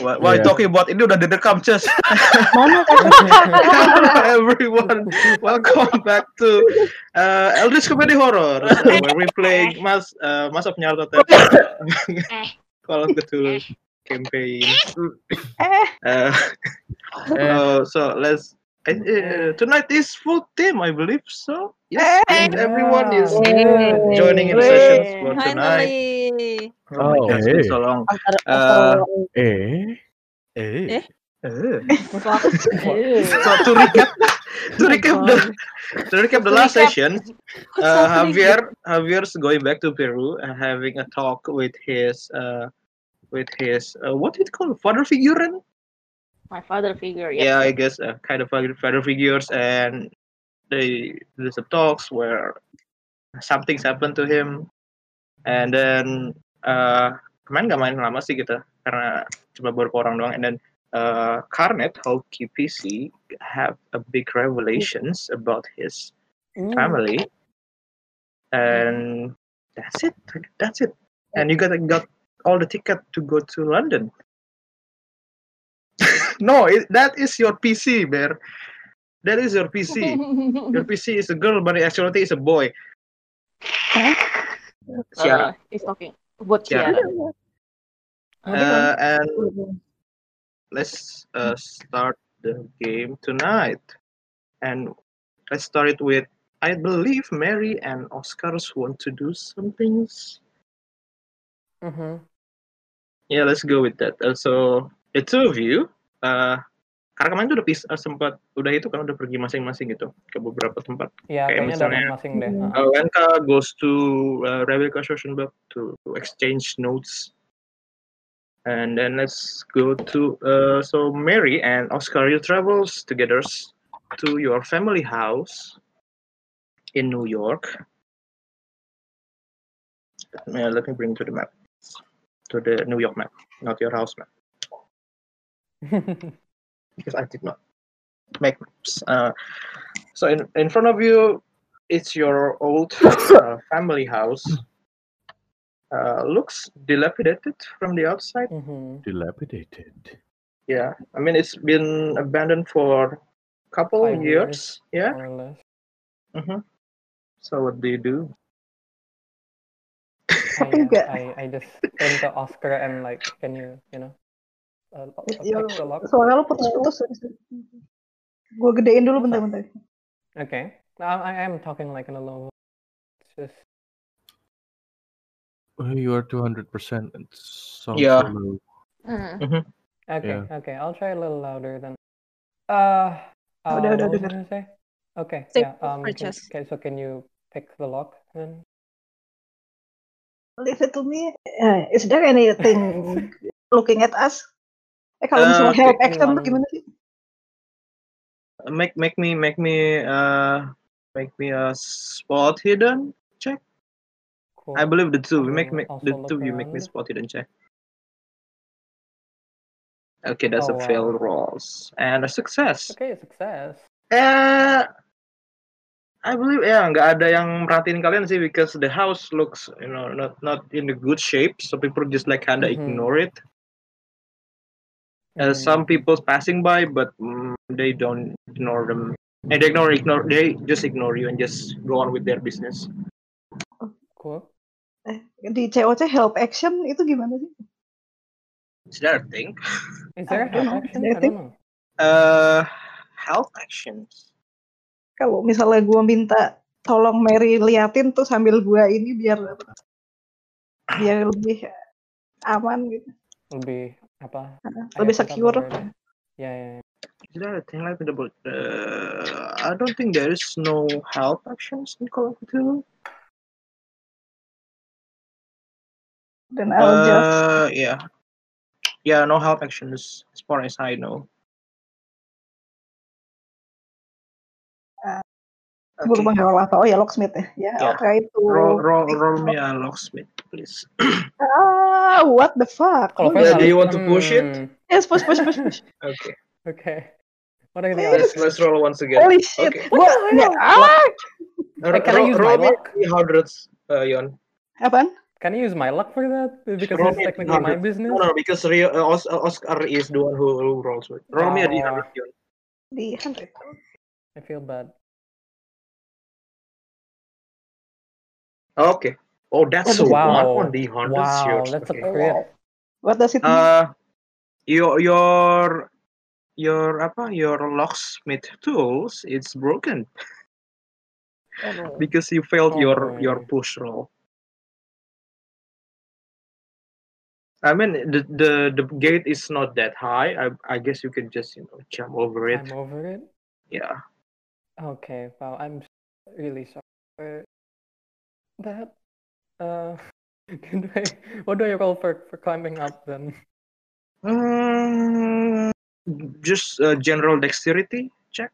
Why, why Yeah. talking about ini udah direkam, Ces. Mana kan? Hello everyone, welcome back to uh, Eldritch Comedy Horror, uh, where we play Mas uh, Mas of Naruto Call of Cthulhu campaign. Uh, uh, so let's. Uh, tonight is full team, I believe. So yes, everyone is Eh. joining in Yay. sessions for tonight. Finally. Oh, my Oh, gosh, hey. been so long. Eh, Eh, Uh, Fuck. so to recap, to recap the to recap the Oh To last recap. session, So uh, many- Javier Javier's going back to Peru and having a talk with his uh with his uh, what it called father figurine. My father figure. Yeah, I guess uh, kind of father father figures, and they there's some talks where something's happened to him, and then uh kemarin gak main lama sih kita karena cuma beberapa orang doang, and then uh, Carnet, how QPC have a big revelations about his family and that's it that's it and you got got all the ticket to go to london no it, that is your pc bear that is your pc your pc is a girl but in actuality is a boy Ciara. Uh, he's talking. What Ciara. Ciara? Uh, and let's uh, start the game tonight. And let's start it with I believe Mary and Oscars want to do some things. Yeah, let's go with that. Uh, so the two of you, uh, karena kemarin tuh udah pis- uh, sempat udah itu kan udah pergi masing-masing gitu ke beberapa tempat. Kayak Ya, kayaknya udah misalnya- masing-masing deh. Hmm. Ah. Uh, Lenka goes to uh, Rebel Construction Lab to exchange notes. And then let's go to uh, so Mary and Oscar you travels together to your family house in New York. Uh, let me bring to the map, to the New York map, not your house map, Mm-hmm. because I did not make maps. Uh, so in in front of you it's your old uh, family house. Uh, looks dilapidated from the outside. Mhm. dilapidated. Yeah, I mean it's been abandoned for a couple Five years. Yeah. More or less. hmm So what do you do? I, Enggak. I, I just went to Oscar and like, can you, you know, uh, lo- With uh, your- fix the lock? Suara lu putus-putus. Gue gedein dulu bentar-bentar. Okay. No, I, I am talking like in a low voice. It's just, Well, you are 200%. It's so Yeah. low. Mm. okay, Yeah. okay. I'll try a little louder then. Uh, uh Udah, udah, what was I dengar. gonna say? Okay, Take yeah. off Um, can, purchase. okay, so can you pick the lock then? Leave it to me. Uh, is there anything looking at us? Eh kalau misalnya Uh, help okay, action tuh anyone. gimana sih? Uh, Make make me make me uh make me a spot hidden. Cool. I believe the two. I Make will make also the look two. You make me around. spot hidden check. Okay, that's a Oh, wow. failed rolls and a success. Okay, success. Eh, I believe ya nggak ada yang merhatiin kalian sih because the house looks you know not not in the good shape so people just like kinda Mhm. ignore it. Uh, Mhm. Some people passing by but mm, they don't ignore them. Eh, they ignore ignore they just ignore you and just go on with their business. Cool. Eh, di COC help action itu gimana sih? Is that a thing? Is there a don't know. help action? Is there a I thing? don't know. Uh, help actions. Kalau misalnya gue minta tolong Mary liatin tuh sambil gue ini biar biar lebih aman gitu, Lebih apa? lebih Ayat apa secure. word-nya? Ya, ya, ya. Is that a thing? Let me double. Uh, I don't think there is no help actions in Call of Cthulhu. Dan I'll just Uh, yeah. Yeah, no help actions as far as I know. Uh, gue Okay. roll apa? Oh ya locksmith ya. Ya, I'll Yeah. try to. Roll, roll, roll me a locksmith, please. Ah, what the fuck? Kalau Yeah, do Faisal- you want to push it? Hmm, Yes, push, push, push, push. Okay, Okay. What are you Yes. doing? let's roll once again. Holy shit. Okay. Gua, ya, ah, Ro- Hey, can I ro- use roll my me luck? three hundreds, uh, Yon. apaan? Can I use my luck for that? Because Roll it's me a technically my Mm. D100. business. No, no, because Rio, uh, Os- uh, Oscar is the one who, who rolls with. Roll me a D100. Yun. Di 100. I feel bad. Okay. Oh, that's a Wow. one on D100. Wow, Yun. that's a Okay. crit. What does it mean? Uh, your your your apa your locksmith tools it's broken Aduh. because you failed your Oh. your push roll. I mean the the the gate is not that high. I I guess you can just you know jump over it. I'm over it. Yeah. Okay, wow, I'm really sorry for that. Uh, can I- what do I roll for, for climbing up then? Mm, just uh, general dexterity check.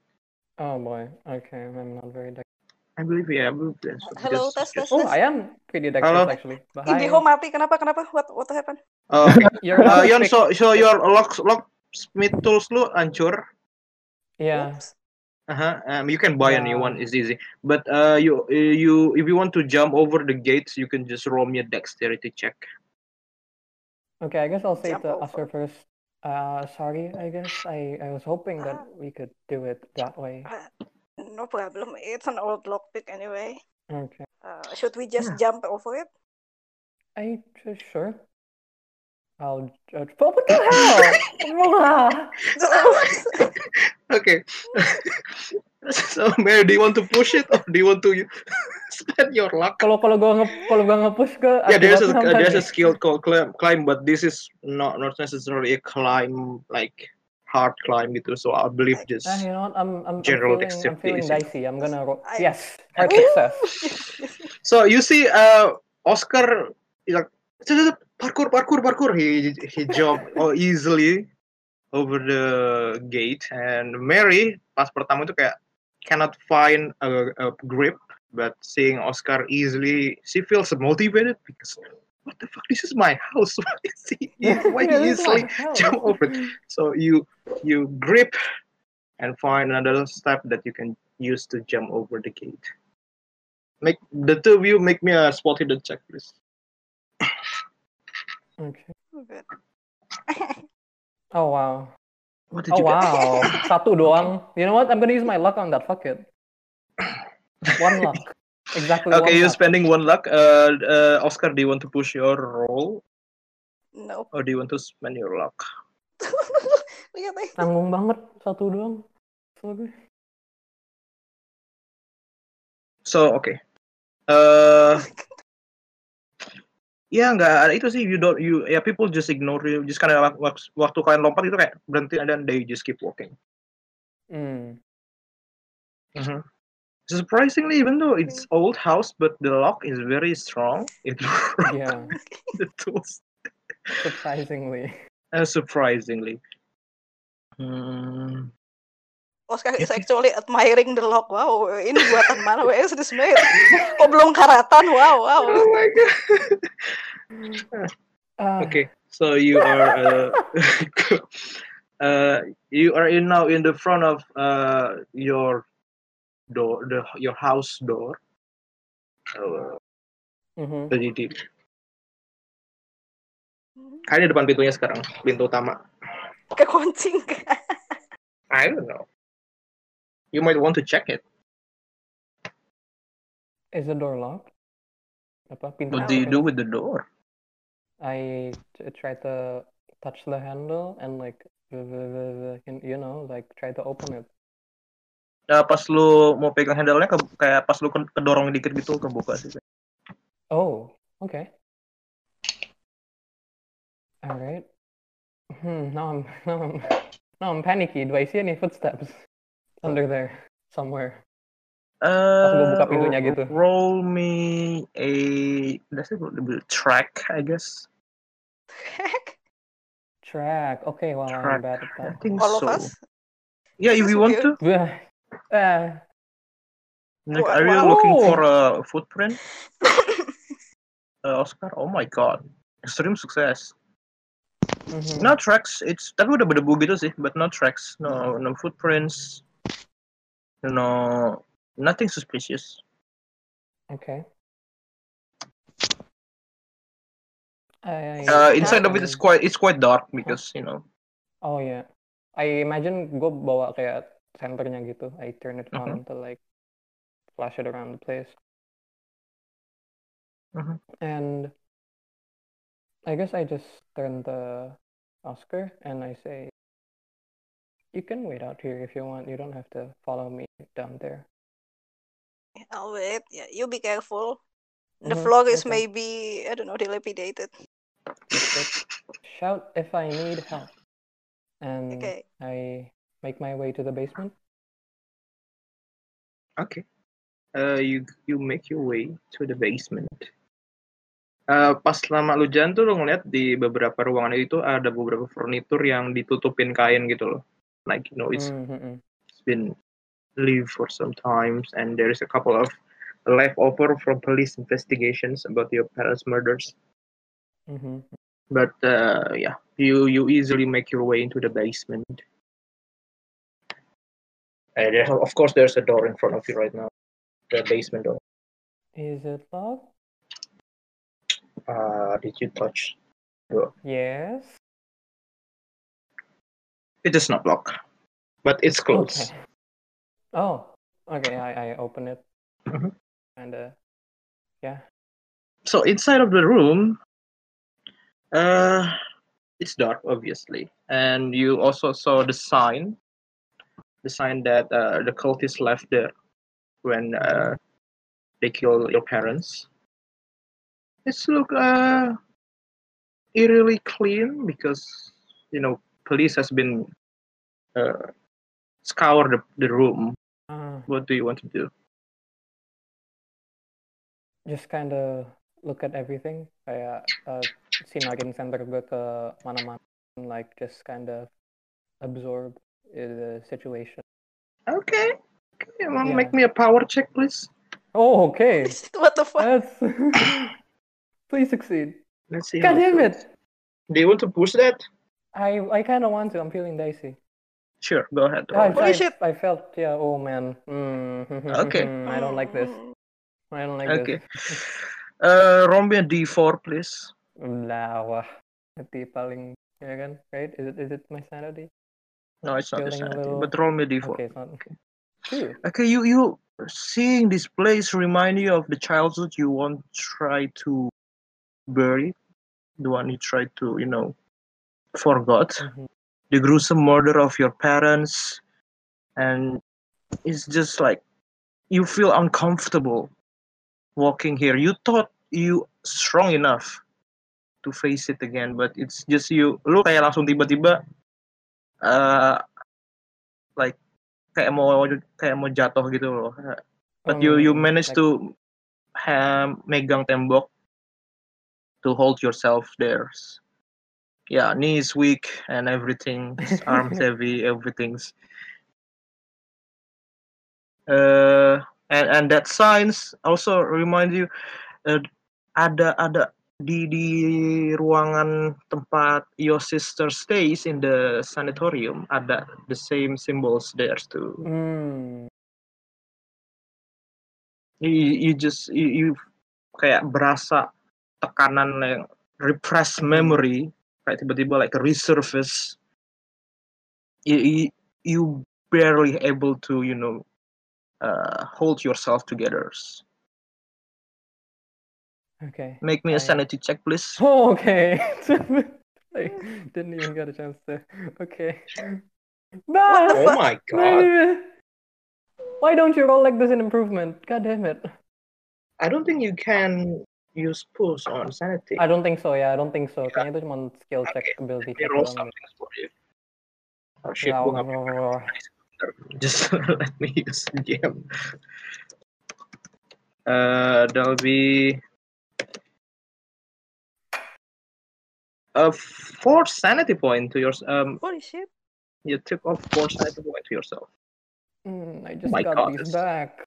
Oh boy, okay, I'm not very dexterous. I believe yeah. I believe that's what- Hello, just- tes, tes, just- Oh, tes. I am pretty dexterous Hello. actually. But hi. Indigo mati. Kenapa? Kenapa? What what happened? Uh, You're uh, not Yon, pick- so so your lock locksmith tools lu hancur. Yeah, Oops. Uh-huh. Um, you can buy a new Yeah. one. It's easy. But uh, you you if you want to jump over the gates, you can just roll me a dexterity check. okay, I guess I'll say Jump to over. Oscar first. Uh, sorry, I guess I, I was hoping that we could do it that way. Uh, No problem. It's an old lockpick anyway. Okay, Uh, should we just jump over it? I just sure. I'll judge. But what the hell? Oh, Okay. so Mary, do you want to push it or do you want to spend your luck? kalau kalau gua nge kalau gua nge-push ke Yeah, there's a akibatnya uh, sampai- there's a skill called climb, climb, but this is not not necessarily a climb like hard climb gitu. So I believe just Ah, you know what? I'm I'm, I'm General feeling, I'm dexterity feeling is it? dicey. I'm gonna roll. I- Yes, hard success. So you see, uh, Oscar is like "Zzzz, parkour, parkour, parkour. He he jumped oh, easily over the gate, and Mary pas pertama itu kayak cannot find a, a grip, but seeing Oscar easily, she feels motivated because what the fuck? This is my house. Why is he? Why Yeah, he this is easily? like hell. jump over it. So you you grip and find another step that you can use to jump over the gate. Make the two of you make me a spot hidden check, please. Okay. Good. Oh wow. What did Oh you get? wow. Satu doang. You know what? I'm gonna use my luck on that. Fuck it. One luck. Exactly. one Okay, you're luck. spending one luck. Uh, uh, Oscar, do you want to push your roll Nope. or do you want to spend your luck? Lihat eh. Tanggung banget satu doang. Sorry. So okay. Uh, ya nggak itu sih you don't you ya people just ignore you just karena wak- wak- waktu kalian lompat itu kayak berhenti dan they just keep walking. Hmm. Mhm. Surprisingly, even though it's old house, but the lock is very strong. It broke Yeah. the tools. Surprisingly. Uh, surprisingly. Hmm. Oscar is Oh, actually admiring the lock. Wow, ini buatan mana? Where is this made? Kok belum karatan? Wow, wow. Oh my god. Ah, Okay, so you are uh, uh, you are in now in the front of uh, your door, the your house door. Uh, mhm. jadi kayaknya depan pintunya sekarang, pintu utama. Pakai kunci nggak? I don't know. You might want to check it. Is the door locked? Apa pintu? What do you pintu- do with the door? I t- try to touch the handle and like the- the- the- the- you you know like try to open it. Nah, pas lu mau pegang handle-nya ke- kayak pas lu ke- kedorong dikit gitu kebuka sih. Oh, okay. All right. Hmm. Now I'm now I'm now I'm panicky. Do I see any footsteps Oh. under there somewhere? gua buka Eh, pintunya gitu. Roll me a that's it, track, I guess. Track. Okay. Well, I'm Track. bad at I that. think All of so. us? Yeah, Ya, if you want to. Bleh. Ah, Like, Wha- are you wow. looking for a footprint, uh, Oscar? Oh my god, extreme success. mhm. No tracks. It's tapi udah berdebu gitu sih, but no tracks, no no footprints, no nothing suspicious. Okay. I, Uh, inside of it is quite it's quite dark because you know. Oh yeah. I imagine gue bawa kayak senternya gitu. I turn it on to like flash it around the place. Mhm. And I guess I just turn the Oscar and I say, "You can wait out here if you want. You don't have to follow me down there." I'll wait. Yeah, you be careful. The Mhm, floor is okay. maybe I don't know dilapidated. Shout if I need help. And Okay. I make my way to the basement. Okay. Uh, you you make your way to the basement. Uh, pas lama lu jalan tuh lu ngeliat di beberapa ruangan itu ada beberapa furnitur yang ditutupin kain gitu loh. Like you know it's, Mhm. it's been leave for some times and there is a couple of leftover from police investigations about your parents' murders. Mhm. But uh, yeah, you you easily make your way into the basement. And there's, of course, there's a door in front of you right now, the basement door. Is it locked? Uh, did you touch? Yes. It is not locked, but it's closed. Okay. Oh, okay. I, I open it. Mhm. And uh, yeah. So inside of the room, uh, it's dark, obviously, and you also saw the sign, the sign that uh, the cultists left there when uh, they killed your parents. It's look uh, eerily clean because you know police has been uh, scour the, the room. Uh, What do you want to do? just kind of look at everything. Kayak uh, sinagin center gue ke mana-mana. and, Like just kind of absorb uh, the situation. Okay, okay, wanna Yeah. make me a power check, please. Oh, okay. what the fuck? That's. Please succeed. Let's see. God how it damn goes. it! Do you want to push that? I I kind of want to. I'm feeling dicey. Sure, go ahead. I, Holy I, shit. I felt yeah. Oh man. Mm, Okay. I don't like this. Mm, I don't like okay. this. Uh, roll me a D4, please. Lah, wah. Nanti paling ya kan, right? Is it is it my sanity? No, it's not Feeling a insanity, little- but roll me a D4. Okay, Okay. it's not. Okay. Two. you you seeing this place remind you of the childhood you want try to bury, the one you try to you know forgot, Mhm. the gruesome murder of your parents, and it's just like you feel uncomfortable walking here. You thought you strong enough to face it again, but it's just you. Lu kayak langsung tiba-tiba, uh, like kayak mau kayak mau jatuh gitu loh. But you you Um, manage like- to ha, megang tembok to hold yourself there. Yeah, knees weak and everything, arms heavy, everything's. Uh, and and that signs also remind you uh, ada ada di di ruangan tempat your sister stays in the sanatorium ada the same symbols there too. Hmm. you, you just you, you kayak berasa tekanan yang repressed Mhm. memory kayak tiba-tiba like resurface you, you, you barely able to you know uh, hold yourself together Okay. make me a I- sanity check please Oh, okay. I didn't even get a chance to. Okay. Nah. fuck? Oh my Why don't you roll like this in improvement? God damn it. I don't think you can use push on sanity I don't think so. Yeah, I don't think so. Kayaknya itu cuma skill check, ability They check roll doang. something for you oh shit Yeah, gua nggak- wah. just let me use the gem. Uh, that'll be a four sanity point to your um. Holy shit. You took off four sanity point to yourself, Hmm, I just My got God, these this- back.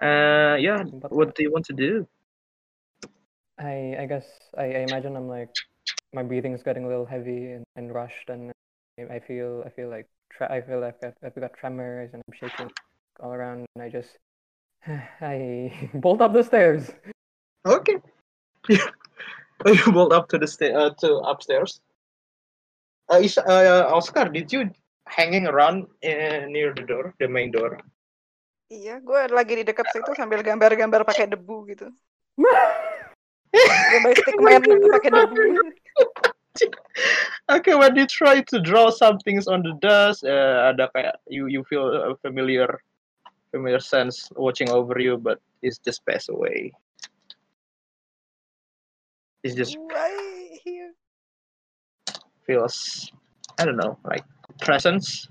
uh, yeah. But- What do you want to do? I I guess I, I imagine I'm like my breathing's getting a little heavy and, and rushed and I I feel I feel like tra- I feel like I've, I've got tremors and I'm shaking all around and I just I bolt up the stairs. Okay, you walked up to the sta- uh, to upstairs. Uh, is, uh, Oscar, did you hanging around uh, near the door, the main door? Iya, gue lagi di dekat situ sambil gambar-gambar pakai debu gitu. Gambar stickman gitu pakai debu. okay, when you try to draw some things on the dust, uh, ada kayak you you feel a familiar familiar sense watching over you, but it's just pass away. It's just Right here. feels I don't know like presence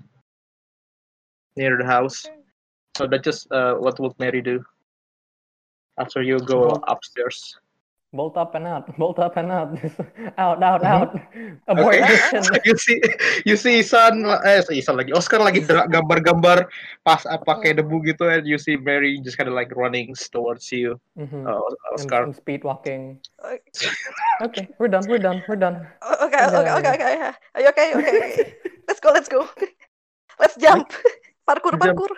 near the house. Okay. So that's just uh, what would Mary do after you go Well- upstairs. Bolt up and out. Bolt up and out. out, out, out. Abort Okay. mission. you see you see Isan eh Isan lagi Oscar lagi dra- gambar-gambar pas apa pakai debu gitu and you see Mary just kind of like running towards you Mhm. uh, I'm- Oscar I'm speed walking. Okay, Okay, we're done. We're done. We're done. okay, okay, okay, okay. Are you okay? Okay, okay. Let's go, let's go. Let's jump. Parkour, Jump. parkour.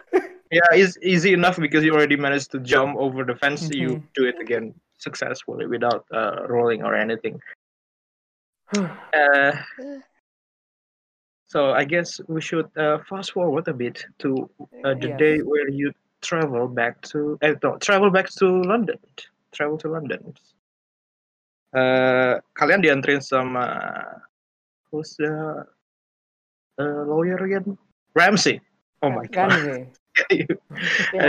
yeah it's easy enough because you already managed to jump over the fence you do it again successfully without uh, rolling or anything uh, so I guess we should uh, fast forward a bit to uh, the Yes. day where you travel back to eh, no, travel back to London travel to London Eh, kalian dianterin sama who's the eh, lawyer again Ramsey oh my god Ramsey. Eh,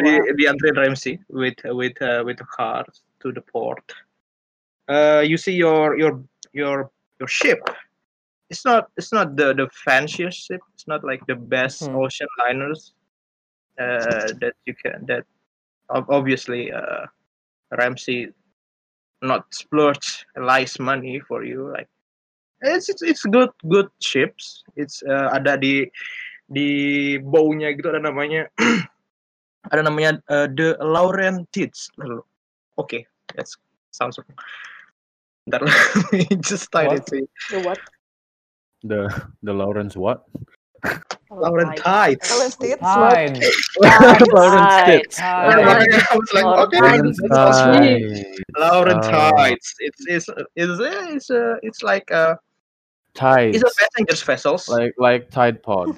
di, dianterin Ramsey with with uh, with a car to the port Eh, you see your your your your ship it's not it's not the the fanciest ship it's not like the best Mhm. ocean liners uh that you can that ob- obviously uh ramsey not splurge lies money for you like it's it's, it's good good ships it's uh, ada di di baunya gitu ada namanya ada namanya uh, the Laurentides oke okay, that's sounds wrong ntar lah, just tied it What? sih The what? The the Lawrence what? Laurentides. Balance it. Tide. Laurentides. Tide. I was like, okay, Laurentides. that sounds familiar. Tides. Laurentides. It's it's it's it's uh, it's like uh, Tides. it's a passenger's vessels. Like like Tide Pod.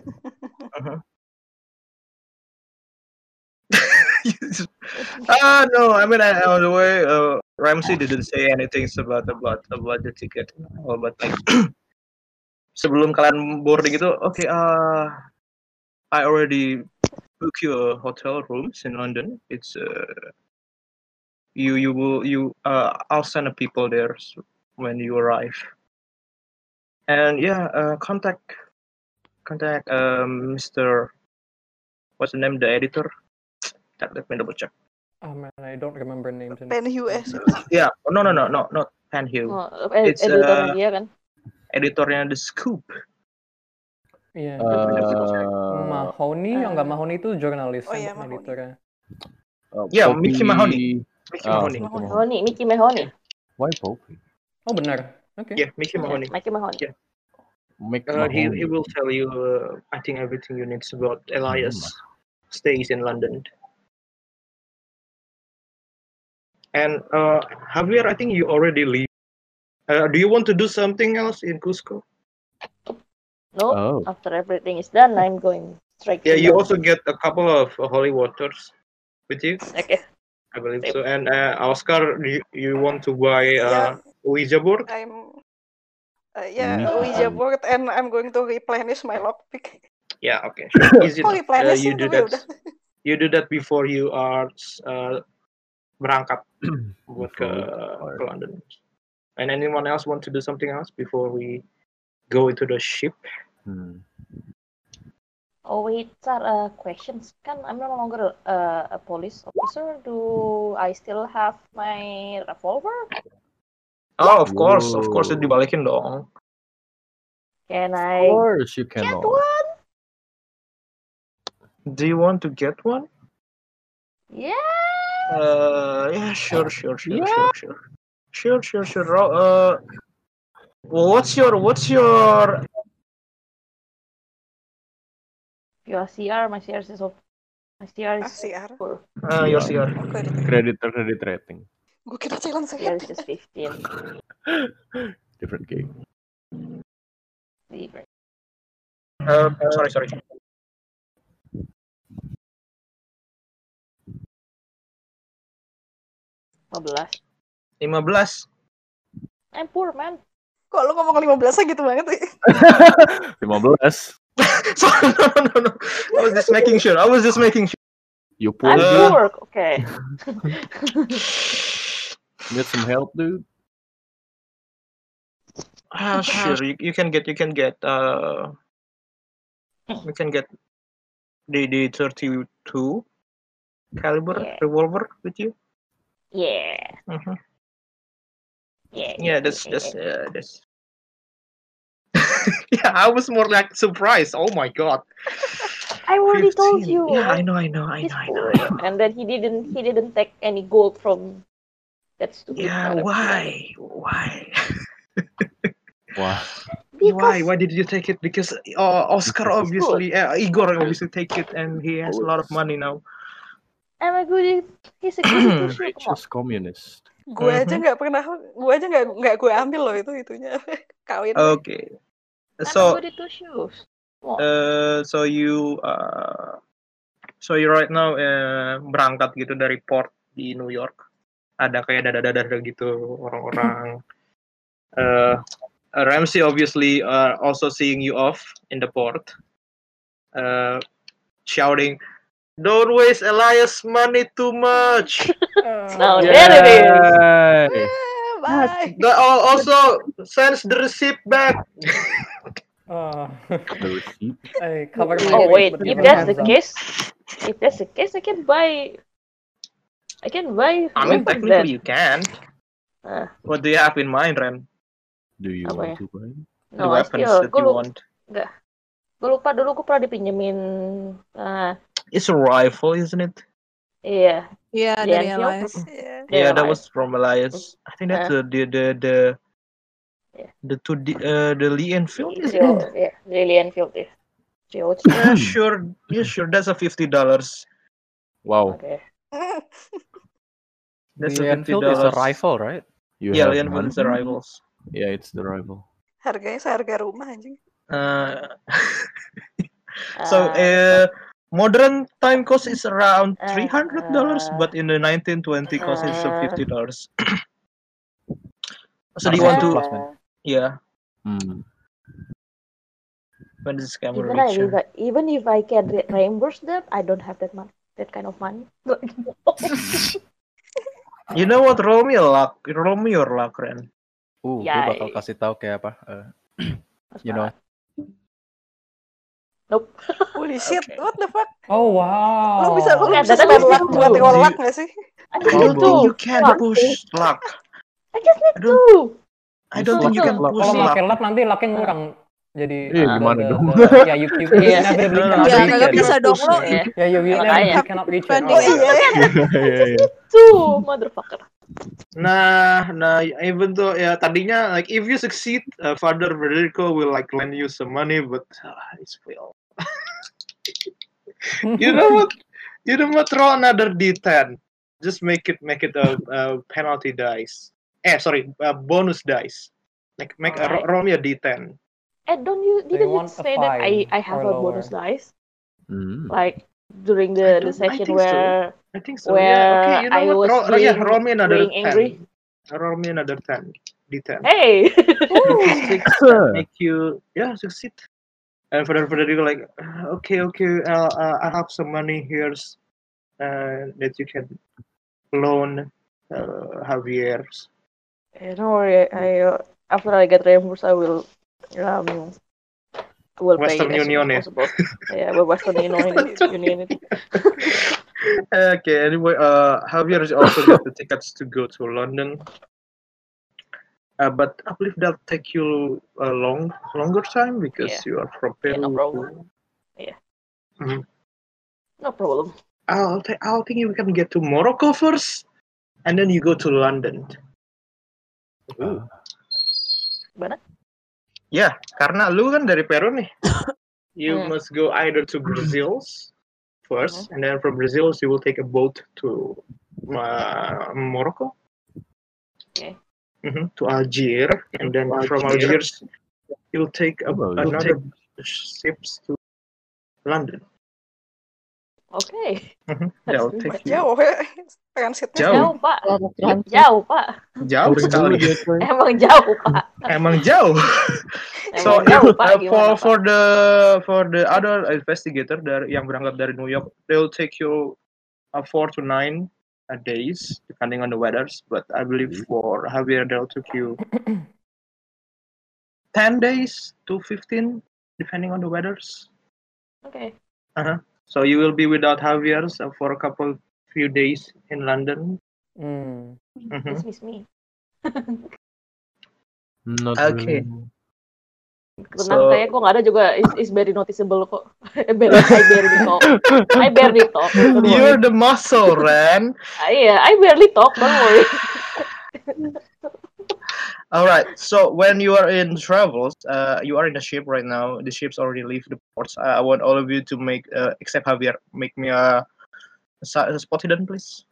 Ah no, I mean, I, on the way, uh, Ramsey didn't say anything about about about the ticket or about like sebelum kalian boarding itu, okay, uh, I already book your hotel rooms in London. It's uh, you you will you uh, I'll send the people there s- when you arrive. And yeah, uh, contact contact um, Mr. What's the name? The editor. Let me double check. Oh man, I don't remember names. and- Pen US. Yeah, no, no, no, no, not Panhill. Oh, eh, It's, uh, editornya dia kan? Editornya The Scoop. Yeah. Uh, Mahoney, oh nggak uh, Mahoney itu jurnalis, oh iya, kan, Mahoney. editornya. uh, Yeah, Mickey Popey- Mahoney. Mickey Oh, Mahoney. Mickey Mahoney. Mahoney, Mickey Mahoney. Why Popey? Oh benar. Oke. Iya. Yeah, Mickey Mahoney. Mickey Mahoney. Mick Uh, he, Mahoney. he will tell you, uh, I think, everything you need about Elias stays in London. And uh, Javier, I think you already leave. Uh, do you want to do something else in Cusco? No, Oh. after everything is done, I'm going straight. Yeah, to you the- also get a couple of uh, holy waters with you, Okay. I believe so. And uh, Oscar, do you, you want to buy uh, Ouija board? I'm uh, yeah, Hmm. Me too. Ouija board and I'm going to replenish my lockpick. Yeah, okay. sure. Easy Oh, enough. replenish you ya, do tapi that. You do that before you are uh, berangkat buat ke, Before we ke London. And anyone else want to do something else before we go into the ship? Hmm. Oh wait, sir. Uh, questions. Can I'm no longer uh, a police officer. Do I still have my revolver? Oh, of course, of course, Whoa. dibalikin dong. Can Of I course, you get cannot. one? Do you want to get one? Yeah. Uh, yeah, sure, sure, sure, Ah, Yeah. sure, sure, sure, sure, sure. Ro- Uh, what's your what's your Your CR, my CR is of. My CR Ah, is siar. uh, your CR? Kok ada- Creditor credit rating. Gue kira ya. Thailand Yeah, sehat. it's just 15. Different gig. Different. Uh, sorry, sorry. Lima belas. 15. I'm poor man. Kok lu ngomong 15 gitu banget sih? 15. Sorry, no, no, no. I was just making sure. I was just making sure. You poor I'm Uh. dude. poor. Okay. Need some help, dude? Ah, sure. You, you can get, you can get, uh, you can get the, the 32 caliber Yeah. revolver with you. Yeah. Mhm. Yeah. Yeah, that's, that's, yeah, that's. yeah, I was more like surprised. Oh my god. I already told 15. you. Yeah, I know, I know, I He's know, I know. poor. And then he didn't. He didn't take any gold from that stupid. Yeah, product. why? Why? Why? Wow. Because Why did you take it? Because uh, Oscar It's obviously, uh, Igor obviously take it, and he has a lot of money now. I'm a good. He's a good teacher. Come on. Just communist. Gue aja Mhm. nggak pernah, gue aja nggak nggak gue ambil loh itu itunya kawin. Okay, I'm a so good at shoes. uh, so you uh, so you right now uh, berangkat gitu dari port di New York. Ada kayak dada-dada gitu orang-orang. Uh, Ramsey obviously uh, also seeing you off in the port, uh, shouting, "Don't waste Elias money too much." Eh, Now yeah. there it is. Yay! Eh, Ah, Bye. The, al- also sends the receipt back. Uh, The receipt. I covered my Oh face wait, with if my that's the hands up. case, if that's the case, I can buy. I can buy. I mean, both of technically them. you can. Ah. What do you have in mind, Ren? Do you Apa want ya? to buy? the No, I weapons still. that Gue you want. lupa dulu gue pernah dipinjemin. Ah, It's a rifle, isn't it? iya. Iya Iya, dari Rio. Elias. Iya. Yeah, Yeah, that right. was from Elias. I think that's the the the the, Yeah. the two D, uh, the Lee Enfield, isn't Rio, it? yeah, Lily Enfield, yeah. Rio, it's- Yeah, sure. Yeah, sure. That's a fifty dollars. Wow. okay. Mm. That's a The fifty Enfield is a dollars. rifle, right? You Yeah, have Lee Enfield is a one? rifles. Yeah, it's the rifle. Harganya seharga rumah anjing. Uh, so Ah, uh, modern time cost is around Uh, three hundred dollars, but in the nineteen twenty cost is uh, fifty dollars. so do Not you want to? bad. Plusman. Yeah, Hmm. when this camera even, I, reaches. even, even if I can re- reimburse them, I don't have that money. That kind of money. You know what? Roll me a luck. Roll me your luck, Ren. Uh, gue Yay. bakal kasih tahu kayak apa. eh, you know, Nope. Holy shit, Okay. what the fuck? Oh wow. Lu bisa lu Bukan, bisa tapi spend luck itu- buat Di- ngolak nggak sih? I I don't need two. think you can Fuck. push luck. I just need I don't- two. I don't So think you luck, can luck. push Iya. Kalau luck. pakai lap nanti lapnya ngurang. Jadi Eh, gimana the- dong? the- Ya, you you Iya. inevitably Iya, cannot iya, reach kagak it. bisa. Yeah. kan. Ya, you you Makanya. inevitably cannot reach it. Oh iya. Iya, iya. Two, motherfucker. Nah, nah, even though ya tadinya like if you succeed, uh, Father Federico will like lend you some money, but uh, it's fail. You know what? You know what? Throw another D10. Just make it make it a, a penalty dice. Eh, sorry, a bonus dice. Like make a, Alright. roll me a D10. And Eh, don't you They didn't you want a say that I five I have a or bonus dice Hmm. like during I the the don't- I session think so. where I think so. yeah. where Okay, you know I what? was Roll, roll- yeah, being- roll me another being angry? ten. Roll me another ten. D10. Hey. Six that make you yeah succeed. And for the for the you like "Uh, okay okay uh, uh, I have some money here's uh, that you can loan uh, Javier's. Eh, Don't worry. I uh, after I get reimbursed, I will um. I Will pay Western it as soon Union, as yeah. possible. yeah, well, Western Union, Union it. okay anyway uh Javier's also got the tickets to go to London. Uh, but I believe that'll take you a long longer time because Yeah. you are from Yeah, Peru. no problem. to- No problem. I'll, th- I'll think you can get to Morocco first, and then you go to London. Ah. Mana? Ya, karena lu kan dari Peru nih. You Hmm. must go either to Brazil first, and then from Brazil you will take a boat to uh, Morocco, mhm, to Algier, and then from Algier, you'll take a, Oh, yeah. another ships to London. Oke. Mhm, They'll That's take you Jauh ya. Transitnya. Jauh. Jauh pak, Transit, transit. jauh pak. Ah, jauh sekali. Emang jauh pak. Emang jauh. Emang So, jauh pak. Uh, for Gimana, Pak? for the for the other investigator dari yang berangkat dari New York, they'll take you uh, four to nine uh, days depending on the weathers. But I believe for Javier, they'll take you ten days to fifteen depending on the weathers. Oke. So you will be without Javier so for a couple few days in London. Mm. Mhm. Miss miss me. Okay. Tenang, So- kayaknya gue nggak ada juga is, is very noticeable kok. Barely, I barely talk. I barely talk. Don't worry. You're the muscle, Ren. Ah, Iya, I barely talk. Don't worry. All right. So when you are in travels, uh, you are in a ship right now. The ships already leave the ports. I I want all of you to make, uh, except Javier, make me a, a, sa- a spot hidden, please.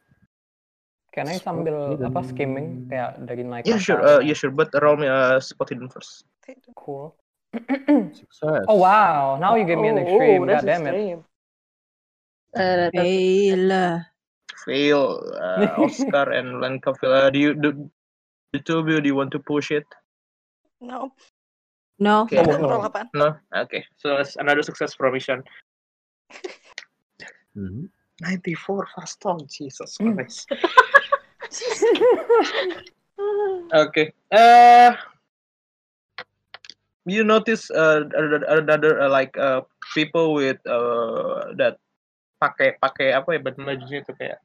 Can I sambil apa skimming kayak dari naik Iya. Yeah, kapal sure. Uh, gitu? yeah, sure. But roll me a spot hidden first. Cool. Success. oh wow, now you gave me an extreme. Oh, God that's damn it. extreme. Eh, Bella. Fail, uh, Oscar and Lanka. Uh, do you do? The two of you, do you want to push it? No. No. Okay. Roll apaan? No. Okay. So that's another success from Ishan. Mhm. Ninety-four fast on Jesus Christ. Okay. Uh, you notice uh, another- another uh, like uh, people with uh, that pakai pakai apa ya bajunya itu kayak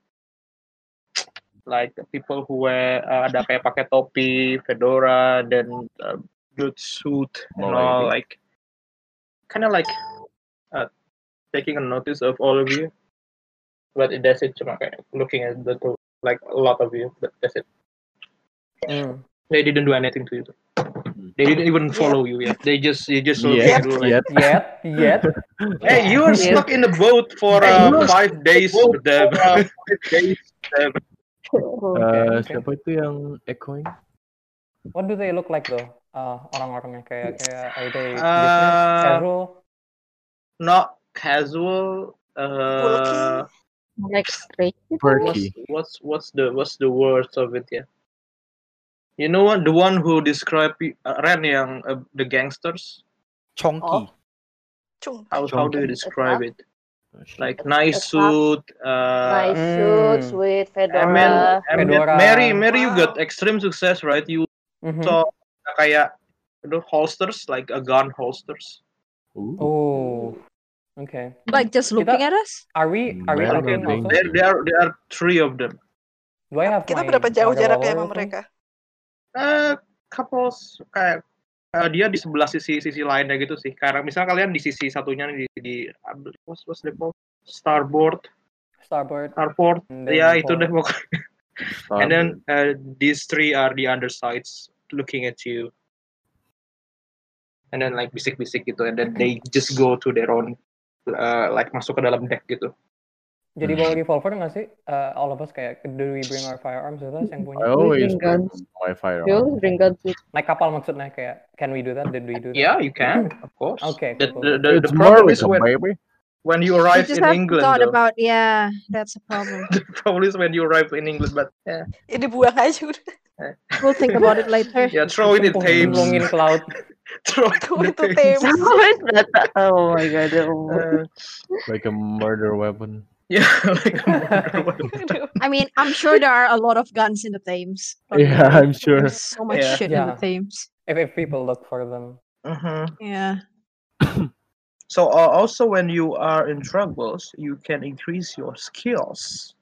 like people who wear uh, ada kayak pakai topi, fedora, then uh, good suit and Mulai all ini. like kind of like uh, taking a notice of all of you. But it does it cuma kayak looking at the two, like a lot of you. But that's it. Mm. They didn't do anything to you. Hmm. They didn't even follow you yet. They just you just look Yet, at you like, yet. Yet, yet. hey, you are Yeah. stuck in the boat for Hey, uh, you are five days with them. uh, Eh, oke. siapa itu yang echoing? What do they look like though? Uh, orang-orangnya kayak kayak are they Uh, business casual? Not casual. Uh, Like straight. what's Perky. what's what's the what's the words of it? Yeah. You know what? The one who described pe- uh, Ren yang uh, the gangsters. Oh. Chonky. Cung. How how do you describe it? Like nice A suit. tough- Uh, Nice uh, suits Mm. with I fedora. mean, I mean, Fedora. Mary, Mary, you got Wow. extreme success, right? You Mhm. so kayak you know, holsters like a gun holsters Ooh. Oh, okay. Like just looking at us? Are we are we Well, talking okay. also? there there are, there are three of them Do I have Kita my berapa jauh water jaraknya bottle sama with me? mereka? eh couple s- kayak eh, dia di sebelah sisi sisi lainnya gitu sih karena misal kalian di sisi satunya nih, di di what's what's the call? starboard Starboard. starboard and then Ah, ya itu forward. deh pokoknya and then eh, these three are the undersides looking at you and then like bisik-bisik gitu and then they just go to their own eh, like masuk ke dalam deck gitu Jadi bawa revolver nggak sih? Uh, all of us kayak do we bring our firearms with us I yang punya? always Bring guns. bring my We firearm. always bring guns with Naik kapal maksudnya kayak can we do that? Did we do that? yeah you can of course Okay, the, cool. the, the, It's the problem Marley, is when, baby. when you We arrive just in have England thought though. about yeah, that's a problem. the problem is when you arrive in England, but yeah, Ya dibuang aja udah. We'll think about it later. yeah throw in the Thames, Cemplung- cemplungin ke laut. throw it Itu in itu the Thames. Thames. oh my god. oh. Uh, Like a murder weapon. yeah, like a murder weapon. I mean, I'm sure there are a lot of guns in the Thames. Don't Yeah, worry. I'm sure. There's so much Yeah. shit in the Yeah. Thames. If, if people look for them. Mhm. Yeah. So uh, also when you are in troubles, you can increase your skills.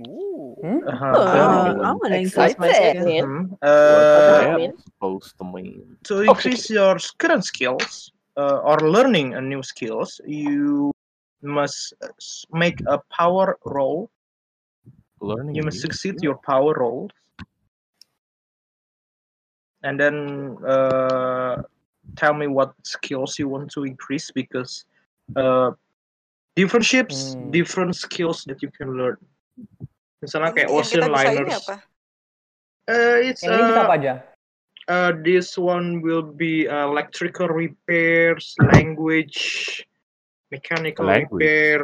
Ooh. Hmm? Uh-huh. Oh, I'm gonna increase my skill. Excited. Mhm. Uh, What I mean? am supposed to mean. to increase your current skills uh, or learning a new skills, you must uh, s- make a power roll. Learning. You must new succeed skill. your power roll. And then uh, tell me what skills you want to increase because uh, different ships, Hmm. different skills that you can learn. Misalnya kayak Yang kita ocean bisa ini liners. apa? Uh, it's Yang ini bisa apa uh, aja? uh, this one will be uh, electrical repairs, language, mechanical Language. repair,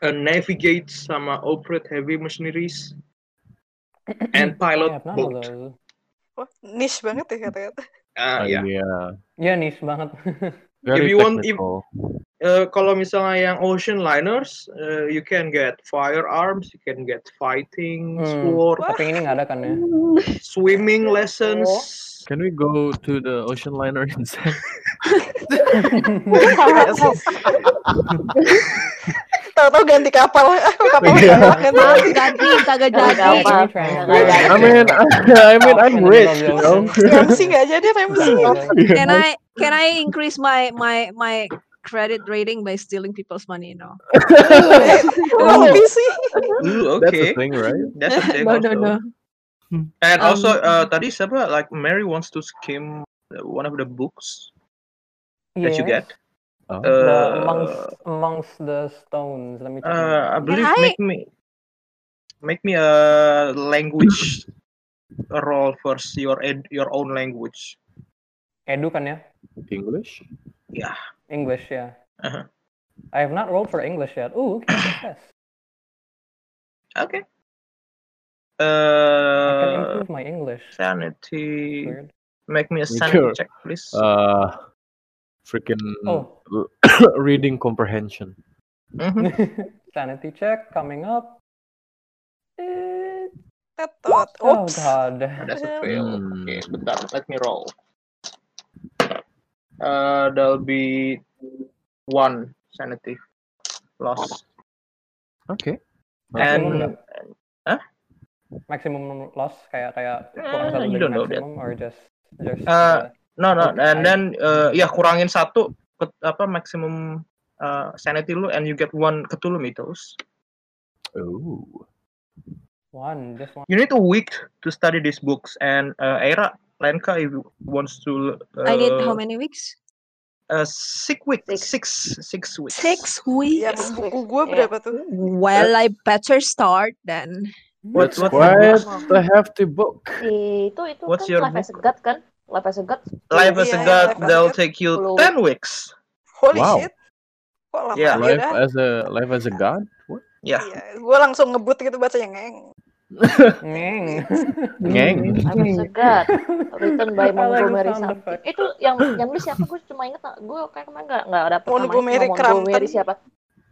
uh, navigate sama operate heavy machineries, and I pilot have none of boat. those. Wah, niche banget ya kata-kata. Uh, Oh, yeah. yeah. Ya niche banget. Very you want- if- technical. Uh, kalau misalnya yang ocean liners, uh, you can get firearms, you can get fighting, Hmm. sword, Wah. Tapi ini nggak ada kan ya? swimming lessons. Can we go to the ocean liner instead? Tahu-tahu ganti kapal. kapal Iya. nggak ganti. Maaf ganti kagak Nggak jadi. apa-apa. Can we Nggak jadi. translate? I mean, I, mean, I'm In the middle rich, of the you know. Ramsi nggak jadi Iya. Ramsi. Can I can I increase my my my credit rating by stealing people's money? Oh, No. Oh, Kok lebih sih? Ooh, That's okay. the thing, right? That's a thing no, also. no, no. And Um, also, uh, tadi siapa like Mary wants to skim uh, one of the books that you get. Uh, Oh. The amongst amongst the stones. Let me check. uh, I believe I- make me make me a language roll first your ed, your own language. Edu kan ya? English? Yeah. English ya. Uh-huh. I have not rolled for English yet. Ooh, okay, yes. Okay. I Uh, can improve my English. sanity. Weird. Make me a Me sanity too. check, please. Uh, freaking Oh. reading comprehension. Mhm. Sanity check coming up. Eh, Tetot. Oh Oops. god. That's a Um, fail. Hmm. Okay, bentar. Let me roll. Uh, there'll be one sanity loss. Hmm, Okay. Maximum And nggak? Maximum loss kayak kayak kurang Ah, satu you dari don't know that. maximum or just just Uh, uh, no no Okay, and I- then uh, ya kurangin satu ke, apa maximum uh, sanity lu and you get one ketulu mitos. Oh. one just one. You need a week to study these books and uh, Era Lenka if you wants to uh, I need how many weeks? uh, six weeks Six. six six weeks Six weeks. Yang Ya, buku gue Iya. berapa tuh? Well, I better start then. What- That's what's quite the a hefty book. Itu itu What's kan your life as a god kan? Life as a god. life as a Iya, god life as a they'll god. take you Sepuluh. ten weeks Holy Wow. shit. Kok lama Yeah. ya Life dah? Iya, as a life as a god? What? ya Iya, gue langsung ngebut gitu bacanya ngeng. Ngeng. Ngang. Life as a god. Written by I like the Montgomery sound something. effect. Itu yang yang nulis siapa? Gue cuma inget gue kayak kemarin nggak nggak dapet namanya Montgomery cuma Montgomery Crampton. siapa?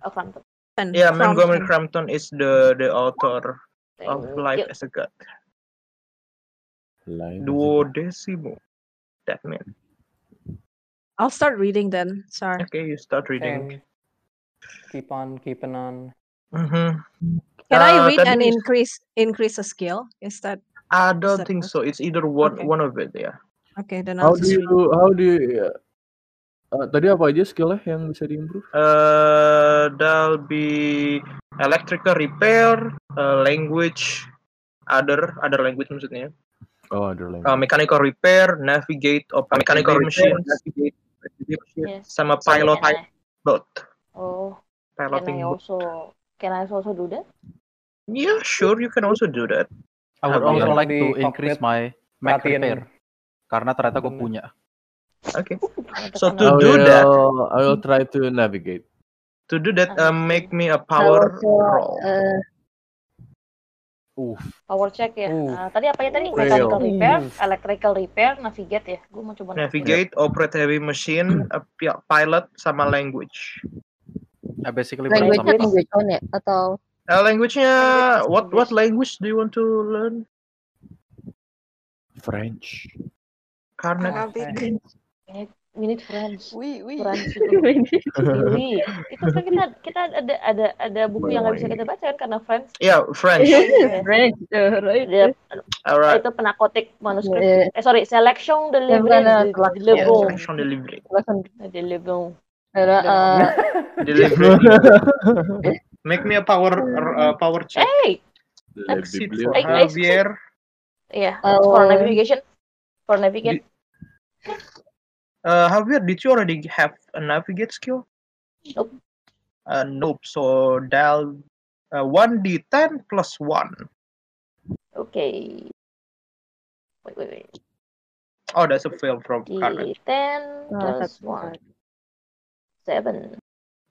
Oh, Crampton. Crampton, yeah Montgomery Crampton. Crampton is the the author of Thank life you. as a god Life as a god. duodecimo that means I'll start reading then. Sorry. okay you start reading Same. Keep on keeping on. Mhm. Uh, Can I tadi read and is- increase increase a skill? Is that I that don't think so. It's either one Okay. one of it, yeah. okay? Then How I'll do just you read. how do you uh, tadi apa aja skillnya yang bisa diimprove? Uh, there'll be electrical repair, uh, language, other other language maksudnya. Oh, Uh, ada language. mechanical repair, navigate, operate mechanical machines, Yes. sama Sorry, pilot can I? boat, Oh, can I piloting boat. also can I also do that? Yeah, sure, you can also do that. I would How about also you? like Di to increase cockpit, my Mac perhatiin. repair karena ternyata gue Bener. punya. Okay. Ternyata So karena to I do that, will I will try to navigate. to do that, uh, I see. make me a power roll. Oof. Power check ya. Ooh. Ah, tadi apa ya tadi? Fail. Mechanical repair, Ooh. electrical repair, navigate ya. Gue mau coba navigate. Navigate, operate heavy machine, a pi- pilot, sama language. I basically Language- berapa language-nya sama language on ya atau Uh, language-nya Language is what what English. language do you want to learn? French. Karena Oh, Arabic. French. We need French. Wih, wih. French itu. Wih, itu kan kita kita ada ada ada buku yang nggak bisa kita baca kan karena French. ya French. Iya. French tuh, right? Dia, Alright. itu penakotik manuskrip. Iya. Eh sorry, selection de Ya, bukan, livre eh, de, telah- de Ya, Iya, Lebon. selection delivery. Bahkan De Lebon. era Udah eh, Delivery. Make me a power uh, power check. Hey, Succeed for eh, I- I succeed. Javier. yeah, Oh. Iya. for navigation, for navigate. Uh, Javier, did you already have a navigate skill? Nope. Uh, nope. So dial uh, 1d10 plus 1. Okay. Wait, wait, wait. Oh, that's a fail from Carnage. D10 Oh, plus that's 1. 7.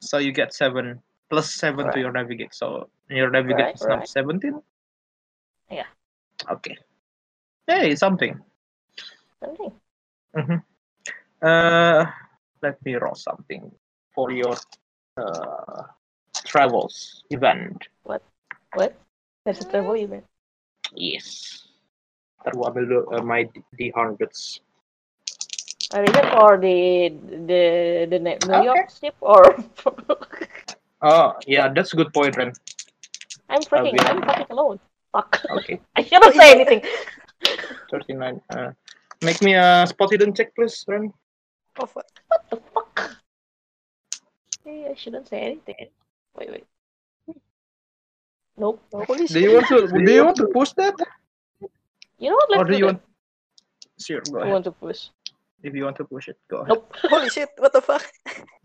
So you get seven plus seven to Right. your navigate. So your navigate Right, is now right. seventeen. Yeah. Okay. Hey, something. Something. Uh, let me roll something for your uh, travels event. What? There's a travel event. Yes. Ntar gua ambil dulu uh, my D hundreds. Are you there for the the the Ne- New York ship or? Oh, yeah, that's a good point, Ren. I'm freaking. Okay. I'm fucking alone. Fuck. Okay, I shouldn't say anything. thirty-nine. Uh, make me a spot hidden check, please, Ren. Of what? What the fuck? Hey, I shouldn't say anything. Wait, wait. Nope. nope. Holy Do you want to? Do you want to push that, You know what? or Let's do you want? that. Sure, go I ahead. want to push. If you want to push it, go ahead. Nope. Holy shit, what the fuck?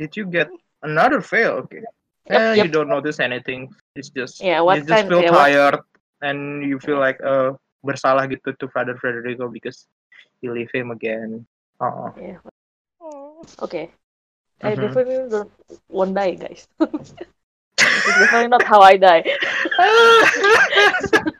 Did you get another fail? Okay. Yep, Eh, yep. You don't notice anything. It's just Yeah, what you just kind- feel yeah, what- tired and you feel like uh bersalah gitu to Father Federico because you leave him again. Oh, Yeah. Okay. I Mhm. definitely don't won't die, guys. it's definitely not how I die.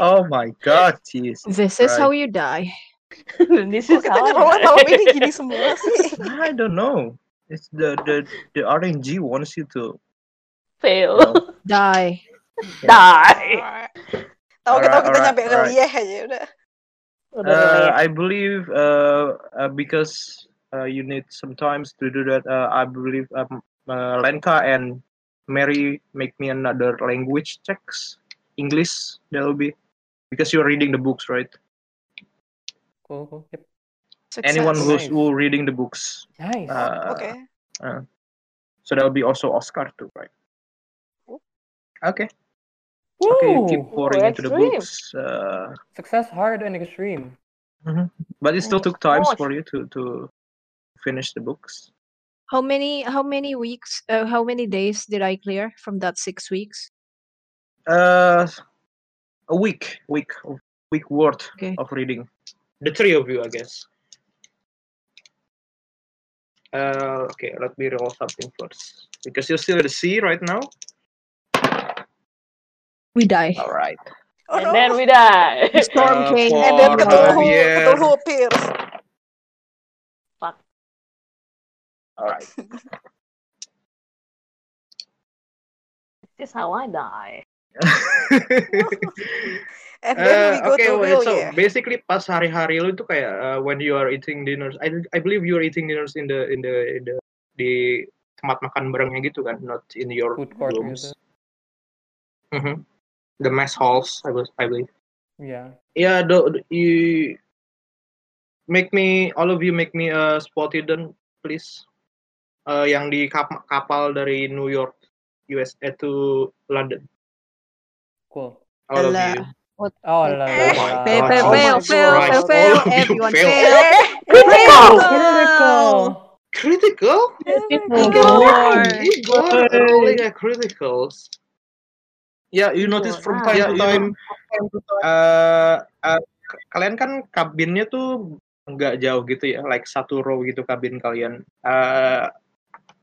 oh my God, jeez. This is how you die. this Kok is kita how ngerolan I malam die. ini gini semua sih? I don't know. It's the the the RNG wants you to fail. you know, Die. Die. Tahu-tahu Alright, kita alright, nyampe alright. Relieh aja ya udah. Udah Uh, lewat. I believe uh, uh, because uh, you need sometimes to do that. Uh, I believe um, uh, Lenka and Mary make me another language checks. English, that'll be because you're reading the books, right? Cool, cool. Yep. Success. Anyone who's Nice. who reading the books, Nice. Uh, Oke. so that'll be also Oscar too, right? Okay. Okay, you keep Woo! pouring into the extreme. books, uh, Success hard and extreme. but it still Nice. took times Gosh. for you to to finish the books. How many how many weeks uh, how many days did I clear from that 6 weeks? Uh, a week, week, week worth Okay. of reading. The three of you, I guess. Uh, okay, let me roll something first because you're still at the sea right now. We die. All right. Oh And no. then we die. The storm Uh, came And for- then Or betul who, Javier. betul who Pierce. All right. this is how I die. And then we Uh, go okay, to wait, so Relieh. basically pas hari-hari lu itu kayak uh, when you are eating dinners, I I believe you are eating dinners in the in the in the di tempat makan barengnya gitu kan, not in your Food court rooms. gitu. Mhm. The mess halls, I was I believe. Yeah. Yeah, the, the- you make me all of you make me a spot hidden, please. Uh, yang di kap- kapal dari New York, USA to London. Cool. All of Alah. you. Oh Oh la la my God. Fail, la. fail, Oh my fail, fail, God. fail, All fail, of you everyone fail. Eh, fail. Oh, Oh, Oh. Critical. Critical. Critical? Oh, Lord. Igor rolling at criticals. Ya, you notice from time to time, uh, uh, k- kalian kan kabinnya tuh nggak jauh gitu ya, like satu row gitu kabin kalian. Uh,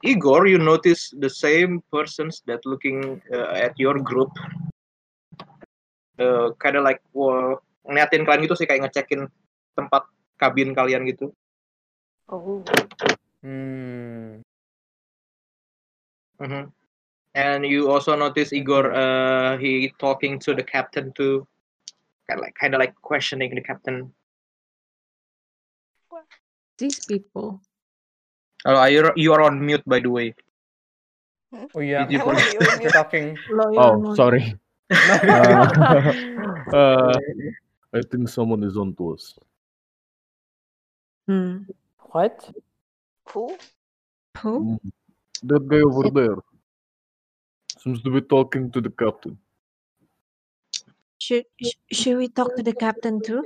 Igor, you notice the same persons that looking uh, at your group, uh, kind of like wah, ngeliatin kalian gitu sih kayak ngecekin tempat kabin kalian gitu. Oh. Hmm. Mhm. And you also notice Igor, uh, he talking to the captain too, kind of like kind of like questioning the captain. These people. Oh, are you you are on mute by the way. Oh yeah. Did you I wanna be on You're mute. talking. Oh, sorry. uh, uh, I think someone is on to us. Hmm. What? Who? Who? Mm. That guy over there seems to be talking to the captain. Should sh- should we talk to the captain too?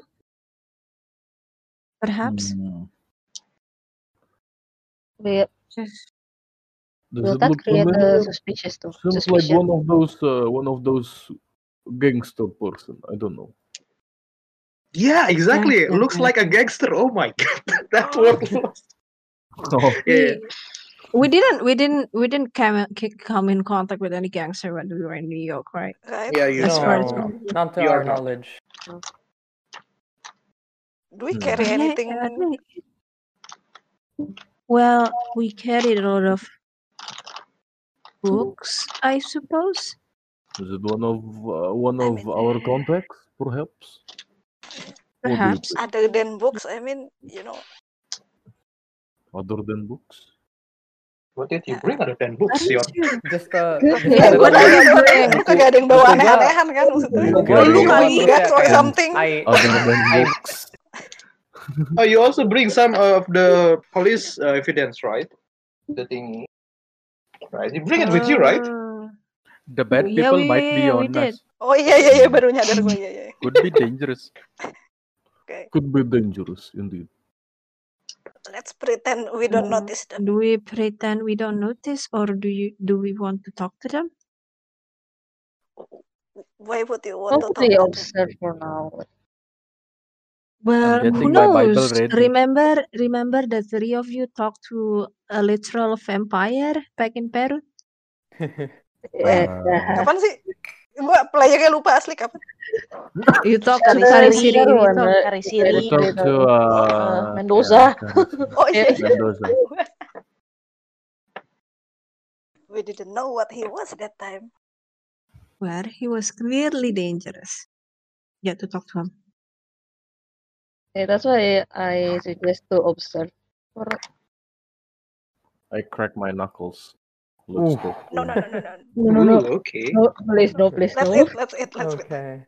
Perhaps. Hmm. Mm. Will, Just Does will it that look create familiar? a suspicious too? Seems like Suspicion. one of those uh, one of those gangster person. I don't know. Yeah, exactly. Looks like a gangster. Oh my god, that word. was- Oh. Yeah, We didn't, we didn't, we didn't come ki- come in contact with any gangster when we were in New York, right? Right. yeah, you As know. far as No, we- not to You are our not. knowledge. Do Hmm. we carry Iya, Yeah, anything? I think- Well, we carried a lot of books, I suppose. Is it one of uh, one of our contacts, perhaps? What do you Perhaps. think? Other than books, I mean, you know, Other than books? What did you bring other than books? That Your is true. Just uh, just Good Eh, a deh, Ya, little bit. gue kagak ada Bang. yang- gue kagak ada yang bawa Enggak. aneh-anehan kan maksudnya. You Gua Oh, lu carry juga we got or kayak- something. I Other than I- books. Oh, you also bring some of the police uh, evidence, right? The thing, right? You bring it with you, right? Uh, The bad Yeah, people might be we- we on did. us. Oh iya iya iya baru nyadar gue iya iya. Could be dangerous. Could be dangerous indeed. Let's pretend we don't Hmm. notice them. Do we pretend we don't notice, or do you do we want to talk to them? Why would you want to talk ya, to Nobody them? observe for now. Well, who getting my Bible knows? ready. Remember, remember the three of you talked to a literal vampire back in Peru. Yeah. Kapan sih? Gue playernya lupa asli kapan. You talked to Dari Parisiri. Siri, You Uh, Peru, talked. Anda. Dari We Very Siri. good. talked to uh, Mendoza. yeah, Mendoza. Oh iya iya. Mendoza. We didn't know what he was that time. Where he was clearly dangerous. Yeah, to talk to him. Yeah, that's why I suggest to observe. For I cracked my knuckles. Let's go. Ooh. No no no no no. no, no, no, Ooh, okay. no, please, no, please, Let's no. eat let's eat let's eat. okay.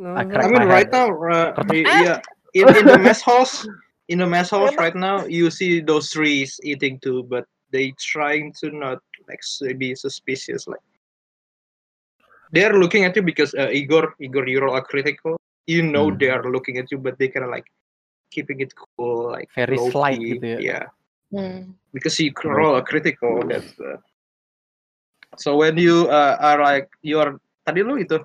I I crack mean, my right hand. now, uh, y- yeah, in, in the mess house, in the mess house right now, you see those trees eating too, but they trying to not like s- be suspicious. Like they're looking at you because uh, Igor, Igor, you're all critical. You know Hmm. Mhm. they are looking at you, but they kind of like keeping it cool, like Very low slight key. gitu ya. Yeah, Hmm. because you c- roll a critical. That's uh, so when you uh, are like you're tadi lu itu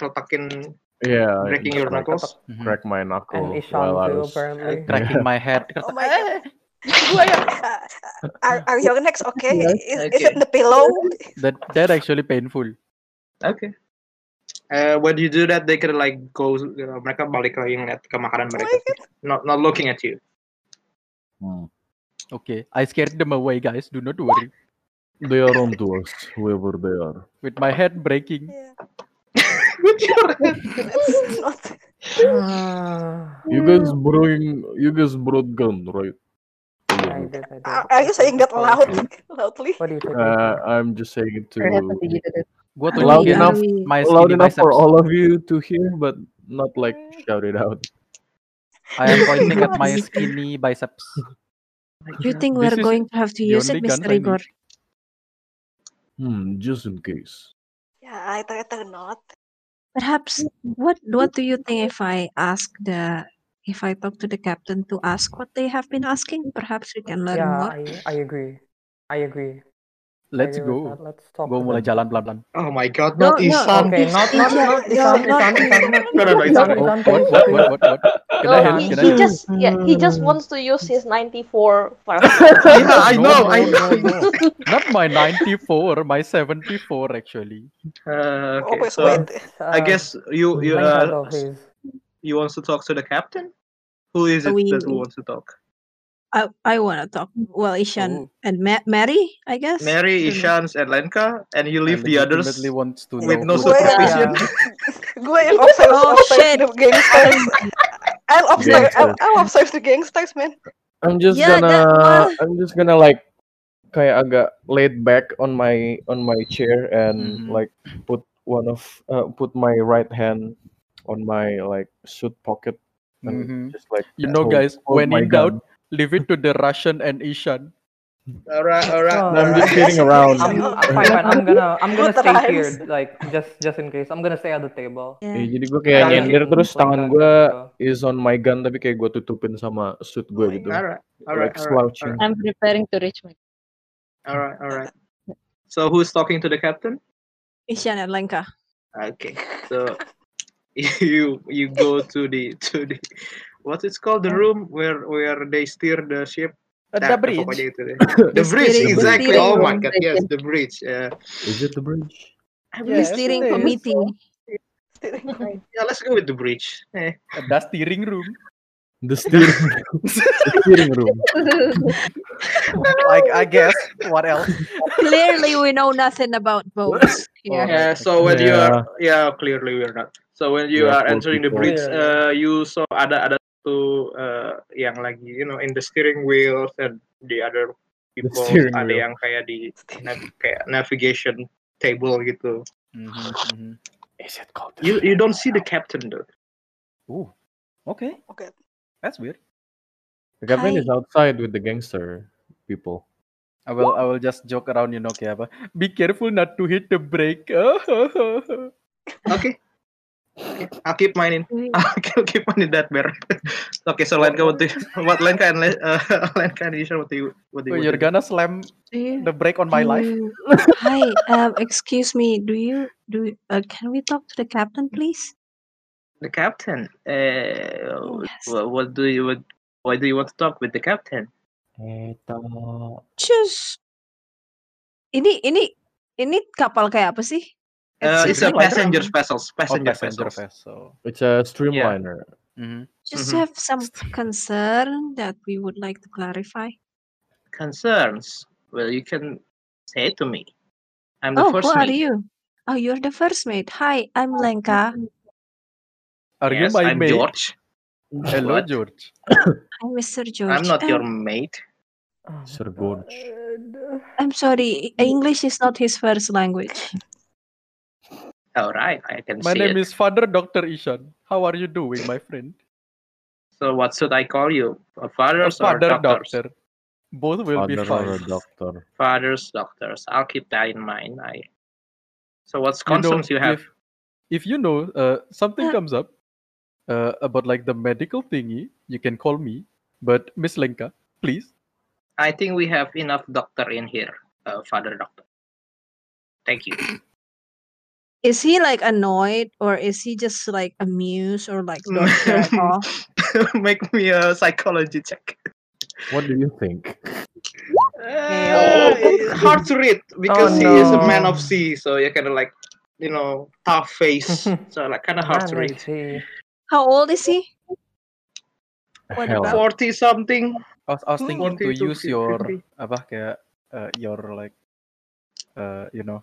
letakin Yeah, I breaking your cracked- knuckles. Mhm. Crack my And knuckles Isham while Oh, I too, was. apparently. Cracking my head. Oh my god. Gue yang uh, are, are your necks okay? Is, is Okay. it the pillow? That that actually painful. Okay. Uh, when you do that, they can like go. You know, mereka balik lagi ngeliat ke makanan mereka. Not not looking at you. Hmm. Okay, I scared them away, guys. Do not worry. They are on to us, whoever they are. With my head breaking, Yeah. With your hand. Let's not. Ah, You guys bring. You guys brought gun, right? I did, Ah, I did. Are, are you saying that loud, loudly? What do you take me Uh, for? I'm just saying it Perhaps to nanti gitu deh. gua Are Loud we, tunjukin are enough. we, my loud skinny enough for biceps. all of you to hear, but not like shout it out. I am pointing at Do you my think- skinny biceps. do you think we're This is going to have to the use it, only gun Mr. I Igor? need. Hmm, just in case. Yeah, I thought not. Perhaps what what do you think if I ask the if I talk to the captain to ask what they have been asking? Perhaps we can learn Yeah, more. I, I agree. I agree. I Let's agree with go. that. Let's talk. Gua to mulai them. jalan pelan-pelan. Oh my god, No, not no. Isan. Okay, not not Ishan, no, not Isham, not Isham, Isham, not No, no, no, not Isan. Oh, Isham, please, what, what, what, please. what, what? Can I No, No, help? Oh, he, Can I he help? Hmm. just yeah, he just wants to use his 94 first. Yeah, I No, know, no, I no, know. no. Not my 94, my 74 actually. Uh, okay, Always so wait. I guess you you Mind uh, control, Uh, please. you wants to talk to the captain. Who is it that We- wants to talk? I, I want to talk. Well, Ishan Oh. and Ma- Mary, I guess. Mary, I don't know. Ishans, and Lenka, and you I leave the others legitimately wants to with no know who the Wait. supervision. Yeah. gue yang observe, Oh, observe shit. the gangsters. I'll observe, I'll, Gangsters. I'll observe the gangsters, man. I'm just Yeah, gonna that- well- I'm just gonna like kayak agak laid back on my on my chair and Mhm. like put one of uh, put my right hand on my like suit pocket and Mhm. just like You yeah, know, hold- guys, hold when my in doubt, gun. leave it to the Russian and Ishan. Alright, alright. Oh. No, I'm just Russian kidding and around. Asian, I'm oh uh, my fine, god. fine. I'm gonna I'm Good gonna stay times. here, like just just in case. I'm gonna stay at the table. Eh, Yeah. jadi gue kayak I'm nyender using terus flip tangan gun gue as well. is on my gun tapi kayak gue tutupin sama suit Oh gue my gitu. Alright, alright, Like slouching. alright, I'm preparing to reach my. alright, alright. So who's talking to the captain? Ishan and Lenka. Okay, so you you go to the to the what it's called the room where where they steer the ship. Ah, Uh, Nah, the bridge. pokoknya itu deh. The bridge, steering- exactly. steering Oh my room. god, yes, the bridge. Yeah. Is it the bridge? I believe Yes, steering it is. committee. yeah, let's go with the bridge. Eh. The steering room. The steering, the steering room. I, I guess. What else? Clearly, we know nothing about boats. Yeah. Yeah, so when you Yeah. are yeah, clearly we're not. So when you Yeah, are poor entering the people. bridge, Yeah. uh, you saw ada ada satu uh, yang lagi you know in the steering wheels and the other people steering ada wheel. yang kayak di nav- kayak navigation table gitu. Mhm, mhm. Is it called the You you don't see the captain though. Ooh. Okay. Oke. That's weird. The captain Hi. is outside with the gangster people. I will I will just joke around, you know, kayak apa. Be careful not to hit the brake. Okay. okay. I'll keep mine in. I'll keep mine in that bear. okay, so Lenka, what do you, what Lenka and Le- uh, Lenka and Isha, what do you what do you? Oh, You're gonna slam Do you- the brake on my life. do- Hi. Um. Excuse me. Do you do? Uh, can we talk to the captain, please? the captain. Uh, Yes. wha- what, do you what, why do you want to talk with the captain? Just. Ini ini ini kapal kayak apa sih? Uh, it's a Streamliner. passenger vessels. Oh, Passenger, passenger vessels. vessel. It's a streamliner. Mhm. Just Mhm. have some concern that we would like to clarify. Concerns. Well, you can say it to me. I'm the Oh, first who are mate. Oh, you? Oh, you're the first mate. Hi, I'm Lenka. Are Yes, you my I'm mate? George. Hello, What? George. I'm Mr. George. I'm not your Um, mate. Sir Gorge. I'm sorry. English is not his first language. All right, I can My see name it. is Father Doctor Ishan. How are you doing, my friend? So, what should I call you? Uh, Fathers Father or doctors? Doctor. Both will Father be or a fine. doctor. Fathers, doctors. I'll keep that in mind. I. So, what's You know, concerns you, have? If, if you know uh, something Uh, comes up uh, about like the medical thingy, you can call me. But Miss Lenka, please. I think we have enough doctor in here, uh, Father Doctor. Thank you. Is he like annoyed or is he just like amused or like don't care at all? Make me a psychology check. What do you think? Uh, it's hard to read Oh, because he is a man of no. sea, so you're kind of like, you know, tough face. so like kind of hard to read. How old is he? What Hell. about- Forty something. I was, I was Hmm. thinking to 42, use your 50. apa kayak uh, your like uh, you know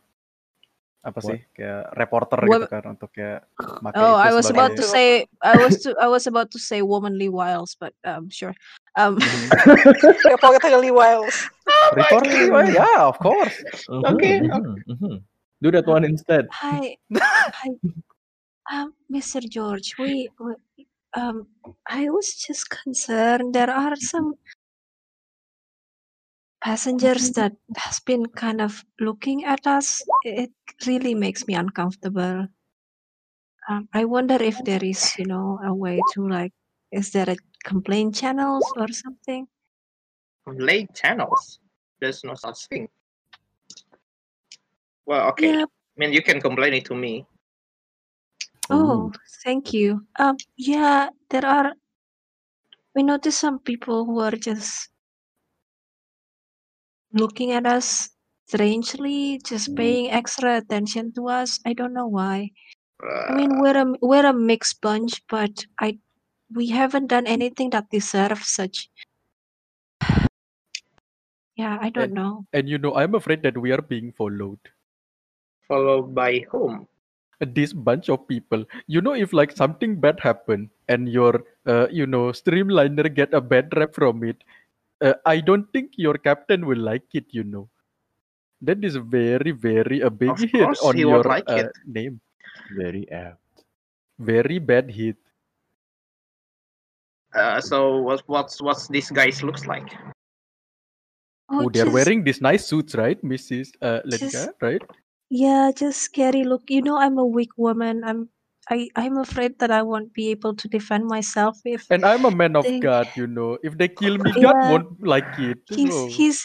apa sih kayak reporter Wom- gitu kan untuk kayak pakai Oh, itu I was about to sebagai- say I was to I was about to say womanly wiles, but um sure. Um Mhm. Reportedly Wiles. reporter Oh anyway, yeah of course Okay, Mhm, mhm. Do that one instead. hi hi um Mr. George, we, we um I was just concerned there are some passengers that has been kind of looking at us it really makes me uncomfortable um, i wonder if there is you know a way to like is there a complaint channels or something Late channels. There's no such thing. Well, okay. yeah I mean, you can complain it to me. oh thank you um yeah there are we notice some people who are just looking at us strangely just paying extra attention to us i don't know why I Uh, mean, we're a we're a mixed bunch, but I we haven't done anything that deserves such. Yeah, I don't And- know. and you know I'm afraid that we are being followed followed by whom? this bunch of people you know if like something bad happen and your uh, you know streamliner get a bad rep from it uh, i don't think your captain will like it you know that is very very a big Of hit course on he won't your like uh, it. name Very apt. very bad hit Uh, so what, what's what's this guy's looks like? Oh, oh they're just- wearing these nice suits right mrs uh, lenka Just- right Yeah, just scary look. You know, I'm a weak woman. I'm I I'm afraid that I won't be able to defend myself if and i'm a man of They- god you know if they kill me god Yeah. won't like it he's so. he's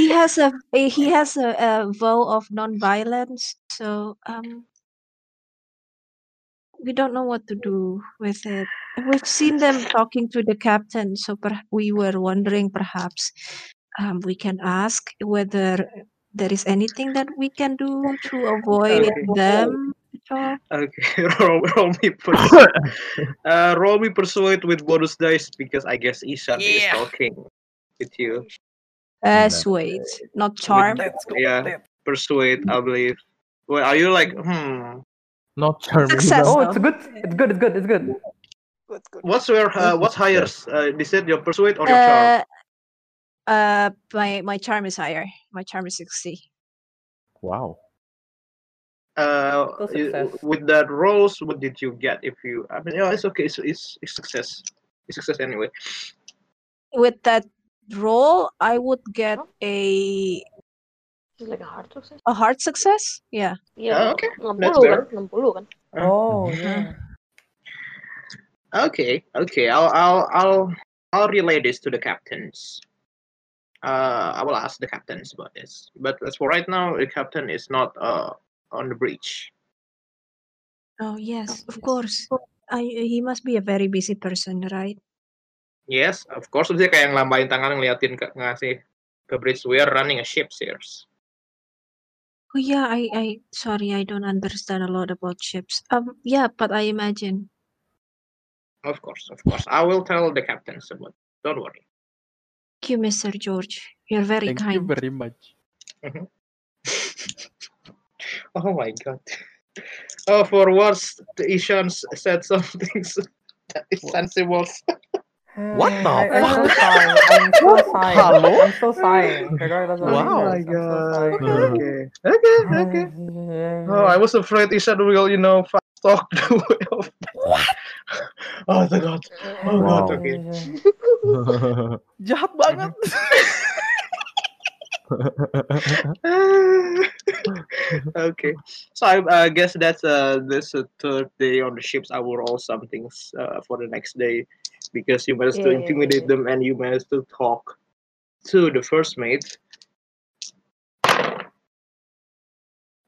he has a a- he has a, a vow of non-violence. So um, we don't know what to do with it. We've seen them talking to the captain, so per- we were wondering perhaps um, we can ask whether there is anything that we can do to avoid Okay. them at all. Okay, roll, roll me persuade. uh, roll me persuade with bonus dice because I guess Ishan Yeah. is talking with you. Persuade, not charm. With- yeah, persuade. I believe. Well, are you like hmm? Not charming. Success. Oh, though. it's good. It's good. It's good. It's good. Good, good. What's your uh, what's higher? Uh, is it your persuade or your charm? Uh, uh, my my charm is higher. My charm is sixty. Wow. Uh, Still you- success. with that rolls, what did you get? If you, I mean, yeah, it's okay. It's it's, it's success. It's success anyway. With that roll, I would get a It's like a hard success. a hard success. Yeah. Ah, Iya, okay. 60 That's kan, fair. 60 kan. Oh Mhm. yeah. Okay, okay. I'll I'll I'll I'll relay this to the captains. Uh, I will ask the captains about this. But as for right now, the captain is not uh on the bridge. Oh yes, of course. I, he must be a very busy person, right? Yes, of course dia kayak ngelambain tangan ngeliatin ke, ngasih ke bridge. We are running a ship, sirs. Oh yeah, I, I sorry, I don't understand a lot about ships. Um, yeah, but I imagine. Of course, of course. I will tell the captains about. it. Don't worry. Thank you, Mister George. You're very Thank you kind. very much. Oh my god. Oh, for once, the Ishan s- said something s- that is sensible. What Hmm, the I, I'm still sighing. I'm still fuck? sighing. Hello? I'm still sighing. Regardless of Wow. any Oh words, I'm still sighing. Okay, okay, okay. Mm-hmm. Oh, I was afraid Ishan will, you know, fast talk the way of. Oh, the god. Oh, Wow. god, okay. Jahat banget. okay. So I uh, guess that's uh this uh, third day on the ships. I will roll some things uh, for the next day because you managed to Yeah, yeah, yeah, intimidate yeah. them and you managed to talk to the first mate.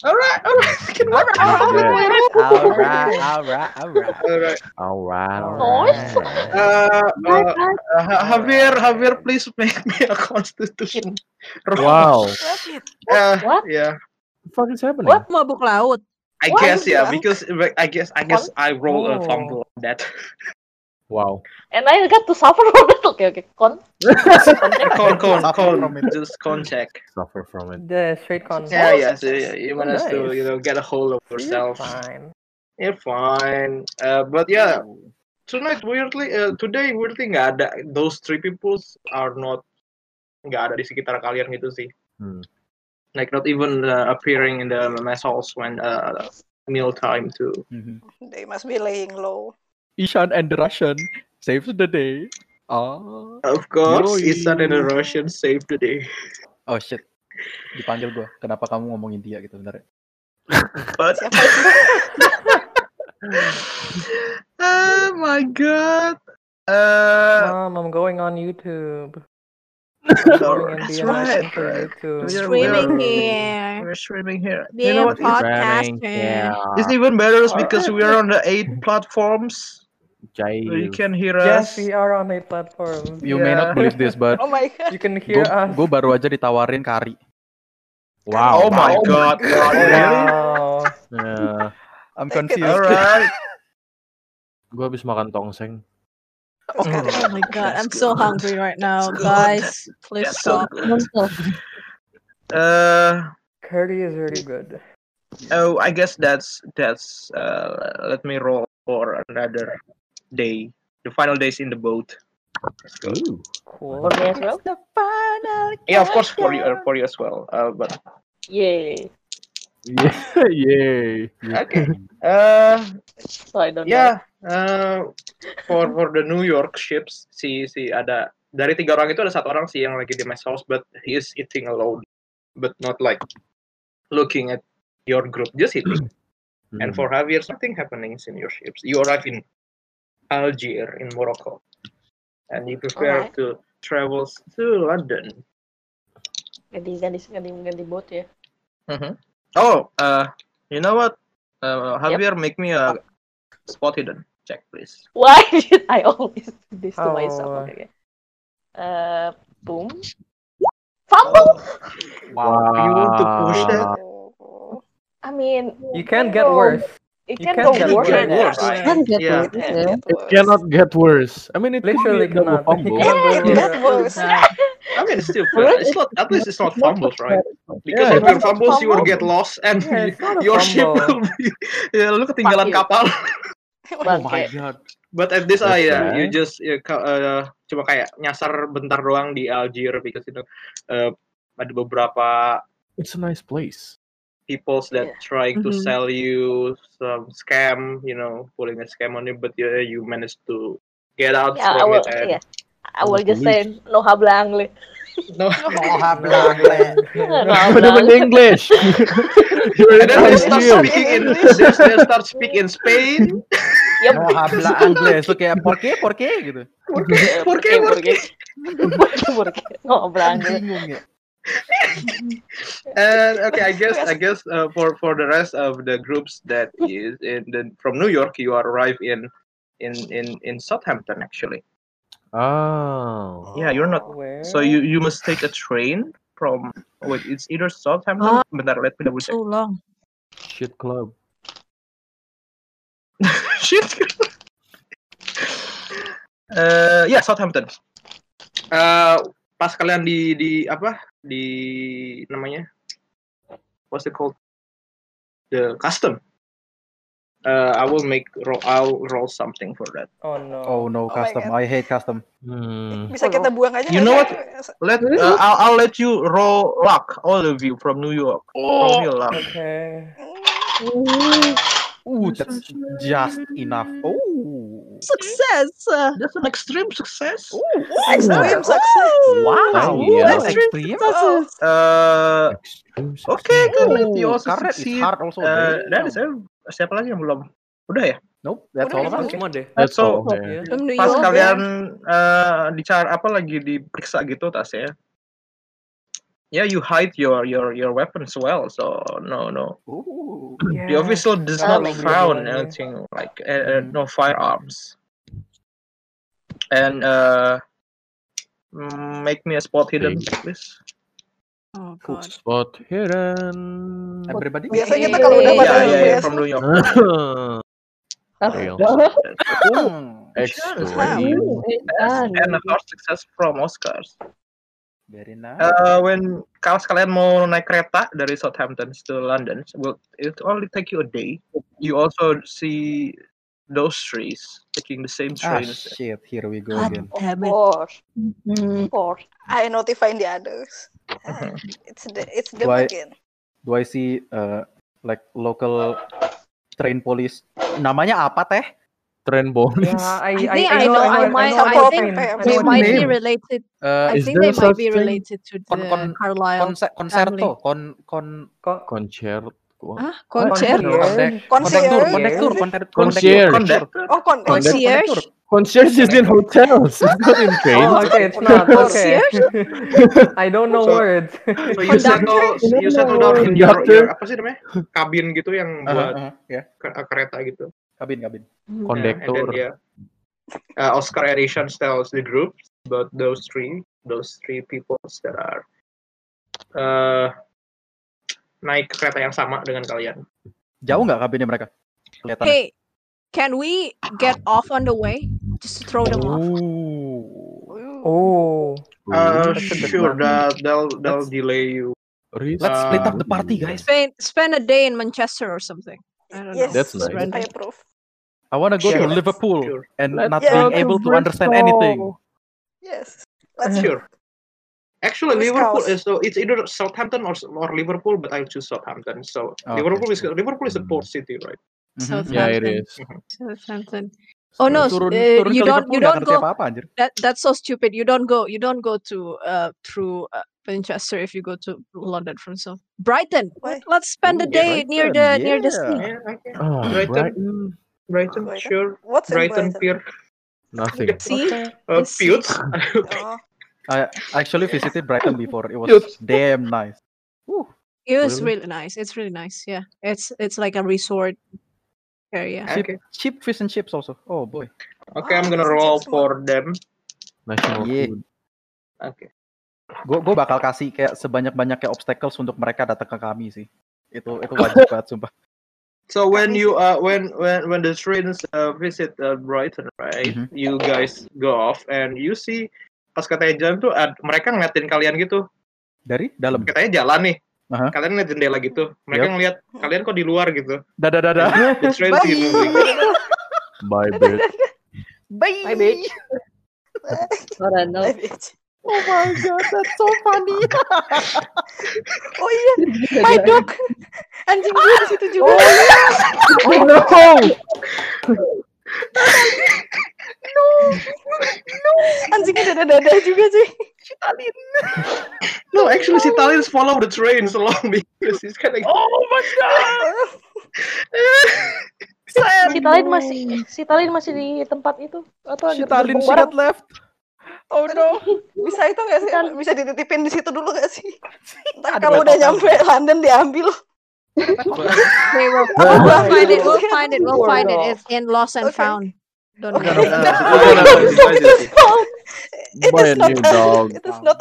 All right, all right, we can work it out. we can work it out. Alright, alright, alright. All right. All right. All Noise. right. Uh, Bye uh, bye. uh, Ha- Javier, Javier, please make me a constitution. roll. Wow. Uh, What? yeah. The fuck is happening? What? Mabuk laut. I What? guess yeah because like, I guess I guess I roll a Oh. fumble on that. Wow. And I got to suffer from it. Okay, okay. Con. con con Suffer from con it. just con check. Suffer from Um, it. The straight con. Yeah, yeah, so yeah, you Oh, managed to nice. you know get a hold of So you're yourself. fine. You're fine. Uh, but yeah, tonight weirdly uh, today weirdly nggak ada those three peoples are not nggak ada di sekitar kalian gitu sih. Hmm. Like not even uh, appearing in the mess halls when uh, meal time too. Mhm. They must be laying low. Ishan and the Russian saves the day. Ah. Of course, Yoi. Isan and the Russian saved the day. Oh shit. Dipanggil gua. Kenapa kamu ngomongin dia gitu bentar ya? But Siapa sih? oh my god. Uh, Mom, I'm going on YouTube. I'm going that's MDM right. Russian for YouTube. We are- we are- Streaming Yay. here. We're streaming here. Be you know a what? It, Ramming podcaster. it's even better Alright. because we are on the eight platforms. So you Jail. can hear Yes, us. we are on a platform. You may not Yeah. believe this but Oh my god. You can hear us. gue baru aja ditawarin kari. Wow. oh my wow. god. Oh, really? Wow. Yeah. I'm Take it. confused. Alright. Gue habis makan tongseng. Oh god. Oh my god, That's I'm so good. hungry right now, good. guys. Please That's so stop. good. Mantap. Uh, Curry is really good. oh, I guess that's that's. Uh, let me roll for another day. The final days in the boat. Let's go. Ooh. For Cool. me as well. Yeah, of course for you, uh, for you as well. Uh, but Yay. Yeah. Yay. okay. Uh, So I don't know. ya eh, for for the New York ships si si ada dari tiga orang itu ada satu orang sih yang lagi di mess house but he is eating alone but not like looking at your group just sitting. And for Javier, something happening in your ships. You arrive in Algiers in Morocco, and you prepare Alright. to travel to London. ganti ganti ganti ganti bot ya Oh, uh, you know what? Uh, Javier, make me a spot hidden check, please. why did I always do this to Oh. myself okay okay. uh boom fumble Oh. Wow. You want to push that? I mean You can't get worse. it You can can't go get worse worse. than that Worse. right Can get Yeah. eh, worse, yeah. It Cannot get worse. I mean, it Literally could be a double cannot. fumble. It cannot go Get wor- worse. I mean, it's still Well, fair. It's not. At least it's not fumbles, right? Because Yeah, if it's you're not fumbles, you will fumble. get lost, and Yeah, it's not a your ship will fumble. be. Yeah, lu ketinggalan Fuck you. kapal. Oh my Bangke. god. But at this, I yeah, Okay. you just ya, ka- uh, cuma kayak nyasar bentar doang di Algier because you know uh, ada beberapa It's a nice place. peoples that trying to Mhm. sell you some scam, you know, pulling a scam on you, but you you managed to get out yeah I from will it and yeah I will Not just police. say no hablangle no. no Not even hablangle English. You're And in then they Not start even Algiers. speaking in English. they start speak in Spain. yep No habla Inggris tuh kayak por qué por qué gitu. ¿Por qué? Eh, ¿Por qué? ¿Por qué? por qué por qué no Kan hablangle bingung ya. And okay, I guess I Yes. guess uh, for for the rest of the groups that is in the from New York, you arrive in in in in Southampton actually. Oh. Yeah, you're not. Where? So you you must take a train from. Wait, it's either Southampton. Ah. Bentar, let me double check. Too long. Shit club. Shit. Eh, ya Southampton. Eh, pas kalian di di apa di namanya what's it called the custom. Eh, I will make roll. I'll roll something for that. Oh no. Oh Oh no, my custom. I hate custom. Hmm. Bisa kita buang aja. You nggak know sih? what? Let eh, I'll, I'll let you roll luck, all of you from New York. Roll me a luck. Okay. mm. Ooh, that's just enough. Oh. Success. Uh, That's an extreme success. Extreme success. Wow, Iya. that's extreme. Wow. Eh, Extreme Oke, success. good. You Oh, also karet is succeed. hard Oh, also. Eh, that is Damn. eh, siapa lagi yang belum? Udah ya. Nope, that's Udah, all udah, of us. Itu semua deh. That's So- all. Yeah. Yeah. from New pas York. kalian eh dicar apa lagi diperiksa gitu tasnya ya yeah, you hide your your your weapons well so no no Ooh. the official does not my God. found anything like uh, uh, no firearms and uh mm, make me a spot hidden please Oh god. Spot hidden. Everybody. Biasanya kita kalau yeah udah Hey, pada yeah, yeah, biasa. from New York Oh, Fail. Hmm. Extreme. Ah, and a hard success from Oscars Very nice. uh, when kalau sekalian mau naik kereta dari Southampton to London, will it only take you a day. You also see those trees taking the same ah trains. shit, here we go God again. of damn it. course Hmm. of course I notify the others. Ah, it's the, it's them Why- again. Do I see uh, like local train police? Namanya apa teh? Trend bonus. Yeah, I I, I, think I, I know, know, I know, I it- I might, know, I what think train. I know they what might train. be related. Uh, I Is think they there might such be thing? related to kon kon the Carlisle konse, family. konserto kon kon Con- Concert. Wha- Huh? konser Concert? kontek Concierge. kontektur Concierge? kontektur kontek kontektur kontektur Oh, kon Concierge? kontek kontektur Concert is in hotels. It's not in trains. Oh, okay, it's not. Okay. I don't know So- words. So you settle, Conductor? you settle down in your, Conductor. your apa sih namanya kabin gitu yang Aha, buat aha, ya ke- kereta gitu. kabin kabin Yeah, and then Kondektor. yeah, uh, Oscar Edition tells the group about those three, those three people that are uh, naik kereta yang sama dengan kalian. jauh nggak kabinnya mereka kelihatan Hey, can we get off on the way? Just to throw them off. oh oh. Uh, That's a good sure, plan. that they'll they'll Let's- delay you. Risk let's split up indeed. the party guys Spend spend a day in Manchester or something. I don't Yes, know. That's nice. I Random. approve. I wanna go Sure. to Liverpool Sure. and Let's not Yeah. go being to able to Bristol. understand anything Yes. Eh. Let's Sure. Actually, Who's Liverpool Scouse? is so it's either Southampton or or Liverpool, but I choose Southampton. So Okay, Liverpool is sure. Liverpool is a port city, right? Mhm. Yeah, it Southampton. is. Southampton. Oh no, s- turun uh, turun you ke don't Liverpool you nggak don't ngerti go apa apa anjir that that's so stupid. You don't go you don't go to uh through uh, Manchester if you go to London from so Brighton. Why? Let's spend the Ooh, day near the Brighton, near the yeah. sea. Yeah, okay. Ah, Brighton. mm, Brighton. Brighton, Brighton? sure. What's in Brighton, Brighton? Pier. Nothing. See? Uh, The sea. Pewds. Oh, I actually visited Brighton before. It was Yes. damn nice. It was Really? really nice. It's really nice. Yeah. It's it's like a resort area. Okay. Okay, Cheap fish and chips also. Oh boy. I'm gonna roll for them. National Yeah. food. Oke. Gue gue bakal kasih kayak sebanyak-banyaknya obstacles untuk mereka datang ke kami sih. Itu itu wajib banget sumpah. So when you uh when when when the trains uh, visit uh, Brighton, right? Mhm. You guys go off and you see pas katanya jalan tuh ad- mereka ngeliatin kalian gitu. Dari dalam. Katanya jalan nih. Aha. Kalian ngeliat jendela gitu. Mereka Yep. ngeliat kalian kok di luar gitu. Dadah dadah. The trains gitu. Bye, babe. Bye, bye. bitch. Or I know. Bye, bitch. Oh my god, that's so funny. Oh iya, my dog. Anjing gue di situ juga. Oh no! Anjingnya dada-dada juga sih. No, actually, she Italians follow the trains along because it's kind of. Oh my god! Si Talin masih si Talin masih di tempat itu apa She ger- Talin gerbong she orang. got left. Oh no. Bisa itu nggak sih? Bisa dititipin di situ dulu nggak sih? Ntar Aduh, kalau udah total. nyampe London diambil. They will, Oh we'll my find it. God. We'll find it. We'll Poor find it. dog. It's in Lost and Okay. Found. Don't Okay. worry. It is found. It Buy is a not. new dog. It is not.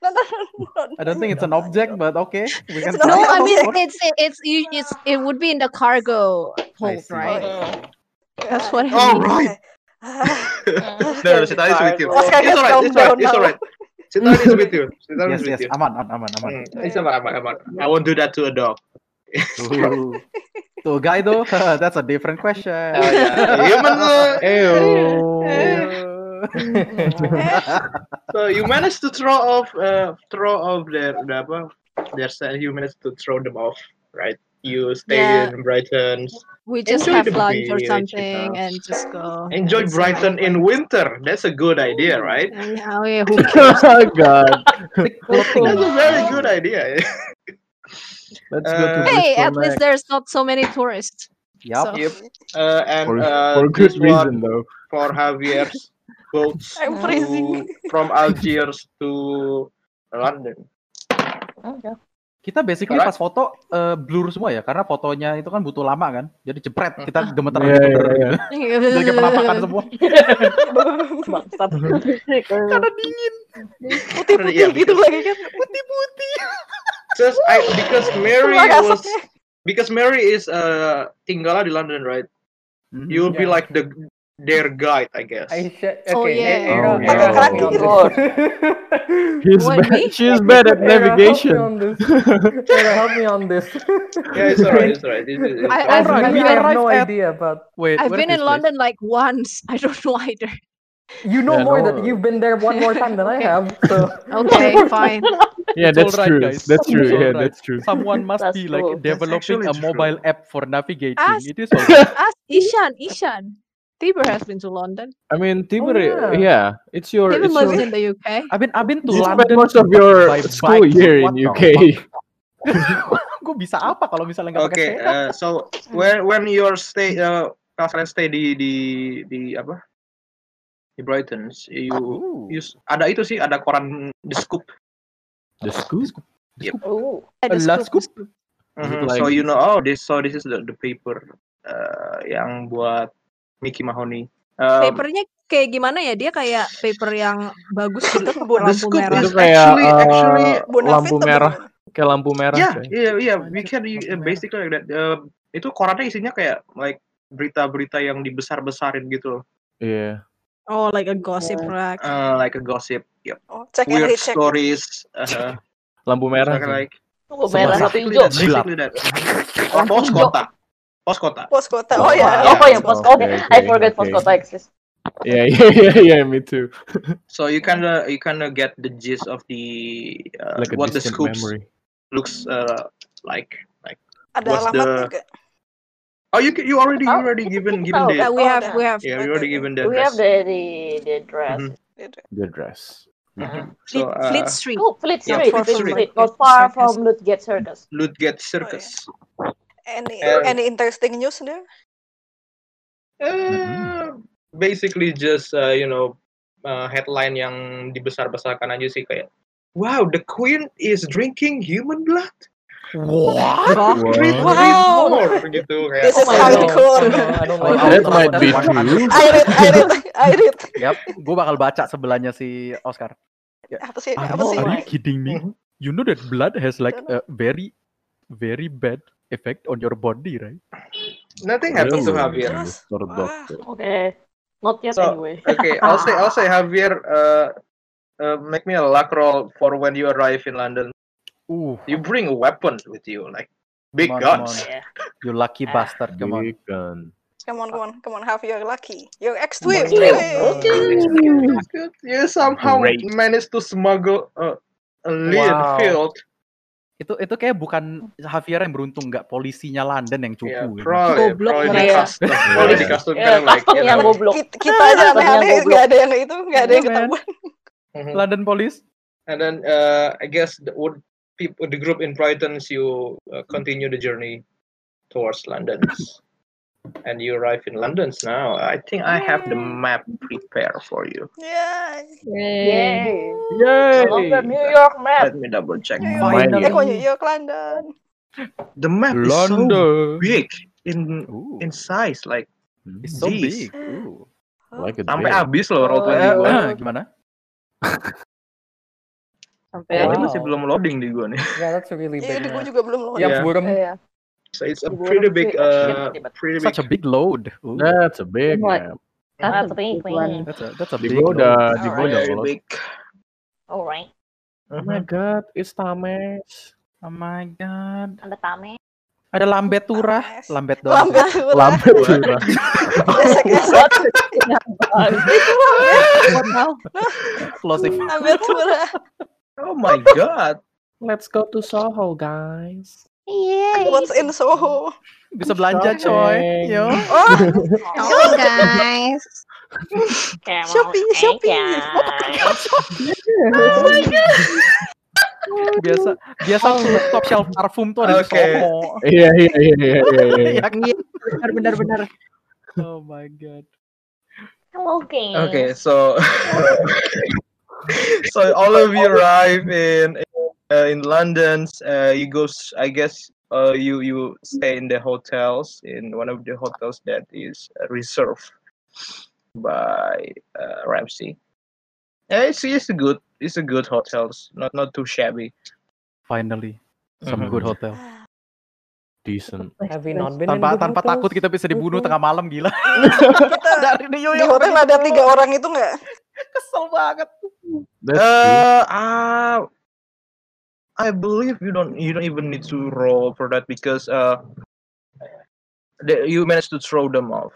No, no, no, no. I don't think it's an object, but okay. We can It's not No, an I mean object. it's it, it's you it's it would be in the cargo hold, see. right? That's Ah, what I mean. Alright. ah. No, no, Sitali is with you. Let's get It's alright. calm It's alright. down It's now. alright. Sitali is with you. Sitali is Yes, with yes, you. aman, aman, aman, aman. Hmm, It's alright. aman, aman. I won't do that to a dog. Ooh. To a guy though, that's a different question. Oh yeah, human. uh, Ew. Ew. So you managed to throw off, uh, throw off their, the apa? Their sa- you managed to throw them off, right? You stay Yeah. in Brighton. We just Enjoy have the lunch or beach, you something know. and just go. Enjoy and see Brighton how- in winter. That's a good idea, right? And how, yeah, who cares? god. That's Floating. a very good idea. Let's go to Uh, hey, Bristol at least next. there's not so many tourists. Yup. So yep. Uh, and For, uh, for this good one reason though. for Javier's boats I'm freezing. to, from Algiers to London. Oke. Kita basically Alright. pas foto eh, blur semua ya, karena fotonya itu kan butuh lama kan. Jadi jepret, kita gemeter Iya, iya, gemeter iya. gitu. Jadi kayak penampakan semua. Bangsat. Karena dingin. Yeah, Putih-putih gitu because- lagi kan. Just I because Oh Mary Keluar was asapnya. because Mary is uh tinggalnya di London, right? You'll be Yeah. like the their guide, I guess. I sh- okay. Oh, yeah. Oh, Era, Era, yeah. help me on Oh, this. He's What, bad. me? She's bad at Era, help me navigation. on this. Era, help me on this. Yeah, it's alright. It's alright. It's, it's, it's fine. I- As Alright, many, we I have no arrived at- idea, but Wait, I've where been in is this place? London like once. I don't know either. you know Yeah, more no. than you've been there one more time than I Okay. have. So Okay, fine. Yeah, It's all that's right, true. guys. That's It's true. all Yeah, right. that's true. Someone must That's be like true. That's developing actually a true. mobile app for navigating. Ask, It is all right. ask Ishan. Ishan. Tiber has been to London. I mean, Oh, Tibur, yeah. yeah, it's your, Tiber it's lives your. in the UK. I've been I've been to You spent London most of your by school bike. year What in the fuck? UK. Gue bisa apa kalau misalnya nggak pakai Okay. sepeda? Uh, so when when your stay uh kalau kalian stay di di di apa di Brighton, you Ooh. you ada itu sih ada koran The Scoop. The school? Oh, At the A scoop. last scoop? Is it Mhm, like So you know oh this so this is the the paper uh, yang buat Mickey Mahoney. Um, Papernya kayak gimana ya? Dia kayak paper yang bagus gitu, Bon- The pakai lampu scoop merah. itu is kayak actually eh, actually Bonafit lampu apa merah, gimana? kayak lampu merah ya coy. iya iya we Anjir, can u- lampu merah. basically like that. Uh, itu korannya isinya kayak like berita-berita yang dibesar-besarin gitu loh. Iya. Oh, like a gossip rack. Uh, like a gossip. Yep. Oh, check and Weird recheck. stories. Uh, Lampu merah. so coy. like lampu Semua merah satu basically hijau. that, basically that. Oh, Lampu pos hijau. kota. Pos kota. Pos kota. Oh Wah. ya. Oh Yeah, ya, pos oke, kota. I oke, forget pos oke. kota exist. Yeah, yeah, yeah, yeah, me too. So you kind of you kind of get the gist of the uh, Like a what the distant scoops memory. looks uh, like like Ada what's alamatnya the nggak? oh you ca- you already you Tahu, already kita, given kita given tahu. the Yeah, Nah, we Oh, have, udah. we have. yeah you Oke, already oke. given the We have address Mm-hmm. Gitu. the the, the dress. Mhm. Udah. The dress. So, Fleet, Fleet uh, Street. Oh, Fleet Yeah, Fleet Street, Fleet Street. Street, not far from Ludgate Circus. Ludgate Circus. Any Eh. any interesting news there? Mm-hmm. Eh, basically just uh, you know uh, headline yang dibesar-besarkan aja sih kayak Wow, the Queen is drinking human blood. What? Read, read more gitu kayak. "Oh This is my God. hardcore. I don't Well, like that it. might be true. I read, I read, I read. Yap, gue bakal baca sebelahnya si Oscar. Apa sih? Are, Apa you- sih? are you kidding me? Mhm. You know that blood has like a Dunno. very, very bad effect on your body, right? Nothing happened to Really, Javier. Terus? Mr. Wah. Doctor. Okay, not yet So- anyway. Okay, I'll say I'll say Javier. Uh, uh, make me a luck roll for when you arrive in London. Uh, You bring a weapon with you, like big Come on, come guns. on. you lucky bastard, come on. Bacon. Come on, come on, come on. Have your lucky. Your ex Oh my twin. God. Hey. It's good, it's good. You somehow Great. managed to smuggle a, a lead Wow. field. Itu itu kayak bukan Javier yang beruntung, nggak polisinya London yang Yeah, cupu. probably, Goblok probably mereka. di custom, probably di Yeah. custom Ya, kan, like, custom you yang know. goblok. Kita, kita aja Tapi yang aneh-aneh, goblok. nggak ada yang itu, nggak ada yang Iya, men. ketahuan. Mhm. London Police. And then uh, I guess the, would people, the group in Brightons, you uh, continue the journey towards London's, and you arrive in London's now. I think I have the map prepared for you. Yeah. Yeay. Yay. Yay! Love the New York map. Let me double check. New York. Finally. Eh, kok New York, London? The map is so London. big in Ooh, in size, like it's so Jeez. big. Ooh. Like a sampai dream. habis loh roll Oh, 20 Eh, gua. eh, gimana? Sampai Oh, ini habis. masih belum loading di gua nih. Yeah, that's a really Iya, big di gue map. juga belum loh. Iya. Yang Oh, burem. Iya. So it's a Di pretty burung big, sih. Oh, shit, uh, tiba-tiba. pretty big. Such a big load. Ooh, That's a big What? map. That's a Matri big one. that's a that's a big load. Digoda, digoda Very loh. big. Alright. Oh my Mhm. god, it's Tames. Oh my god. Ada tame. Ada lambet turah, Tames. lambet doang. Lambat, murah. Lambe curah. Esek-esek. Itu What now? Explosive. Lambat, murah. Oh my god. Let's go to Soho, guys. Yeay. What's in Soho? Bisa belanja, coy. Shopping. Yo. Oh, Oh, guys. shopping, shopping. Oh my God. Biasa biasa tuh top shelf parfum tuh ada di Oke. Soho. Iya iya iya iya iya. iya. Iya kan? Iya, benar benar benar. Oh my god. Hello, guys. Okay, so so all of you arrive in uh, in London. Uh, you go, s- I guess. Uh, you you stay in the hotels in one of the hotels that is uh, reserved by uh, Ramsey. Yeah, it's it's a good it's a good hotels. Not not too shabby. Finally, some Mhm. good hotel. Decent. Have we not been in Tanpa good tanpa hotels takut kita bisa dibunuh before? tengah malam gila. Kita Dari New York di hotel sampai ada Solo. tiga orang itu nggak? Kesel banget. That's true. Uh, uh, I believe you don't you don't even need to roll for that because uh, the, you managed to throw them off.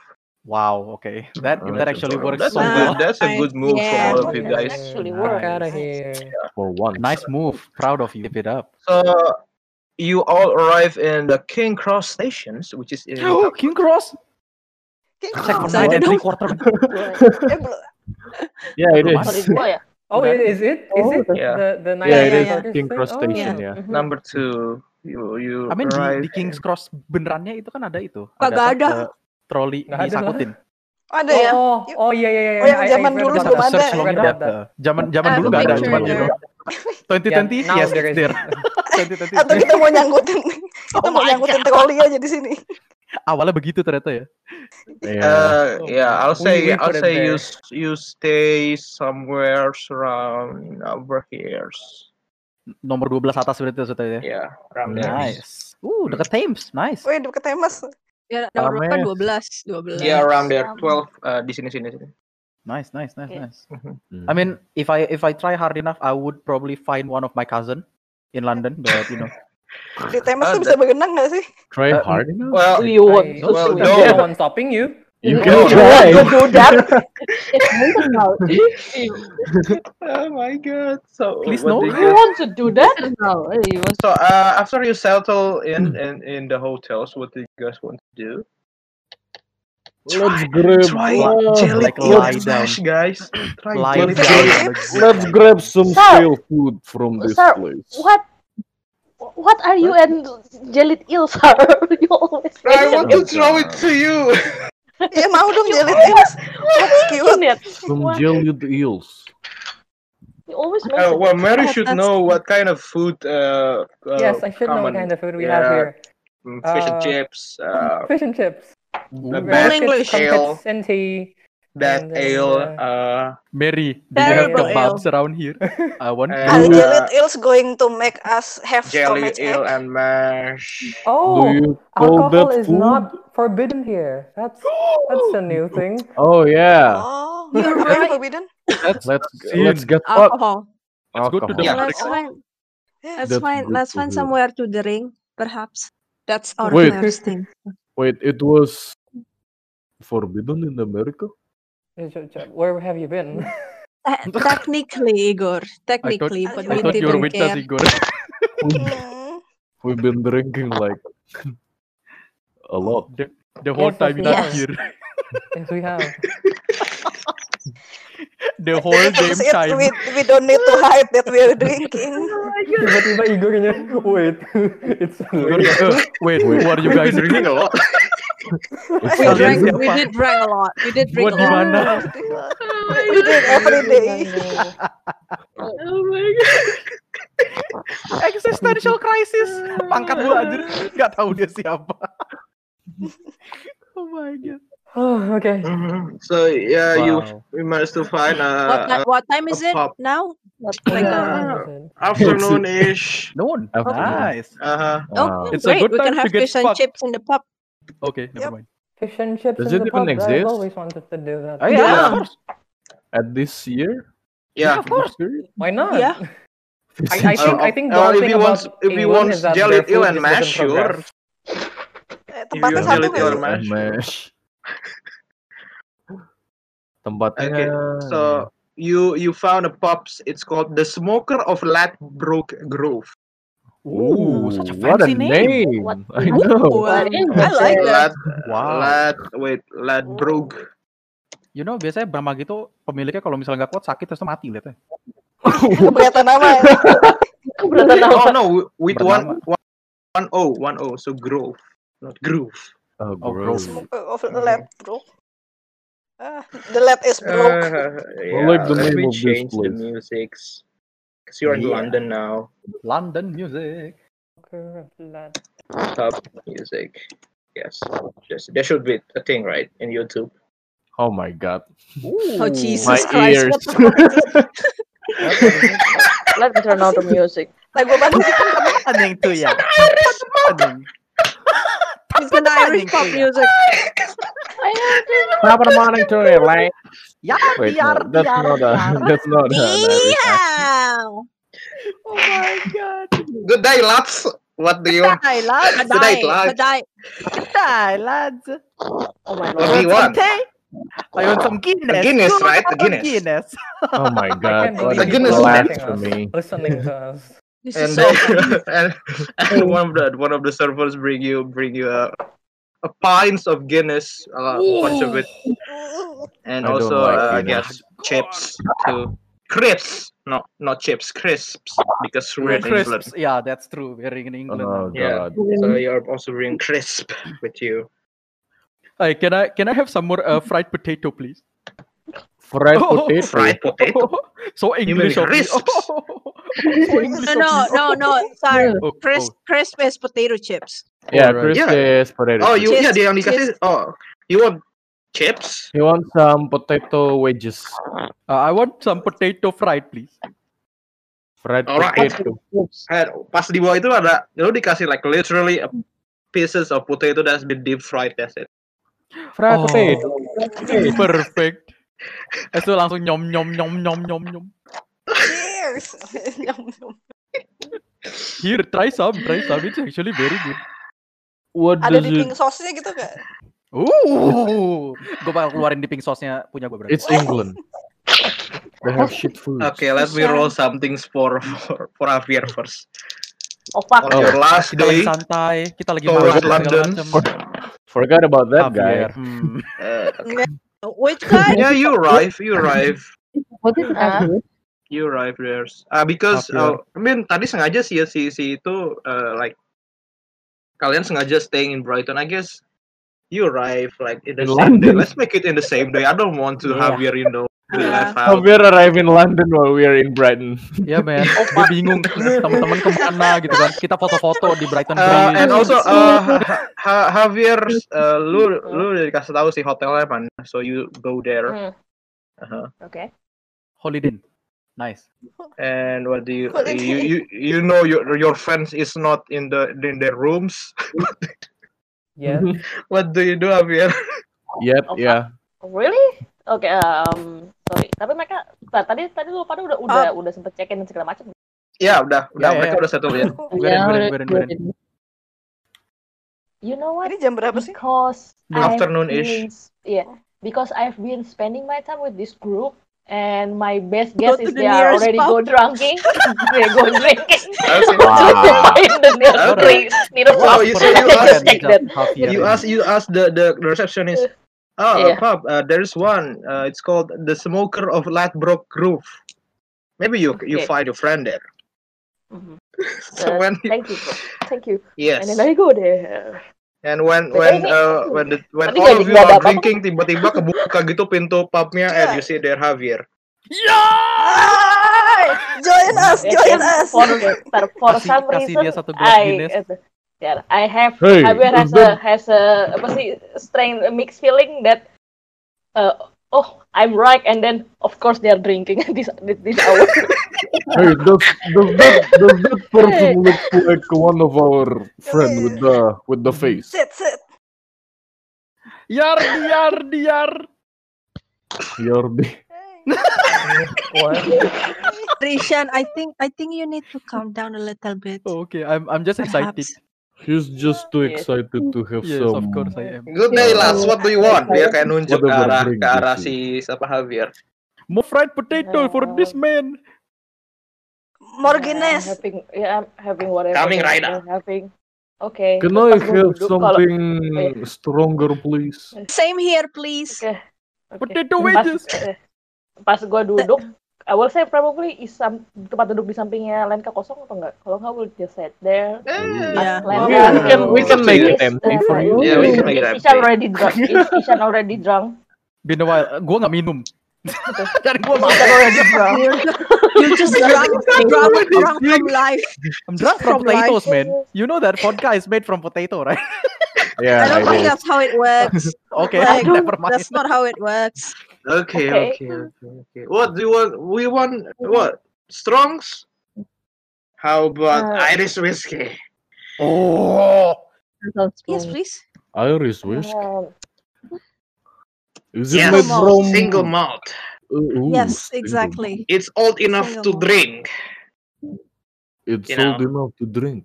Wow, okay. That You managed Oh, that to actually throw them. works That's so a well. good that's a Nice. good move from Yeah. all of you Nice. guys. Actually Fuck works. out of Nice. here. For once. Nice move. Proud of you. Keep it up. So you all arrive in the King Cross stations, which is in Oh, King Cross. King Second Cross. night and What? three quarter. Gua- Eh, belum. Yeah, it Belum is. Sorry gua ya. Oh, Udah. it, is it? Is Oh, it Yeah. the the night Yeah, it Yeah, is yeah. Circus King thing? Cross Oh. Station ya. mhm. number two. You you I mean di, arrive. di King's Cross benerannya itu kan ada itu. Nggak apa, ada. eh, troli Nggak ada lah. disakutin. Ada Oh, ya? oh, Yuk. oh, yeah, yeah, yeah. Oh, I- yang I zaman read dulu Just about have belum to that. ada I search ya? long read that. about that. eh, Zaman I zaman have dulu a nggak ada, picture cuman you know. there. 2020 Yeah, now yes there it's is. there. 2020 Atau yes. kita mau nyangkutin, kita Oh mau my nyangkutin God. troli aja di sini. Awalnya begitu ternyata ya. Yeah. Uh, Oh, yeah, man. I'll We- say we I'll put it say you there. s- you stay somewhere around over here. Nomor 12 atas berarti maksudnya ya. Yeah, around there. Nice. Uh, deket Thames. Nice. Wih, di Ketemas. Ya, nomor berapa? Tames. 12, 12. Yeah, around there. Um, Twelve. Uh, di sini sini sini. Nice, nice, nice, Okay. nice. I mean, if I if I try hard enough, I would probably find one of my cousin in London, but you know. Di Ah, Temas tuh bisa berenang nggak sih? try Uh, hard enough. Well, Do you want I to Well, do no. there's no that? one stopping you. You No, can no. Do you want try. to do that? It's mungkin now. oh my god. So Please what do no. you Do you guys want to do that? Mungkin now. It was So uh, after you settle in, in in the hotels, what do you guys want to do? Let's grab Try uh, jelly Like eel lie smash, down. guys. Try Lie jelly down. eel. let's, let's grab some Sir. stale food from this sir, place. what? What are you and jelly eel, sir? you always I mention want to throw it to you. Ya mau dong You jelly always- eels. That's cute. mention it. Some What? jellied eels. You always Uh, mention well, it. Mary Oh, should that's know what kind of food. Uh, uh, yes, I should know what common. kind of food we yeah, have here. mm, Fish and Uh, chips. Uh, Fish and chips. the Rabbit, best English. ale. crumpets, and tea. That and then, ale. uh, Uh, Mary, do you have Terrible kebabs around here? I want And- Are Uh, kebab. jelly eels going to make us have jelly stomach ale ache? and mash. Do Oh, you call alcohol that is food? not forbidden here. That's that's a new thing. Oh yeah. Oh, You're really right. forbidden? That's Let's the let's scene. get Uh, Uh, fucked. Alcohol. Let's go to the Yeah. Alcohol. Let's Oh, find yeah. let's That's find good let's to find hear. somewhere to drink, perhaps. That's our Wait. first thing. Wait, it was forbidden in America? It's just- uh, Where have you been? Te- technically, Igor. I thought Technically, but we Ayo. I thought you were didn't with us, care. Igor. Hmm. We've been drinking like a lot. The, the whole Yes, yes, time we not Yes. here. have. Yes, we have. The whole That's damn it. time. We we don't need to hide that we're drinking. Tiba-tiba Igornya, wait, it's Igor, late. uh, wait, Wait. who are you We've been guys? drinking a lot. It's We Kalian drank illegal? we siapa? did drink a lot. We did drink Gua a di lot. mana? Oh, di luar. We did every day. Existential crisis. Pangkat gua anjir. Nggak tahu dia siapa. Oh my god. Oh, okay. Mhm. So yeah, you Wow. we managed to find What a, ti- a, what time Uh, a is it pub now? What Yeah, Like Yeah. uh what time is it? What's it? afternoon-ish. Noon. Afternoon. Oh, Nice. Uh, oh Wow. mm, It's a great, good we can time to have get fish and fucked. chips in the pub. Okay, never Yep. mind. Fish and chips Does in it the even pub. I've exist always wanted to do that. Oh yeah, Yeah. of course. at this year? yeah. Yeah, of This course. period? Why not? Yeah. Fish I, I Uh, uh, and think I chips. think the uh, whole if thing he wants, about if he England wants is that jelly their eel food and just doesn't mash, sure. progress. If Eh, you tempatnya want Jelly satu jelly nggak eel sih? and mash, and sure. mash. Tempatnya Okay, Hmm. so you you found a pubs. It's called the Smoker of Ladbroke Grove. Ooh, Ooh, such a what Oh, a fancy name. name. I Ooh, Oh. know. I, What is I like Lad that. that? Ah. Wow. Lad wait Ladbroke. You know biasanya Bama gitu pemiliknya kalau misalnya nggak kuat sakit terus mati liatnya. Keberatan nama ya. Keberatan Oh apa? no, with one Bernama. one one o one o. So Grove, not Groove. Oh, Oh, Grove. gross. Smoke of Mhm. lead, bro. Ah, the lead is broke. Uh, I yeah, like the let name me of this change the place. musics. Cause you're in Iya. London now. London music. Top music. Yes, yes. There should be a thing, right, in YouTube. Oh my god. Oh Ooh. My Jesus Christ, ears. what the fuck is this? Apa ini? Let me turn Apa out sih? the music. Lagu apa sih? Tempatan yang itu ya. Tempatan yang. It's an Tempatan Irish yang itu pop ya. music. I Proper morning to you, like. Yar Wait, diar no, that's diar not a, diar. that's not an Irish accent. Meow. Oh my god. Good day, lads. What do you want? Kedai lads. Good day, Kedai, lads. kedai. Kedai lads. Oh my I What do lord. you want some want? tea. I want some A Guinness. You Guinness, want right? A some Guinness. Guinness. Oh my I god, can't A what a believe people Guinness are man. watching gitu. us, blasphemy. listening to us. This is And so then funny. and, and one of the one of the servers bring you bring you a, a pints of Guinness, uh, a bunch of Oh, it, and I don't also like uh, I Guinness. guess chips too. Crisps, no, not chips, crisps because We're we're in England. crisps. Yeah, that's true. We're in England now. Oh Yeah, god. so you're also bringing crisp with you. Hey, can I can I have some more uh, fried potato, please? Fried Oh, potato. Fried potato. so You mean English of me. crisps? so No, English of no, me. no, no. Sorry. Oh, Crisp, oh, crisp is potato chips. Yeah, all Chris right. Yeah. is potato Oh, chips. you yeah. Cheese, They only cheese. kasih. Oh, you want chips? He wants some potato wedges. Uh, I want some potato fried, please. Fried Alright. potato. And Eh, pas di bawah itu ada lo dikasih like literally a pieces of potato that's been deep fried that's it Ah, Fried Oh, potato. Fried potato. perfect. Habis itu langsung nyom nyom nyom nyom nyom nyom. Cheers. Nyam, nyam. Here, try some, try some. It's actually very good. What Ada does di it? pink sauce-nya gitu nggak? Ooh. Gue bakal keluarin dipping sauce-nya punya gue berarti. It's England. They have shit foods. Oh. okay let me roll Susah. something for for for Javier first Opak. on your Oh, last Kita lagi day santai, kita lagi makan segala towards Oh, London Oh, macem. Forgot about that guy. Javier, hmm. Which Oh. guy? eh, yeah, you arrive, you arrive, What is Uh-huh. Abu? you arrive there. Ah, because Javier. uh, I mean tadi sengaja sih ya si si itu uh, like kalian sengaja staying in Brighton, I guess. You arrive like in the In same day. London. Let's make it in the same day. I don't want to have your, you know, be left out. Javier arrive in London while we are in Brighton. Ya men, Oh, gue bingung teman-teman kemana gitu kan. Kita foto-foto di Brighton Uh, Bridge. and also uh, Ha- Ha- Javier, uh, lu lu udah dikasih tahu sih hotelnya mana, so you go there. Hmm, Uh-huh. Oke. Holiday. Inn. Nice. And what do you Holiday. you you you know your your friends is not in the in their rooms. Yes. what do you do, Javier? Yep, Oh, yeah. Really? Oke, um, sorry. Tapi mereka nah, tadi tadi lu pada udah udah Oh. udah sempet check-in dan segala macam. Ya udah, udah Ya, ya, mereka ya. udah settle ya. Berin, berin, udah berin, berin. diorin. You know what? Ini jam berapa sih? Because Mid- I've afternoon-ish. been- Yeah, because I've been spending my time with this group, and my best guess to is the they are nearest already pub. go drinking. they go drinking. Okay. in the nearest Okay. place, near Oh, a Wow, pub. you- so I you just ask- checked that. You ask you ask the the receptionist. Oh, Yeah. pub. Uh, there's one. Uh, it's called the Smoker of Ladbroke Grove. Maybe you you Okay. find your friend there. Mhm. So Uh, when you- Thank you, bro. Thank you. yes. And then I go there. And when But when ini- uh, when the, when Tapi all nggak- of you nggak ada are apa-apa. drinking tiba-tiba kebuka gitu pintu pubnya and you see there Javier. Hai, join us, Ya join kan? us. For, ntar, for Kasih- some kasih reason, dia satu gelas I, Guinness. eh, ntar, I have, Hey, Javier is has a, has a, apa sih, strange mixed feeling that, uh, oh, I'm right, and then, of course, they are drinking this, this hour. Hey, does, does that does that person look like one of our friend with the with the face? Sit, sit. Yar, diar, diar. Your What? Rishan, I think I think you need to calm down a little bit. Oh, okay, I'm I'm just excited. Perhaps. He's just too Yes. excited to have Yes, some of course I am. Good day, lads. What do you want? Dia kayak nunjuk ke Whatever arah drink ke arah this si siapa Javier. More fried potato for this man. Yeah, I'm Morganes. having, yeah, I'm having whatever. Coming they're- right up. they're Having, okay. Can I terus have pas gua duduk, kalau- something yeah. stronger, please? Same here, please. Oke. oke. Potato Pas, wedges. eh, pas gue duduk, I will say probably is some, tempat duduk di sampingnya Lenka kosong atau enggak? Kalau enggak, we'll just sit there. Eh. Yeah. Lenka, Yeah, we can Oh, we can make it yes. empty for you. Yeah, we can make it Is Ishan empty. already drunk? Is Ishan already drunk? Been a while. Eh, Gua nggak minum. Cari gua Is mabok. Ishan already drunk? You're just, you're just drunk, drunk, drunk from life. I'm drunk from From life. potatoes, man. You know that vodka is made from potato, right? Yeah, I I don't think know. that's how it works. Okay, Like, never mind. That's not how it works. Okay, Okay. okay, okay, okay. What do you want? We want what? Strongs? How about Uh, Irish whiskey? Oh, That sounds Yes, wrong. please. Irish whiskey. um, Is it Yes, made malt. from single malt. Ooh, single Yes, malt. exactly. It's old enough Single to malt. drink. It's You old know. enough to drink.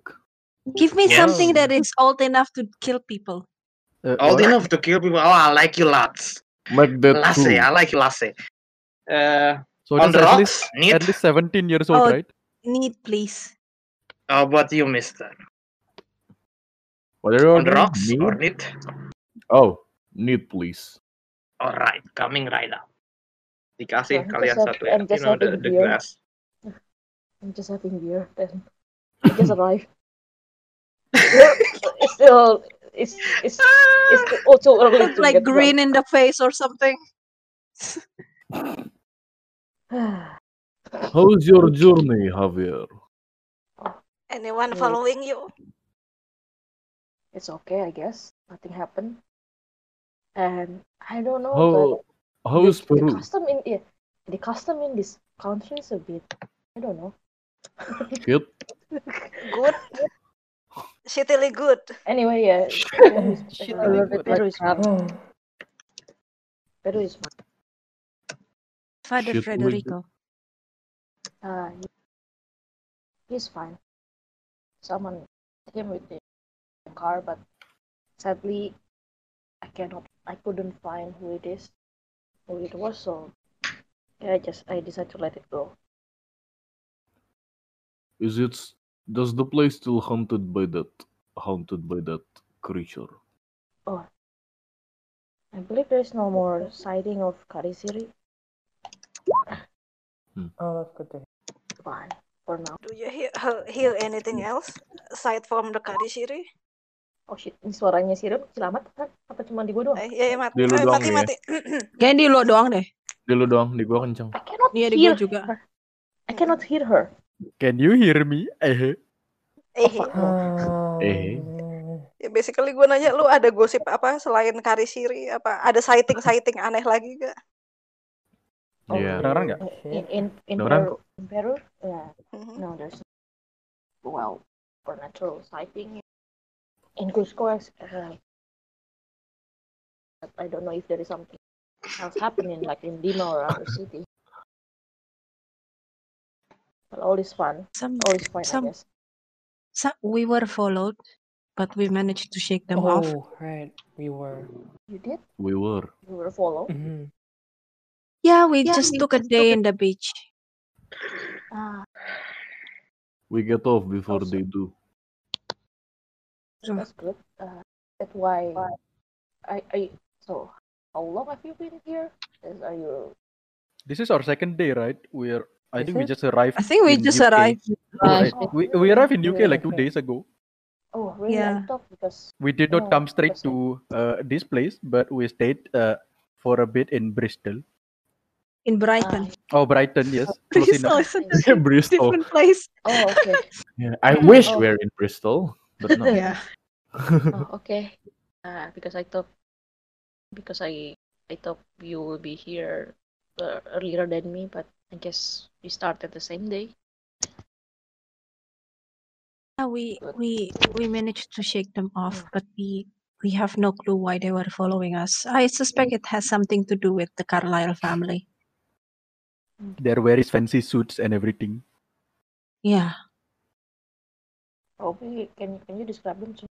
Give me Yes. something that is old enough to kill people. Uh, Old what? enough to kill people. Oh, I like you lads. Make that Lassie, two. I like you lassie. Uh, So on that's the at rocks? least Neat. at least 17 years old, Oh. right? Need, please. How about you, mister? What are you On the ordering? rocks Meat? or neat? Oh, meat, please. Alright, coming right up. Dikasih I'm kalian just satu hav- ya, I'm you just know the, having the beer. glass. I'm just having beer. Then I just arrived. Still, it's still, it's it's it's Ah! still oh, too early Look to like get green in the face or something. drunk. How's your journey, Javier? Anyone Hmm. following you? It's okay, I guess. Nothing happened. And I don't know, How but how's the, the Peru? custom in yeah, the custom in this country is a bit I don't know. Good. Good. Shittily good. Anyway, yeah, Peru is Shit, A uh, little really bit good. like Peru is that. fine. Peru is fine. Father Shit, really good. Frederico. Uh, he- he's fine. Someone hit him with the car, but sadly, I cannot. I couldn't find who it is, who it was. So yeah, I just I decided to let it go. Is it? s- Does the place still haunted by that? Haunted by that creature? Oh, I believe there's no more sighting of Karisiri. Oh, that's good to hear. Fine, for now. Do you hear, he- hear anything else aside from the Karishiri? Oh shit, ini suaranya sirup, selamat kan? Apa cuma di gua doang? Eh, iya, iya, mati, Di lu eh, doang mati, ya? mati. Kayaknya di lo doang deh. Di lu doang, di gua kenceng. Iya, di gua Hear juga. her. I cannot hear her. Can you hear me? Eh. Eh, Oh. Eh. ya basically gue nanya lu ada gosip apa selain Karishiri? Apa ada sighting-sighting aneh lagi gak? Iya. Oh, Kedengeran Oh, Oh, nggak? In in in Dengeran her in Peru, yeah. Mhm. No, there's well for natural sighting in Cusco. as- Uh, but I don't know if there is something else happening like in Lima or other city. But all is fun. Some- all is fine, I some- guess. So we were followed, but we managed to shake them off. Oh, right. We were. You did? We were. You were followed? Mhm. Yeah, we just took a day in the beach. Ah, We get off before they do. that's good. Uh, that's why I I so how long have you been here? Is are you This is our second day, right? We're I Is think we it? just arrived. I think we in just UK. arrived. Right. Oh, We, we really? arrived in UK like two Okay. days ago. oh really I Yeah. thought because We did you not know, come straight because of- to uh, this place, but we stayed uh, for a bit in Bristol. in Brighton. Ah, Oh, Brighton, yes. Close Bristol enough. is such Yeah, a Bristol. different place. oh okay. Yeah, I wish Oh. we're in Bristol, but no. Yeah. Oh, okay. Uh, because I thought because I I thought you will be here uh, earlier than me, but I guess we started the same day. Yeah, we Good. we we managed to shake them off, but we we have no clue why they were following us. I suspect it has something to do with the Carlyle family. They're wearing fancy suits and everything. Yeah. Probably can can you describe them to me?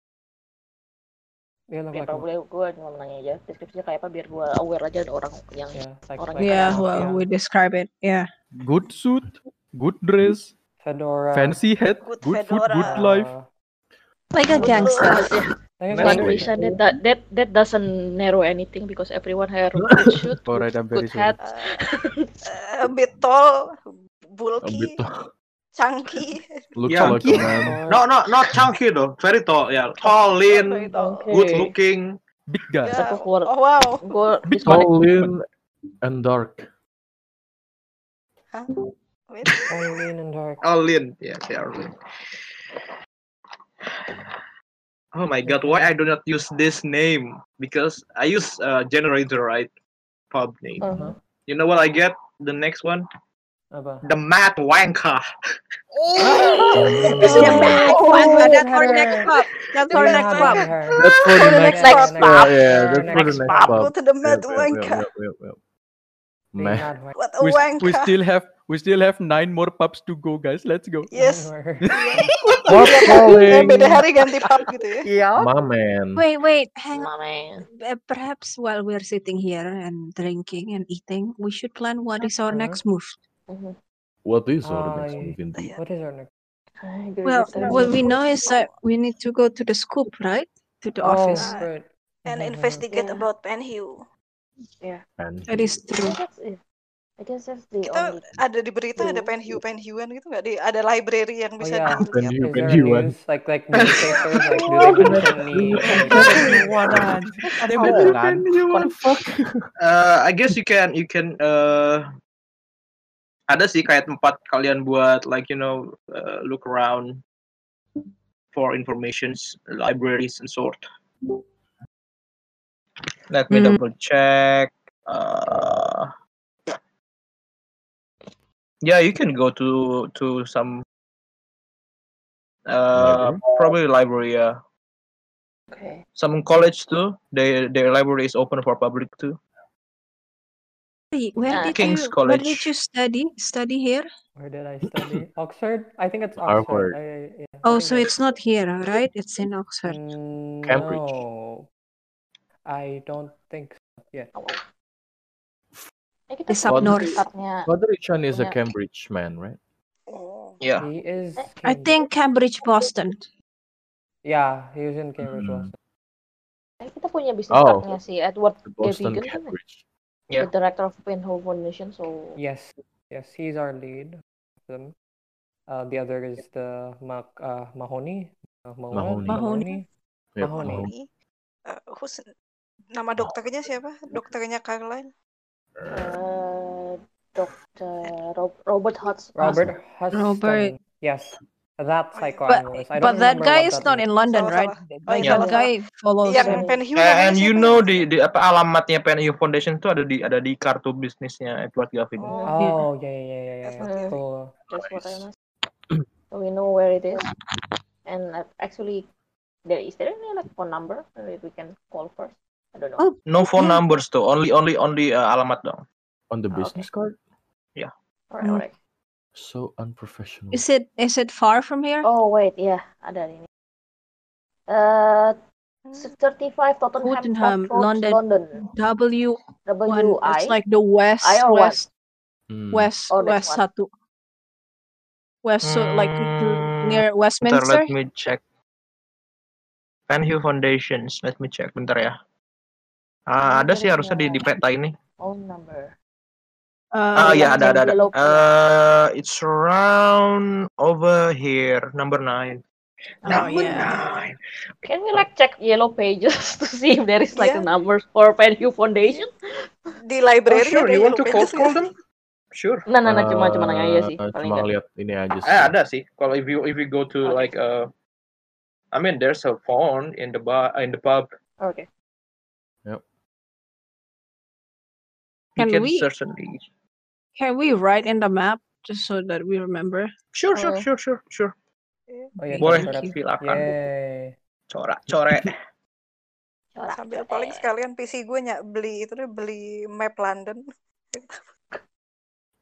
They look Biar Iya, like probably gue cuma nanya aja deskripsinya kayak apa biar gue aware aja ada orang yang Ya. gitu. yeah, like orang like yeah, uh, well, yeah. we describe it. Yeah. Good suit, good dress, Fedora. fancy hat, Good good food, good fedora. life. uh, Like Good a Eh, gangster. clothes, yeah. like a One gangster. reason that, that that that doesn't narrow anything because everyone had a good suit, All good, right, I'm very good sorry. hat. Uh, a bit tall, A bit bulky, of- chunky. looks Yeah. like a man. No, Or- no, not chunky though. Very tall, yeah. Tall, Very lean, tall. Okay. good looking. Big guy. Yeah. Satu keluar. Oh wow. Gue Big disconnect. Tall, lean, and dark. Hah? Wait. All lean and dark. Oh. All lean, yeah, they are lean. Oh my god, why I do not use this name? Because I use uh, generator, right? Pub name. Uh-huh. You know what I get? The next one, Apa? the Mad Wanker. This is Oh. bad one, but that's for Header. next pub. That's for Do next not pub. bang her. That's for the the next. next pub. pub. Yeah, yeah, Next that's for the pub. next Pub, go pub. to the Yep, mad yep, yep, wanker. yep, yep, yep. Do Meh. not What a We, s- we wanker. Iya, still have we still have nine more pubs to go, guys. Let's go. Yes. Iya. Not Tiap hari, eh, beda calling, hari ganti pub gitu ya. Yup. my man. Wait, wait, hang on. My man. Uh, Perhaps while we're sitting here and drinking and eating, we should plan what is our Uh-huh. next move. Mhm. What Oh, is our next I. move indeed? Iya. What is our next? I agree Well, with that. what we know is that we need to go to the scoop, right? To the office. Oh, Uh, right. and Mhm, mhm. investigate Yeah. about Penhue. And That is true. I guess that's it. I guess that's the Kita only ada di berita clue. ada Penhue Penhuean gitu nggak di ada library yang Oh bisa ya? yeah. dilihat. you can Is there a you one. news like like newspapers? Like do they mention any any Penny places? one anjing. Oh, Ada Oh, Can you bohongan. can you What the one. fuck? Uh, I guess you can you can uh, ada sih kayak tempat kalian buat like you know uh, look around for informations, libraries and sort. Let me Hmm. double check. Uh, yeah, you can go to to some uh, Library? probably library. Yeah, Okay. some college too. They their library is open for public too. Hey, Where Uh, did King's you where did College, you study? Study here? Where did I study? Oxford? I think it's Harvard, Oxford. I, I- yeah, I Oh, think so that's it's not here, right? It's in Oxford. Mm, Cambridge. No, I don't think so yet. Oh, wow. Eh, kita It's up punya What north. kitabnya Quadrichan is a punya Cambridge man, right? Oh. yeah. He eh, is I Cambridge. think Cambridge, Boston. Yeah, he was in Cambridge, Hmm. Boston. Eh, kita punya bisnis Oh. partnernya si Edward The Boston Gavigan kan? Yeah. The director of Pinhole Foundation, so Yes, yes, he's our lead. Them. Uh, the other is the Mac uh, Mahoney. Uh, Mahoney. Mahoney. Mahoney. Yep, Oh, Mahoney. Mahoney. Eh, who's- nama dokternya siapa? Dokternya Caroline. uh, Dr. Rob- Robert Hudson. Robert Huston. Robert. Yes, that psychoanalyst. I But, but don't that remember guy what is that not in London, Salah, right? salah. Like iya, that salah, guy follows. Yang him. Eh, Penhue namanya and you siapa? ya? know di, di apa alamatnya PNU Foundation itu ada di ada di kartu bisnisnya Edward Gavin. Oh, yeah, yeah, yeah, yeah, yeah. Uh, Mm, Betul. That's what I must. So we know where it is, and uh, actually, there is there any like phone number that we can call first? I don't know. No phone numbers tuh, only only only uh, alamat dong. oh, On Oh, the business card? Yeah. Alright, alright. So unprofessional. Is it is it far from here? Oh wait, yeah, ada ini. Uh, 35 Tottenham, Tottenham, Court Road, London. London. W W I. It's like the west I or what? west Hmm. west Oh, that's west one. satu. West so like near Bentar, Westminster. let me check. Penhue Foundations, let me check bentar ya. Ah, ada sih harusnya di, di peta ini. Phone number. Ah Uh, ya yeah. ada ada ada. envelope, Eh, it's around over here number nine. Oh, iya. yeah. Can we like check yellow pages to see if there is like a numbers for Penhue Foundation? Di library sure, you want to cold call them? Sure. Nah, nah, nah, Uh, cuma cuma nanya aja sih, Eh, paling cuma enggak. lihat ini aja sih. Eh ada sih. Kalau if you if you go to like uh, I mean there's a phone in the bar in the pub. Okay. You Can can we- certainly. Can we write in the map just so that we remember? Sure, sure, sure, sure, sure. Oh, iya, Boleh, coret-coret. silakan. Yeay. Corak, corek. Sambil paling Eh, sekalian PC gue nyak beli itu deh beli map London.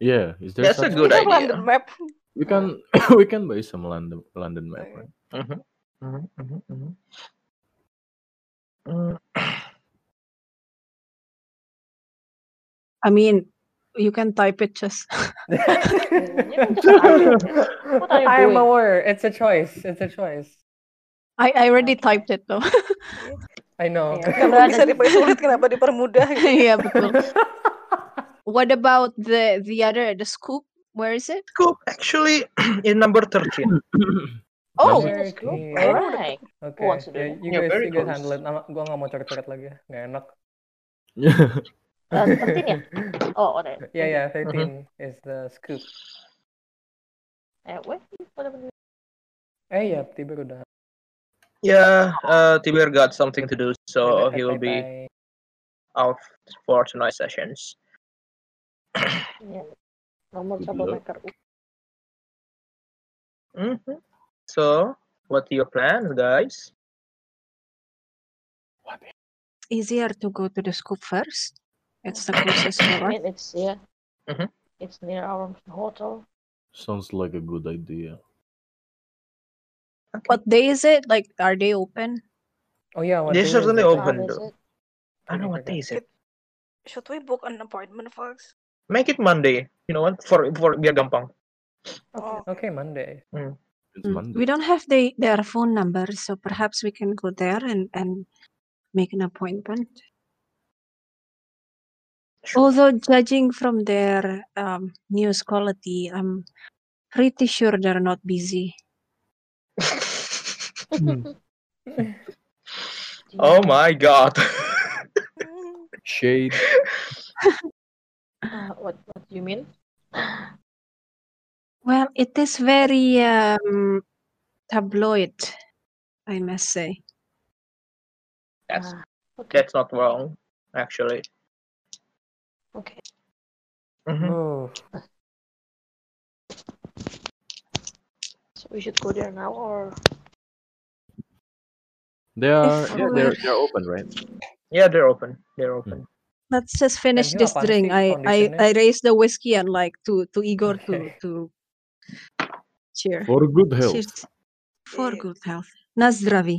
Yeah, is there That's a such good thing? London map. We can we can buy some London London map, right? Mhm, mhm, mhm, mhm. Uh, I mean, you can type it just. What are you I doing? am aware. It's a choice. It's a choice. I, I already typed it though. I know. Kenapa bisa dipersulit? Kenapa dipermudah? Gitu. yeah, betul. What about the the other the scoop? Where is it? Scoop actually in number 13. Oh, Thirteen. Alright. Oke. Who wants to do Ya, that? you Yeah, guys, very you guys close. handle it. Nama- Gua nggak mau coret-coret lagi. ya. Nggak enak. Uh, 13 ya? Oh, alright. Yeah, Uh-huh. yeah. Thank you. Thirteen is the scoop. Eh, wait, what happened? Eh, ya, tiba udah. Yeah, uh, Tiber got something to do, Oh, so Bye-bye, he will be bye-bye. out for tonight's sessions. Yeah. Nomor Good troublemaker. Mhm. So, what your plans, guys? Easier to go to the scoop first. It's the closest I door. mean, it's yeah, Mhm. it's near our hotel. Sounds like a good idea. What day is it? Like, are they open? Oh yeah, what They day is certainly it? open, How is though. though. I don't know what day is it. Should we book an appointment first? Make it Monday. You know what? For for biar gampang. Oh, Okay, Monday. It's Monday. Mm, We don't have the, their phone number, so perhaps we can go there and, and make an appointment. Although, judging from their um, news quality, I'm pretty sure they're not busy. Oh my god. Hmm, Shade. Uh, what what do you mean? Well, it is very um, tabloid, I must say. That's that's not wrong, actually. Okay. Mm-hmm. Hmm. Oh. So we should go there now, or They are If yeah, we're- they're they're open, right? Yeah, they're open. They're open. Let's just finish Penhue this apaan drink. sih I, I, foundationnya? I raised the whiskey and like to, to Igor to, to cheer. For good health. Cheers. For eh, good health. Na zdravie.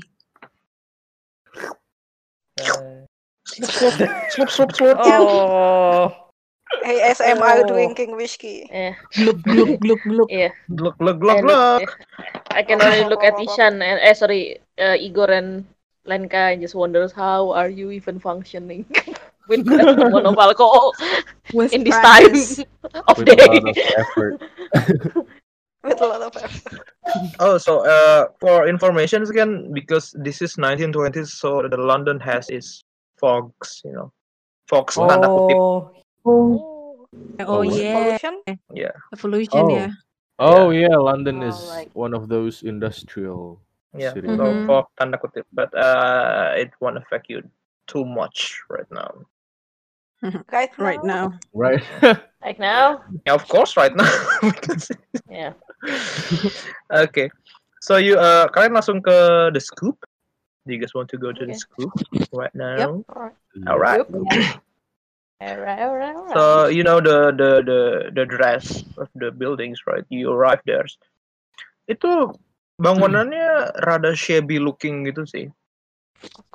Slurp, slurp, slurp. Oh. Oh. ASMR drinking whiskey. Eh. Gluk gluk gluk gluk. Yeah. Gluk gluk I, look, I can only look at Ishan and eh sorry, uh, Igor and Lenka and just wonders how are you even functioning with that amount of alcohol With in this practice. time of With day. a lot of effort. With a lot of effort. Oh, so uh, for information again, because this is 1920s, so the London has its fogs, you know, fogs tanda kutip. Oh. Oh, yeah. Yeah. The pollution, Oh. yeah. Oh yeah, London is Alright. one of those industrial Yeah, cities. so fog tanda kutip, but uh, it won't affect you too much right now. Right now. Right now. Right. Like now? Yeah, of course, right now. Yeah. okay, so you uh, kalian langsung ke the scoop. Do you guys want to go to the Okay. scoop right now? Yep. Alright. Alright. Alright, alright, alright. So you know the the the the dress of the buildings, right? You arrive there. Itu bangunannya rada shabby looking gitu sih.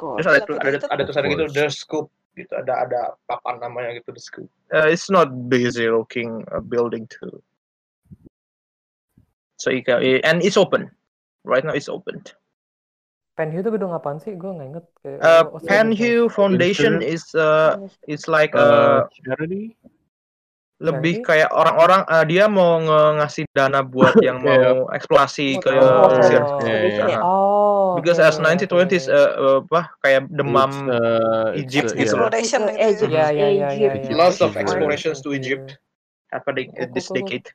Terus ada ada ada tulisan gitu the scoop gitu ada ada papan namanya gitu the scoop. Uh, it's not busy looking uh, building too. So you can eh, and it's open. Right now it's open. Penhu itu gedung apaan sih? Gue nggak inget. Kayak- oh, gitu. Uh, what's the Penhue Foundation is uh is like Uh, uh, charity? lebih kayak orang-orang eh, dia mau nge- ngasih dana buat yang mau eksplorasi ke Oh, pesisir. yeah, Aha. yeah. Oh, Because okay, as 1920s oh. eh, eh, apa kayak demam It's, uh, it's, Egypt uh, gitu. yeah. Exploration Ke gitu Egypt, Ya, ya, ya, ya, Egypt. ya. Lots of Egypt. explorations to Egypt happening in this Kuku, kuku. decade.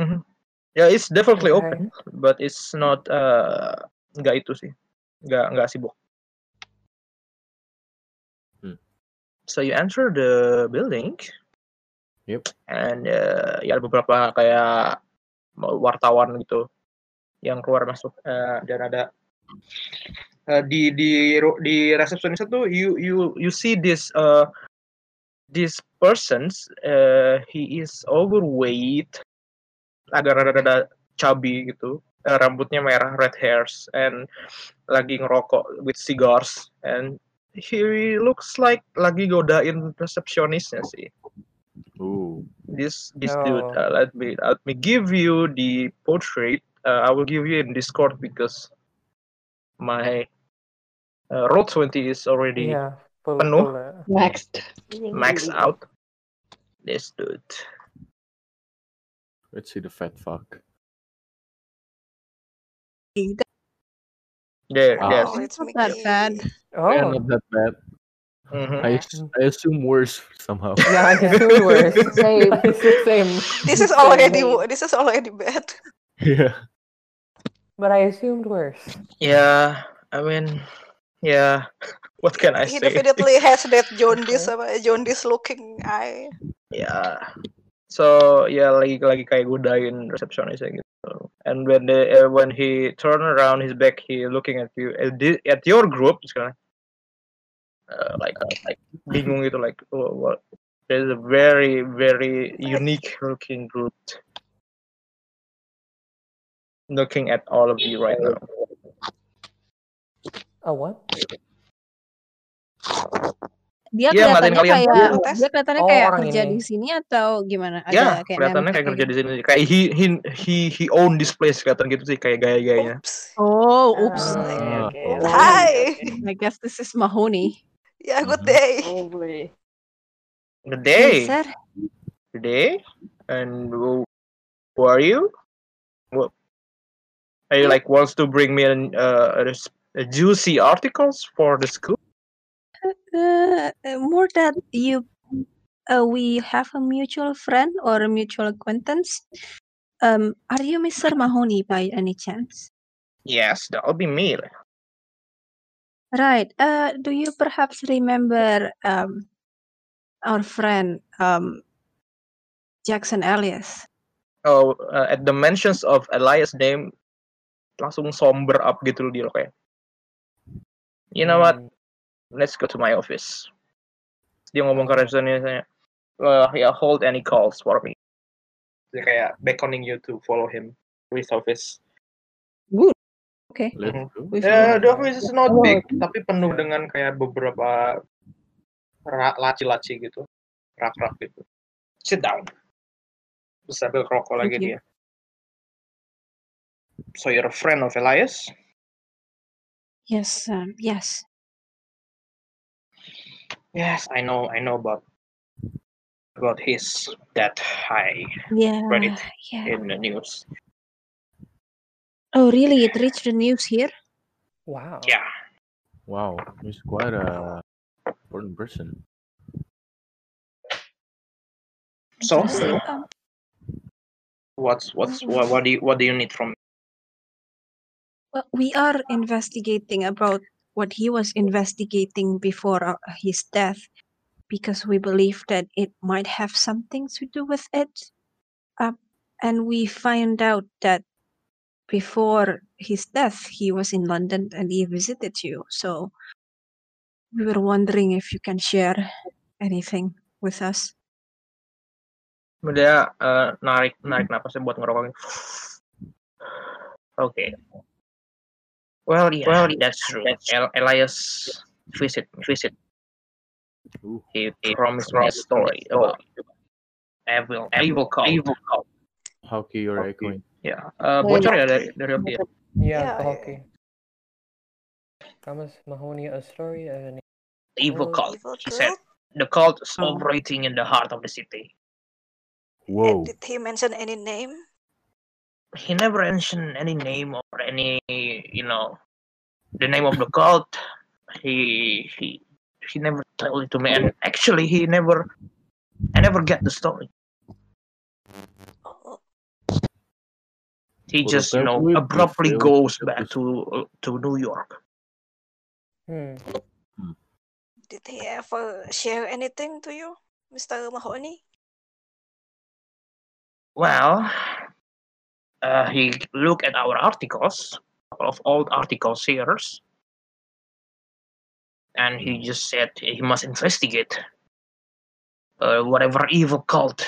Mhm. Ya, it's definitely Okay. open, but it's not eh, nggak itu sih. Nggak nggak sibuk. So you enter the building. Yep. And eh, ya ada beberapa kayak wartawan gitu yang keluar masuk Eh, dan ada eh, di di ru- di resepsionis itu you you you see this eh, this persons eh, he is overweight agak rada-rada chubby gitu Eh, rambutnya merah red hairs and lagi ngerokok with cigars and he looks like lagi godain resepsionisnya sih Ooh. this this Oh. dude uh, let me let me give you the portrait uh, i will give you in discord because my uh, roll 20 is already Yeah, Iya, full- penuh full, uh, Next. max out this dude Let's see the fat fuck. there Wow. yes Oh, it's Not that Mickey. bad. Oh, Iya, Yeah, ya, not that bad. Mhm. I, I assume worse somehow. Yeah, I assume worse. Same. ya, Same. This is already this is already bad. Yeah. But I assumed worse. yeah i mean yeah what can i He say definitely has that jaundice apa jaundice looking eye. yeah so yeah lagi lagi kayak godain resepsionisnya gitu and when the uh, when he turn around his back he looking at you at, the, at your group it's kinda, uh, like like bingung gitu like oh, what there's a very very unique looking group looking at all of you right now A what? Dia Iya, ngatain kelihatannya kalian. kayak dia kelihatannya Oh, kayak orang kerja ini. di sini atau gimana? Ada ya kayak kelihatannya nempel kayak kerja gitu. di sini kayak he he he he own this place kelihatan gitu sih kayak gaya-gayanya Oh, oops. Ah. Oh, Hi. I guess this is Mahoney. Yeah, good day. Mm-hmm. Probably. good Hey, day sir. good day and who, who are you what are you like wants to bring me an uh, a, res- a juicy articles for the school Uh, uh, more that you, uh, we have a mutual friend or a mutual acquaintance. Um, are you Mr. Mahoney by any chance? yes that'll be me Right. Uh, do you perhaps remember um, our friend um, Jackson Elias? oh uh, at the mentions of Elias name langsung somber up gitu loh dia loh kayak you know what let's go to my office dia ngomong ke resepsionisnya saya "Well, yeah hold any calls for me dia kayak beckoning you to follow him to his office Good. Okay. Mhm. We Ya, follow. the office is not Oh, big tapi penuh dengan kayak beberapa ra- laci-laci gitu rak-rak gitu sit down terus sambil rokok lagi Thank you. dia so you're a friend of Elias Yes, um, yes. Yes, I know. I know about about his that I Yeah, read it Ah, yeah. in the news. Oh, really? It reached the news here? Wow. Yeah. Wow, he's quite a important person. So, Interesting. Um, what's what's what, what do you what do you need from? well, we are investigating about what he was investigating before uh, his death because we believe that it might have something to do with it. Uh, and we find out that before his death, he was in London and he visited you. So we were wondering if you can share anything with us. Dia eh, narik narik napasnya buat ngerokokin. Oke. Well, yeah, well, that's true. El- Elias visit me. Visit. He promised me a story about evil evil cult. Evil cult. How key you're echoing. Yeah. Uh, bocor ya dari dari Oki. ya? Yeah, the hockey. Promise Mahoney a story and Evil Oh. cult. Evil He said the cult is operating in the heart of the city. "Oh." Whoa. Did he mention any name? He never mentioned any name or any you know the name of the cult. He he he never told it to me. And actually, he never I never get the story. Oh, He Kurang just you know tahu, abruptly Bill. goes back to uh, to New York. Hmm. Did he ever share anything to you, Mr. Mahoney? Well, uh, he looked at our articles of old articles here, and he just said he must investigate uh, whatever evil cult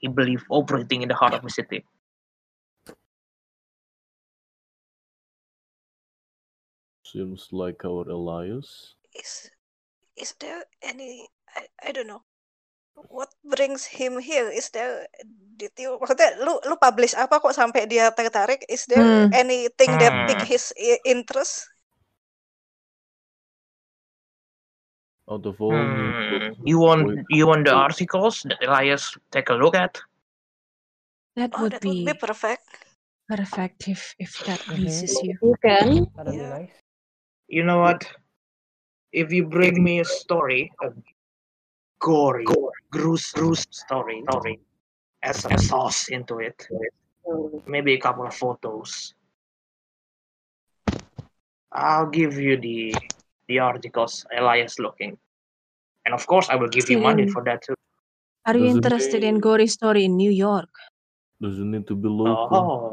he believed operating in the heart of the city. Seems like our Elias. Is is there any I, I don't know. What brings him here? Is there did you maksudnya lu lu publish apa kok sampai dia tertarik? Is there Hmm. anything that pique Hmm. his i- interest? Out of all Hmm, You want you want the articles that Elias take a look at? That oh, would that be would be perfect. perfect if, if that Mhm. pleases you. You can. That'd be nice. You know what? If you bring me a story, a gory, gruesome, story, story, add some sauce into it, maybe a couple of photos, I'll give you the the articles Elias looking, and of course I will give you money Still- for that too. Are you Doesn't interested in gory story in New York? Doesn't need to be local. Oh,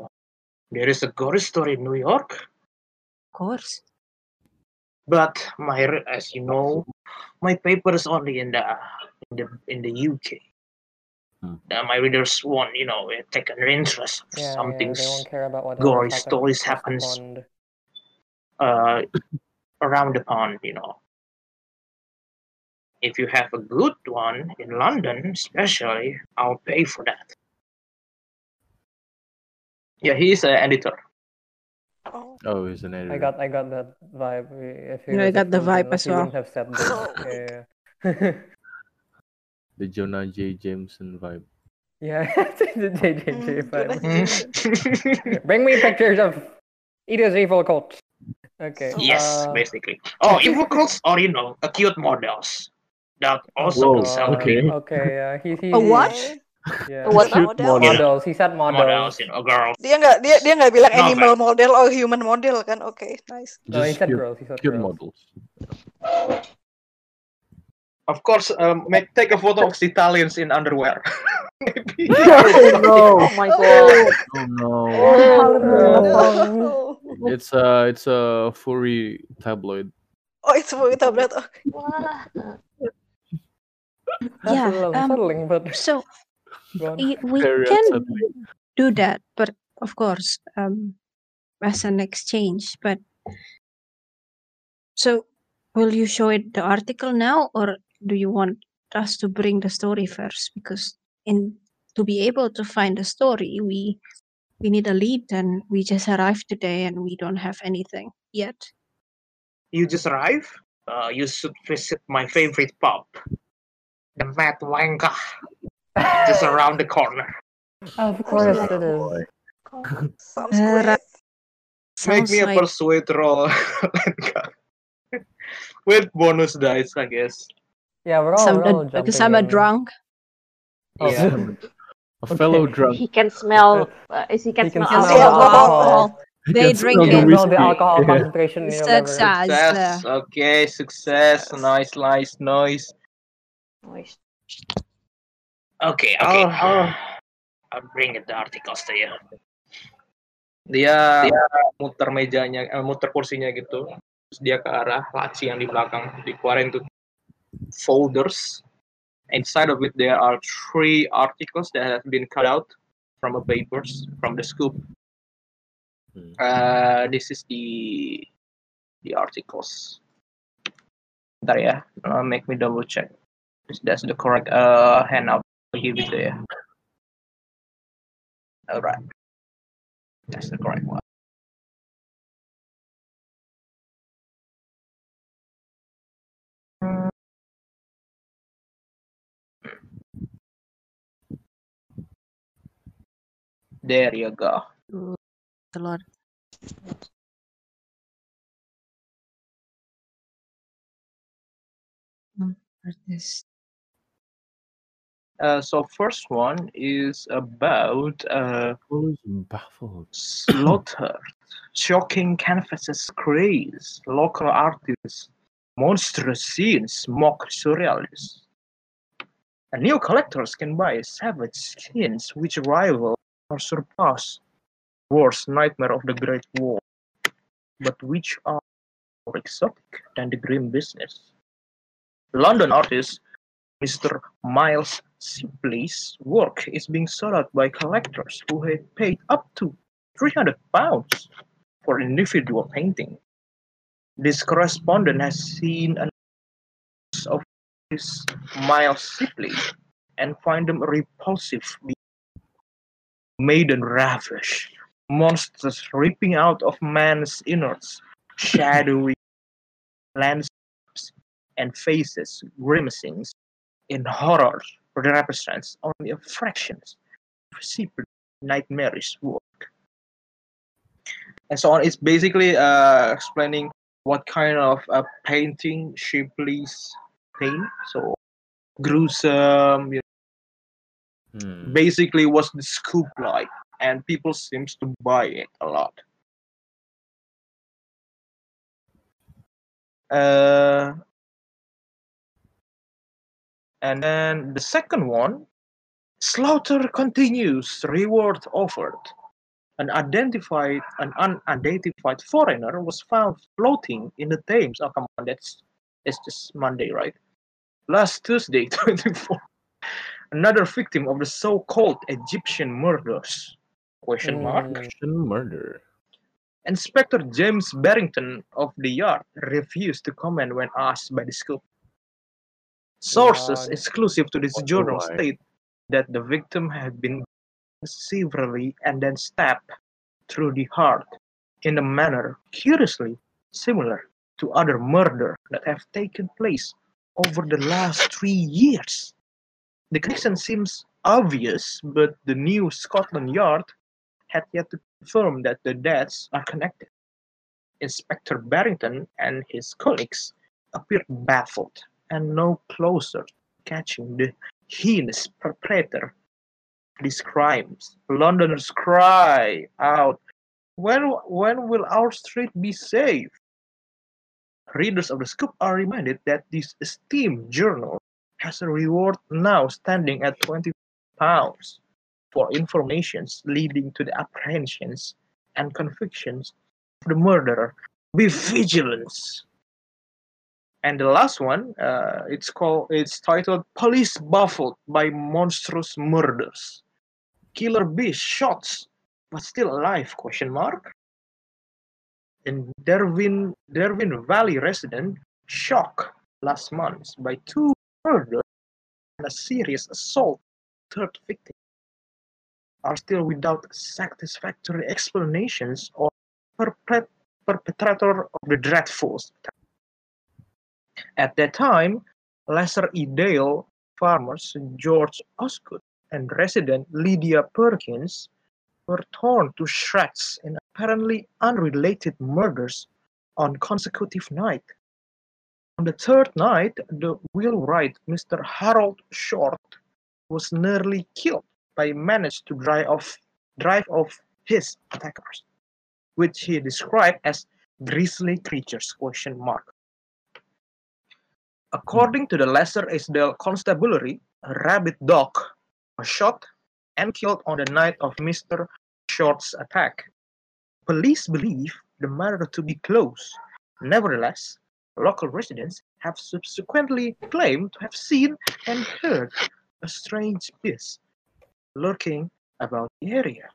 there is a gory story in New York, Of course. but my re- as you know, my paper is only in the in the in the UK. Uh, my readers want, you know, uh, take an interest if Yeah, yeah, something they won't care about what gory happens stories across the happens pond. uh, around the pond, you know. If you have a good one in London, especially, I'll pay for that. Yeah, he's an editor. Oh, he's an I editor. got I got that vibe. If he Yeah, I was a got the film vibe as journalist, he well. wouldn't have said this. Oh. Yeah, The Jonah J. Jameson vibe. yeah, yeah. Oh JJJ vibe. Jonah Hmm. Bring me pictures of it is evil cult. Okay. Yes, uh, basically. Oh, evil cults are, you know, acute models that also Whoa, sell okay. people. uh, Okay, yeah. He, he, A what? Yeah. A what? Cute model. Models. He said models. Models, you know, girls. Dia nggak dia dia nggak bilang No, animal model or human model kan? Oke, nice. No, he Just said cute, girls. He said cute girls. models. Of course, um, make, take a photo of the Italians in underwear. Oh my god. Oh no. Oh. Oh. Oh. It's a it's a furry tabloid. Oh, it's movie tablet. Oke. That's Yeah, a little um, unsettling, but So go on. y- we Very can unsettling. do that, but of course, um, as an exchange. But so, will you show it the article now, or do you want us to bring the story first? Because in to be able to find the story, we we need a lead, and we just arrived today, and we don't have anything yet. You just arrived. Uh, you should visit my favorite pub, the Mad Wanka, just around the corner. Of course it is. Eh, Make me a like- persuade roll. With bonus dice, I guess. Yeah, we're all, Some- we're all because jumping. I'm a in. drunk. Yeah. A fellow drunk. He can smell. Uh, is he can He can smell, smell alcohol. alcohol. They drink You can it. uh, smell the alcohol concentration in your liver. Success. Okay, success. Nice, nice, nice. Nice. Okay, I'll, I'll, I'll bring the articles to you. Dia muter mejanya, eh, muter kursinya gitu. Terus dia ke arah laci yang di belakang. Dikeluarin tuh folders. Inside of it there are three articles that have been cut out from a papers from the scoop. Uh, this is the the articles. Bentar ya, uh, make me double check. That's the correct uh, handout. I'll give it to you. Alright. That's the correct one. There you go. The Lord. Hmm, what is- Uh, so first one is about uh, slaughter, shocking canvases craze, local artists, monstrous scenes, mock surrealists. And new collectors can buy savage skins which rival or surpass worst nightmare of the Great War, but which are more exotic than the grim business. London artist Mr. Miles Sibley's work is being sought out by collectors who have paid up to 300 pounds for an individual painting. This correspondent has seen an of this Miles Sibley and find them repulsive maiden ravish, monsters ripping out of man's innards, shadowy landscapes and faces grimacing in horror represents only a fraction of secret nightmarish work. And so on. It's basically uh, explaining what kind of uh, painting Shipley's paint. So gruesome, you Hmm. basically was the scoop like and people seems to buy it a lot uh, and then the second one slaughter continues reward offered an identified an unidentified foreigner was found floating in the thames oh come on that's it's just monday right last tuesday 24 another victim of the so-called Egyptian murders? Question mark. Question murder. Inspector James Barrington of the yard refused to comment when asked by the scoop. Sources Wow. exclusive to this Wonder journal why. state that the victim had been severely and then stabbed through the heart in a manner curiously similar to other murder that have taken place over the last three years. The connection seems obvious, but the new Scotland Yard had yet to confirm that the deaths are connected. Inspector Barrington and his colleagues appeared baffled and no closer to catching the heinous perpetrator of these crimes. Londoners cry out, when, when will our street be safe? Readers of the scoop are reminded that this esteemed journal has a reward now standing at 20 pounds for informations leading to the apprehensions and convictions of the murderer. Be vigilant. And the last one, uh, it's called, it's titled "Police Baffled by Monstrous Murders." Killer B shots, but still alive? Question mark. In Derwin, Derwin Valley resident shocked last month by two murders and a serious assault third victim are still without satisfactory explanations or perpet- perpetrator of the dreadful At that time, Lesser Edale farmers George Osgood and resident Lydia Perkins were torn to shreds in apparently unrelated murders on consecutive night. On the third night, the wheelwright Mr. Harold Short was nearly killed by managed to drive off drive off his attackers, which he described as grisly creatures question mark. According to the Lesser Isdale Constabulary, a rabid dog was shot and killed on the night of Mr. Short's attack. Police believe the matter to be close. Nevertheless, local residents have subsequently claimed to have seen and heard a strange beast lurking about the area.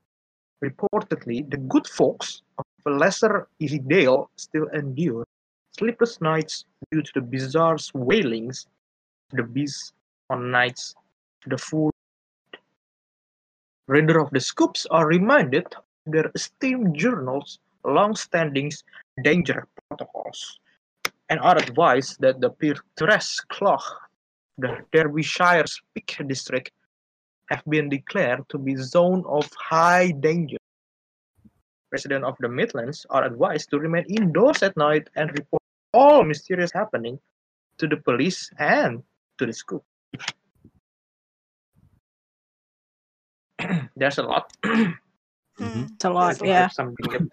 Reportedly, the good folks of Lesser Isidale still endure sleepless nights due to the bizarre wailings of the beast on nights of the full. Reader of the scoops are reminded of their esteemed journals, long-standing danger protocols, and are advised that the picturesque clock, the Derbyshire's Peak District, have been declared to be zone of high danger. Residents of the Midlands are advised to remain indoors at night and report all mysterious happening to the police and to the school. There's a lot. Hmm. It's a lot, Some yeah. clips, some clips.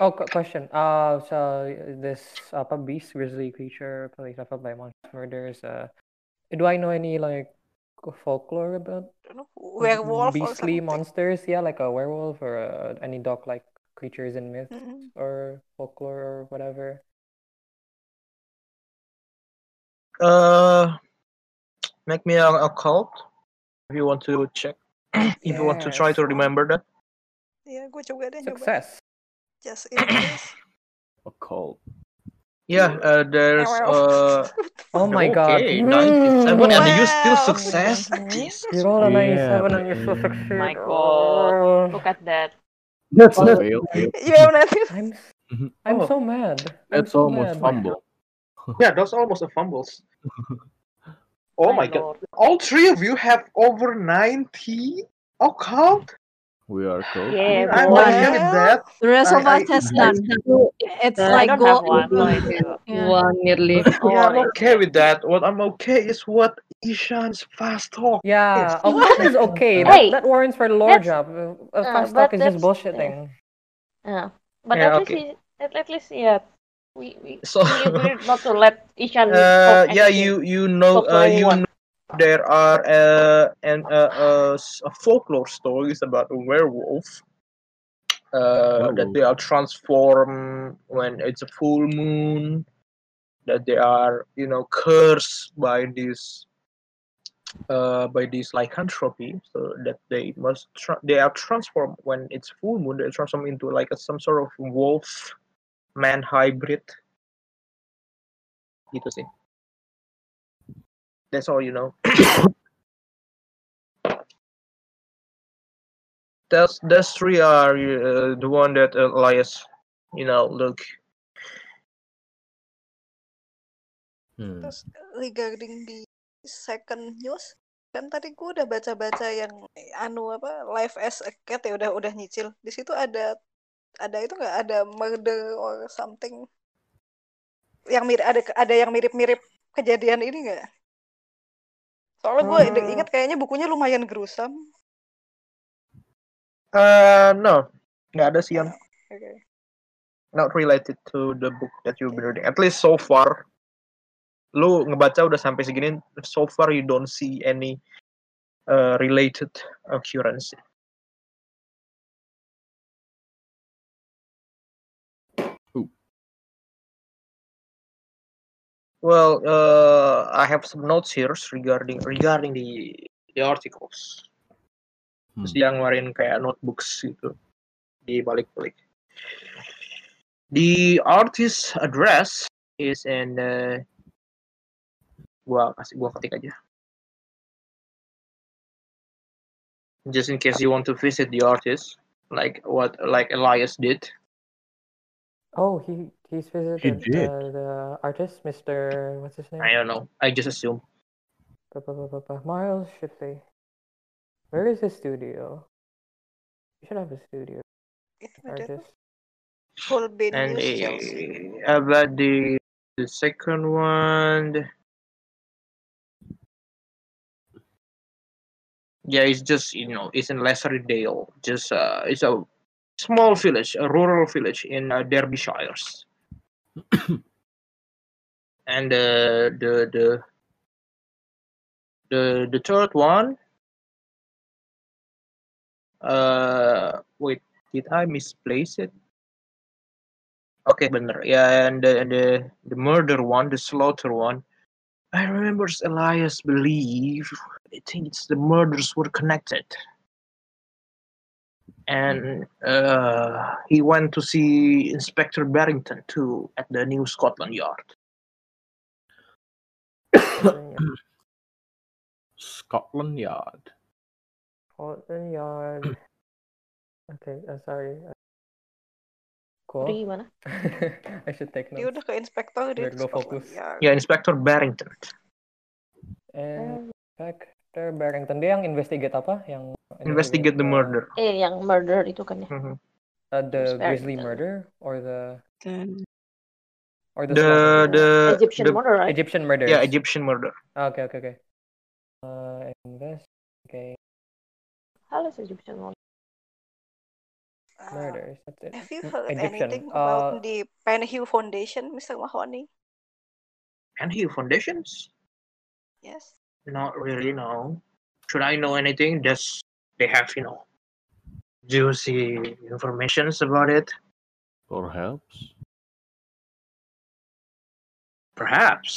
Oh, qu- question. Uh, so this apa beast, grizzly creature, probably suffered by monster murders. Uh, do I know any like folklore about werewolf or beastly monsters? Yeah, like a werewolf or uh, any dog-like creatures in myths Hmm. or folklore or whatever. Uh, make me an occult if you want to check. if you want to try to Yes. remember that. Ya, gue juga deh nyoba. Success. Just in case. Occult. Yeah, uh, there's uh. Oh my god. Okay, 97 and you still Wow. success. You roll a Yeah, 97 and you still mm. succeed. My god. Look at that. That's Oh, not. You have nothing. I'm s- Oh. I'm so mad. I'm That's so almost mad. fumble. Yeah, that's almost a fumbles. Oh my, My god. lord. All three of you have over 90 occult? We are close. Yeah, I'm bro. okay with that. The rest I- of us I- has I- none. It's I like don't go have one, so it's uh, Yeah. One nearly. Yeah, Oh, I'm my okay with that. What I'm okay is what Ishan's fast talk. Yeah, is. a one is okay. That Hey, that warrants for the lore that's- job. A a uh, fast but talk is just that's bullshitting. yeah. But Yeah, at least okay. he, at, at least yeah, we we, So- we agreed not to let Ishan Uh, talk yeah, anything. you you know, Talk to uh, you anyone. know there are uh, an uh, uh, s- uh, folklore stories about a werewolf. Uh, that they are transformed when it's a full moon. That they are, you know, cursed by this, uh, by this lycanthropy. So that they must, tra- they are transformed when it's full moon. They transform into like a, some sort of wolf man hybrid. Gitu sih. That's all you know. that's that's three are uh, the one that uh, Elias, you know, look. Hmm. Terus regarding di second news, kan tadi gue udah baca-baca yang anu apa life as a cat ya udah udah nyicil. Di situ ada ada itu nggak ada murder or something yang mirip ada ada yang mirip-mirip kejadian ini nggak? Soalnya gue Hmm. ingat kayaknya bukunya lumayan gruesome. Uh, no, nggak ada sih yang Oke. not related to the book that you're reading. At least so far, lu ngebaca udah sampai segini, so far you don't see any uh, related occurrence. Well, uh, I have some notes here regarding regarding the the articles. Terus dia ngeluarin kayak notebooks gitu di balik-balik. The artist's address is in uh, gua kasih gua ketik aja. Just in case you want to visit the artist, like what like Elias did. Oh, he he's visited did. Uh, the artist, Mr. What's his name? I don't know. I just assume. Ba- ba- ba- ba- ba- Miles Shipley. Where is his studio? You should have a studio. Artist. Colby And News eh, Chelsea. about the the second one, yeah, it's just you know it's in Lasserdale. Just uh, it's a small village, a rural village in uh, Derbyshires. and uh, the the the the third one. Uh, wait, did I misplace it? Okay, bener. Yeah, and the the the murder one, the slaughter one. I remember Elias believe I think it's the murders were connected, and uh, he went to see Inspector Barrington too at the New Scotland Yard. Scotland Yard. Scotland Yard. okay, uh, sorry. Uh, cool. Tadi gimana? I should take Dia notes. udah ke inspektor dia Ya, Biar gue Scotland fokus. Yard. Yeah, Inspector Barrington. Inspector Barrington dia yang investigate apa? Yang ini Investigate the juga, murder. Eh, yang murder itu kan ya? uh, uh, the Miss Grizzly Barrington. murder or the Then or the The slaughter? Uh, the Egyptian the- murder, right? Egyptian murder. Yeah, Egyptian murder. Ah, okay, okay, okay. Uh, investigate Hal is Egyptian murder. murders. That's it. ah. Have you Mm, heard Egyptian. anything Uh, about the Penhue Foundation, Mr. Mahoney? And he foundations? Yes. Not really. No. Should I know anything? Just they have you know juicy informations about it. Perhaps. Perhaps.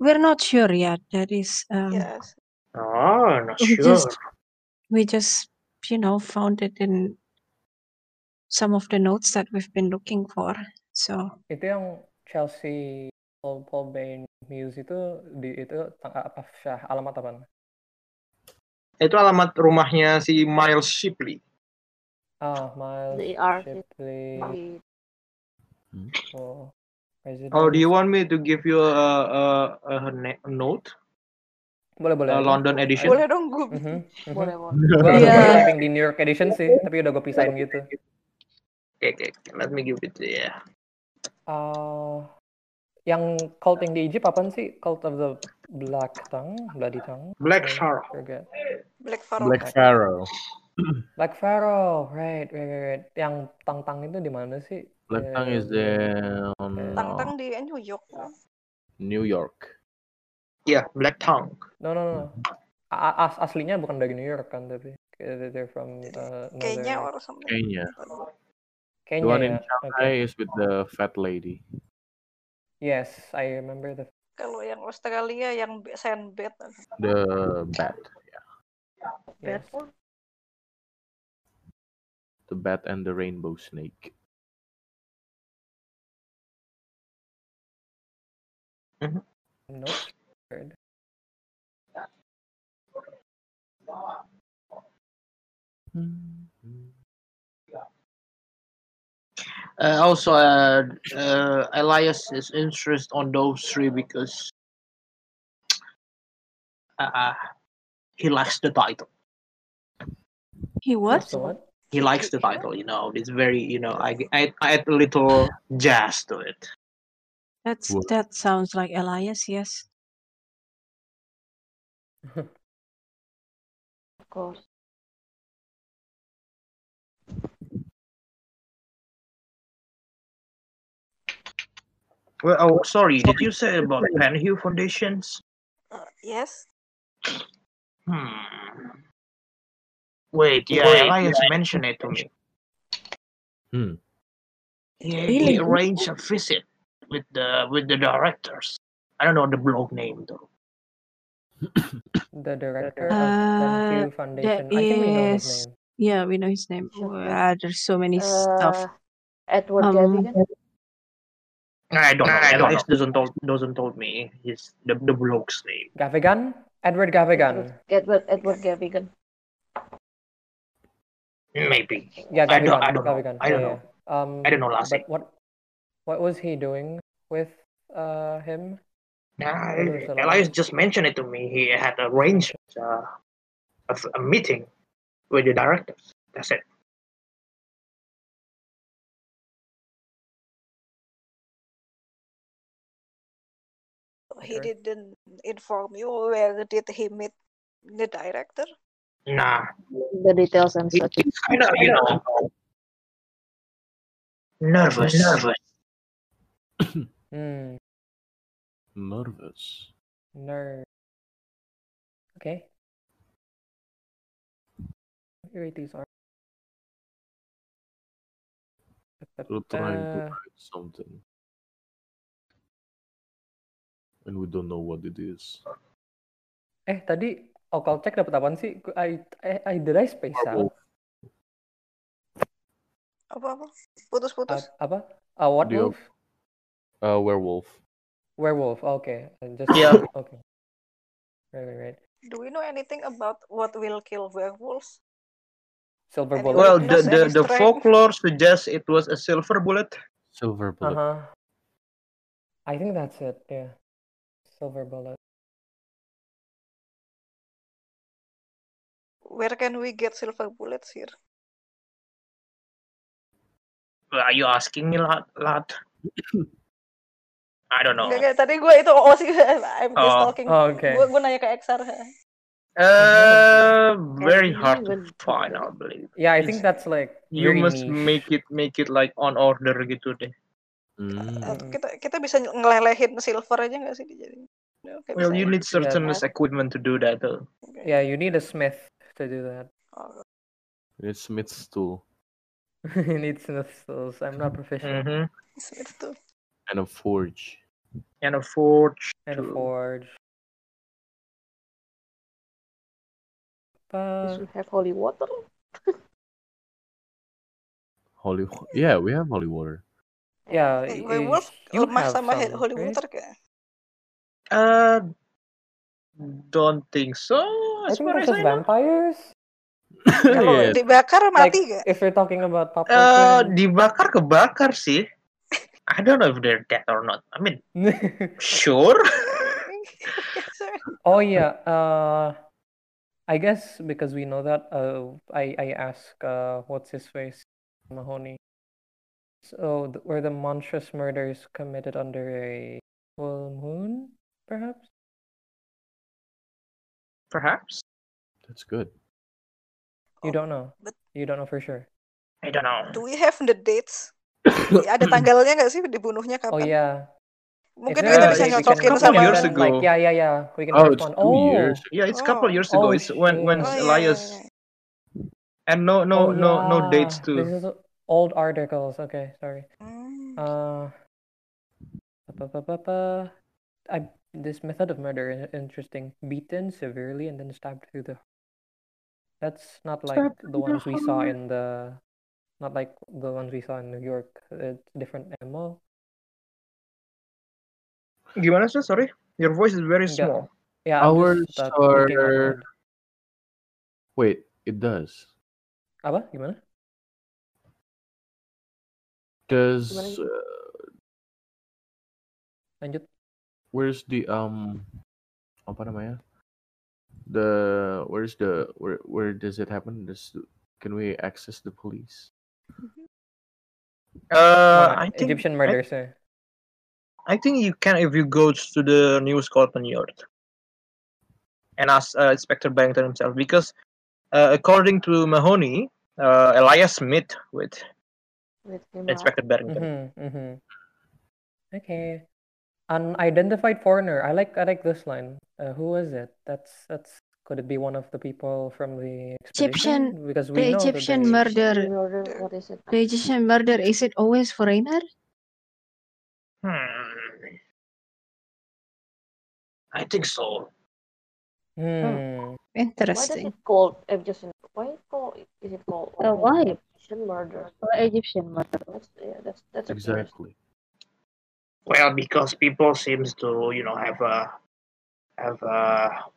we're not sure yet. That is, um, Oh, not we sure. just we just you know found it in some of the notes that we've been looking for. So Uh, itu yang Chelsea Paul Paul Bain Muse itu di itu tang- apa syah alamat apa? Itu alamat rumahnya si Miles Shipley. Ah, Miles The art is Shipley. Oh, resident. Oh, do you want me to give you a a, a, a ne- note? Boleh boleh. a Uh, aja. London edition? Boleh dong gue. Mm-hmm. Boleh, boleh. Gua Iya. gua typing di New York edition sih, tapi udah gue pisahin gitu. Okay, okay, okay, let me give it. Yeah. Ah, yang cult yang di Egypt apaan sih? Cult of the Black Tongue, Bloody Tongue. Black I Pharaoh. Forget. Black Pharaoh. Black Pharaoh. Black Pharaoh, right, right, right. right. Yang tang-tang itu di mana sih? Eh, Black Tongue is in Tang-tang uh, di New York. New York. Yeah, Black Tongue. No, no, no. A- as- aslinya bukan dari New York kan, tapi they- they're from uh, Kenya another or something. Kenya. The Kenya one in ya. Shanghai is with the fat lady. Yes, I remember the Kalau yang Australia yang be- sandbed. The bat. Yes. The bat and the rainbow snake. notes. Weird. Uh, also, uh, uh, Elias is interest on those three because uh, he likes the title. he what? He likes the title, you know. It's very, you know, I, I, I add a little jazz to it. That's What? that sounds like Elias. Yes. Of course. Well, oh, sorry, did you say about Penhue Foundations? Uh, yes. Hmm. Wait, yeah, Wait, Elias yeah. mentioned it to me. Hmm. He, Really? he arranged a visit with the with the directors. I don't know the blog name though. The director Uh, of Penhue that Foundation. I think we know his is name. yeah, we know his name. Uh, there's so many Uh, stuff. Edward Um, Gavi kan? I don't know. I don't Elias doesn't told doesn't told me his the the blog's name. Gavigan? Edward Gavigan. Edward Edward Gavi kan? Maybe. Yeah, I don't. I Gavigan. don't know. Gavigan. I Yeah, don't yeah. know. Um, I don't know last but what What was he doing with uh him? Yeah, What was the Elias last- just mentioned it to me. He had arranged uh, a, f- a meeting with the directors. That's it. He didn't inform you where did he meet the director? Nah, The details and such. kind of you know nervous. Nervous. Hmm. Nervous. Nerd. Okay. What do you rate these are? We're trying to Uh, hide something. And we don't know what it is. Eh, tadi Okal cek dapat apaan sih? Gu- I, I, I, did I space ah. out? Apa apa? Putus-putus. A- apa? Uh, what Dia- wolf? Uh, werewolf. Werewolf. Oh, Okay. I just Yeah. Okay. Right, right, right. Do we know anything about what will kill werewolves? Silver bullet. Well, the Lost the, any the strength. folklore suggests it was a silver bullet. Silver Uh-huh. I think that's it. Yeah. Silver bullet. Where can we get silver bullets here? Are you asking me, lad? lad? I don't know. Enggak, enggak, tadi gue itu oh sih, I'm just Oh. talking. Oh, okay. Gue gue nanya ke Exar. Hmm. Uh, very Can hard you to find, I believe. Yeah, I It's- think that's like You very must niche. make it make it like on order gitu deh. Mm, Kita kita bisa ngelelehin silver aja nggak sih dijadiin? Oke, Well, bisa you ya. need certain equipment to do that though. Yeah, you need a smith to do that. Oh, It's Smith's tool you need smith skills. I'm not proficient. Mhm. Smith tool. and a forge. And a forge. And a forge. You Uh, should have holy water. Holy. wa- Yeah, we have holy water. Yeah, y- Eh, werewolf y- you lemah have sama some, he- holy right? water kayak. Uh, don't think so. I As think far as I that's just know. vampires. Kalau dibakar Like, mati nggak? if you're talking about Papa Uh, dibakar kebakar sih. I don't know if they're dead or not. I mean, sure. Oh yeah, uh, I guess because we know that, uh, I I ask, uh, what's his face, Mahoney. So th- were the monstrous murders committed under a full moon, perhaps? Perhaps. That's good. You don't know. but- You don't know for sure. I don't know. Do we have the dates? Ada tanggalnya nggak sih dibunuhnya Oh kapan? yeah. Mungkin there kita a bisa date we can- nyocokin we sama can then, Like yeah, yeah, yeah. We can Oh, it's correspond. two years Oh. ago. Yeah, it's couple years Oh, ago. It's when when shit. iya, Elias and no no Oh, no no dates yeah. too. This is old articles. Okay, sorry. Uh, pa- pa- pa- pa. I, this method of murder is interesting. Beaten severely and then stabbed through the. That's not like Stabbed the through the ones we saw heart. in the. Not like the ones we saw in New York. It's different MO. Gimana sih? Sorry, your voice is very Enggak. small. Yeah, I'm Ours just uh, looking out are. loud. Wait, it does. Apa? Gimana? Does. Uh, Lanjut. where's the um? Apa namanya? The where's the where where does it happen? Does can we access the police? Uh, I Mana? think Egyptian I- murders. yeah. I think you can if you go to the new Scotland Yard and ask uh, Inspector Barrington himself because uh, according to Mahoney, uh, Elias met with With him, uh, Inspector Barrington. Mm-hmm, mm-hmm. Okay. Unidentified foreigner. I like I like this line. Uh, who is it? That's that's could it be one of the people from the expedition? Egyptian, Because we the know that Egyptian there's murder, what is it? the Egyptian murder, is it always foreigner? Hmm. I think so. Hmm. Why does Interesting. Oh, it called Egyptian? Why it called is it called Uh, only why? Egyptian murder? Egyptian murder. That's yeah, that's that's Exactly. Well, because people seems to you know have uh, have uh,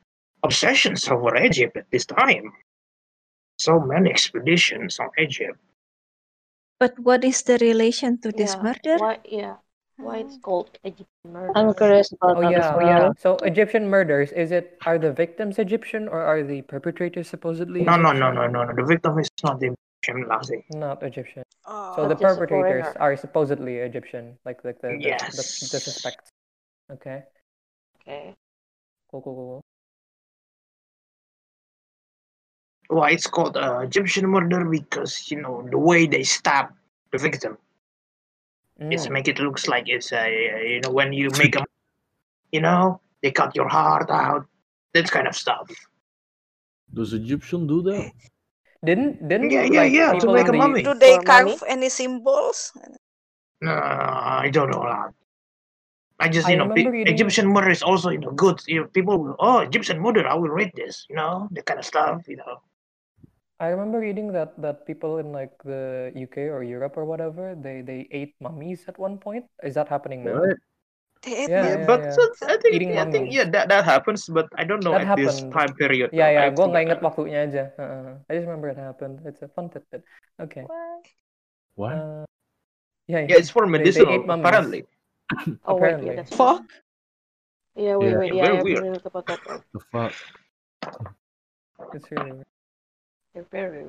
obsessions over Egypt at this time. So many expeditions on Egypt. But what is the relation to this Yeah, murder? Uh-huh. Why? Yeah. Why it's called Egyptian murder? Oh yeah. So Egyptian murders is it are the victims Egyptian or are the perpetrators supposedly? No, no, no, Egyptian? no, no, no. The victim is not the Egyptian Lassie. Not Egyptian. Oh. so the But just a perpetrators foreigner. are supposedly Egyptian, like like the the, the, the Yes. suspects. Okay. Okay. Cool, cool, cool. cool. Why it's called uh, Egyptian murder because you know the way they stab the victim. It's Mm. make it looks like it's a you know when you make a, you know they cut your heart out, that kind of stuff. Does Egyptian do that? Didn't didn't Yeah, yeah, like, yeah. To people make a on the- mummy. Do they carve any symbols? No, I don't know that. I just I you know pe- remember reading- Egyptian murder is also you know good. You know, people will oh Egyptian murder, I will read this. You know that kind of stuff. You know. I remember reading that that people in like the UK or Europe or whatever they they ate mummies at one point. Is that happening now? What? They ate yeah, Yeah, yeah, but yeah. so- I think Eating I think mummies. yeah that that happens, but I don't know That at this happened. time period. Ya though. ya, I gue nggak think- inget waktunya aja. Heeh. I just remember it happened. It's a fun tidbit. Okay. What? Uh, yeah, Yeah, it's for They- they medicinal, ate mummies. apparently. Oh wait, yeah, Apparently. that's fuck. Yeah, wait, Yeah. wait, Yeah, very yeah, I have weird. really looked about that. Right? The fuck? It's really weird. They're very.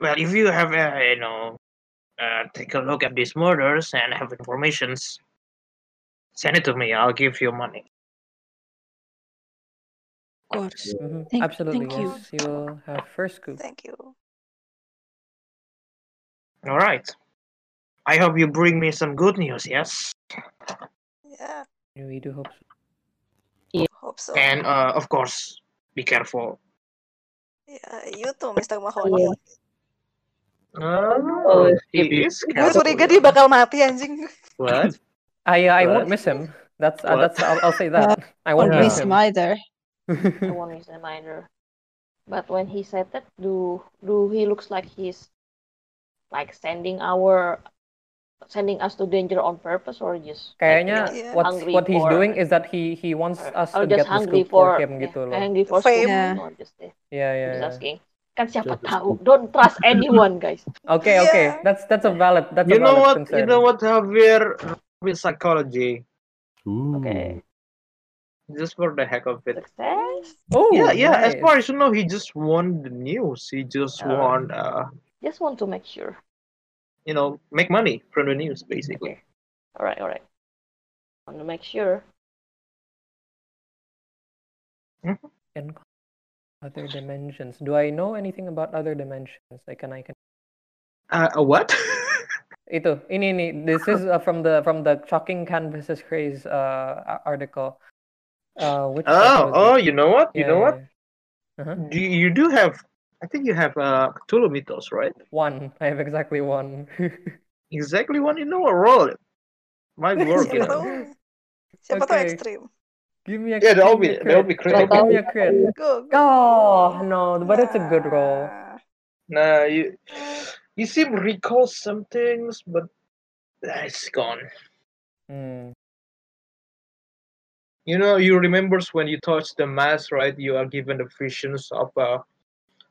Well, if you have uh, you know, uh, take a look at these murders and have informations, send it to me. I'll give you money. Of course. Mhm. Thank, Absolutely, thank you. yes. You will have first scoop. Thank you. All right. I hope you bring me some good news. Yes. Yeah, We do hope so. Ya, hope so. And uh, of course, be careful. Yeah, Iya, you too, Mr. Mahoney. Iya. Oh, he is Gue careful. curiga dia bakal mati anjing. What? I uh, I won't miss him. That's uh, What? that's I'll, I'll say that. I won't Won't miss miss him. him either. Hmm. I won't miss him either. But when he said that, do do he looks like he's like sending our sending us to danger on purpose or just like, Kayaknya you know, what hungry what he's for- doing is that he he wants us or to just get the hungry scoop for, for him yeah, gitu loh. hungry for scoop Fame. gitu, I'm just I'm Ya ya just ya. asking. Kan siapa Just a tahu. Don't trust anyone, guys. Okay, okay. That's that's a valid that's You a valid know what? concern. You know what, Javier? With psychology. Okay. Just for the heck of it. Success. Oh, yeah, yeah. As nice. far as you know, he just won the news. He just Oh. won, uh, Just want to make sure. you know, make money from the news, basically. All right, all right. Want to make sure. In other dimensions. Do I know anything about other dimensions? I can I can Uh, a what? Itu, ini ini. This is uh, from the from the shocking canvases craze uh, a- article. Uh, which Oh, site was oh, it? you know what? You Yeah, know yeah, what? yeah. Uh-huh. Do you do have? I think you have uh, Cthulhu Mythos, right? One. I have exactly one. Exactly one. You know a role. Might work, you Siapa know. tahu? Siapa tahu Okay. ekstrim. Give me a Yeah, give that'll me be a that'll crit. be great. Give me a crit. Go, go. Ah, Oh no, but it's a good roll. Nah, you you seem recall some things, but ah, it's gone. Hmm. You know, you remembers when you touch the mass, right? You are given the visions of a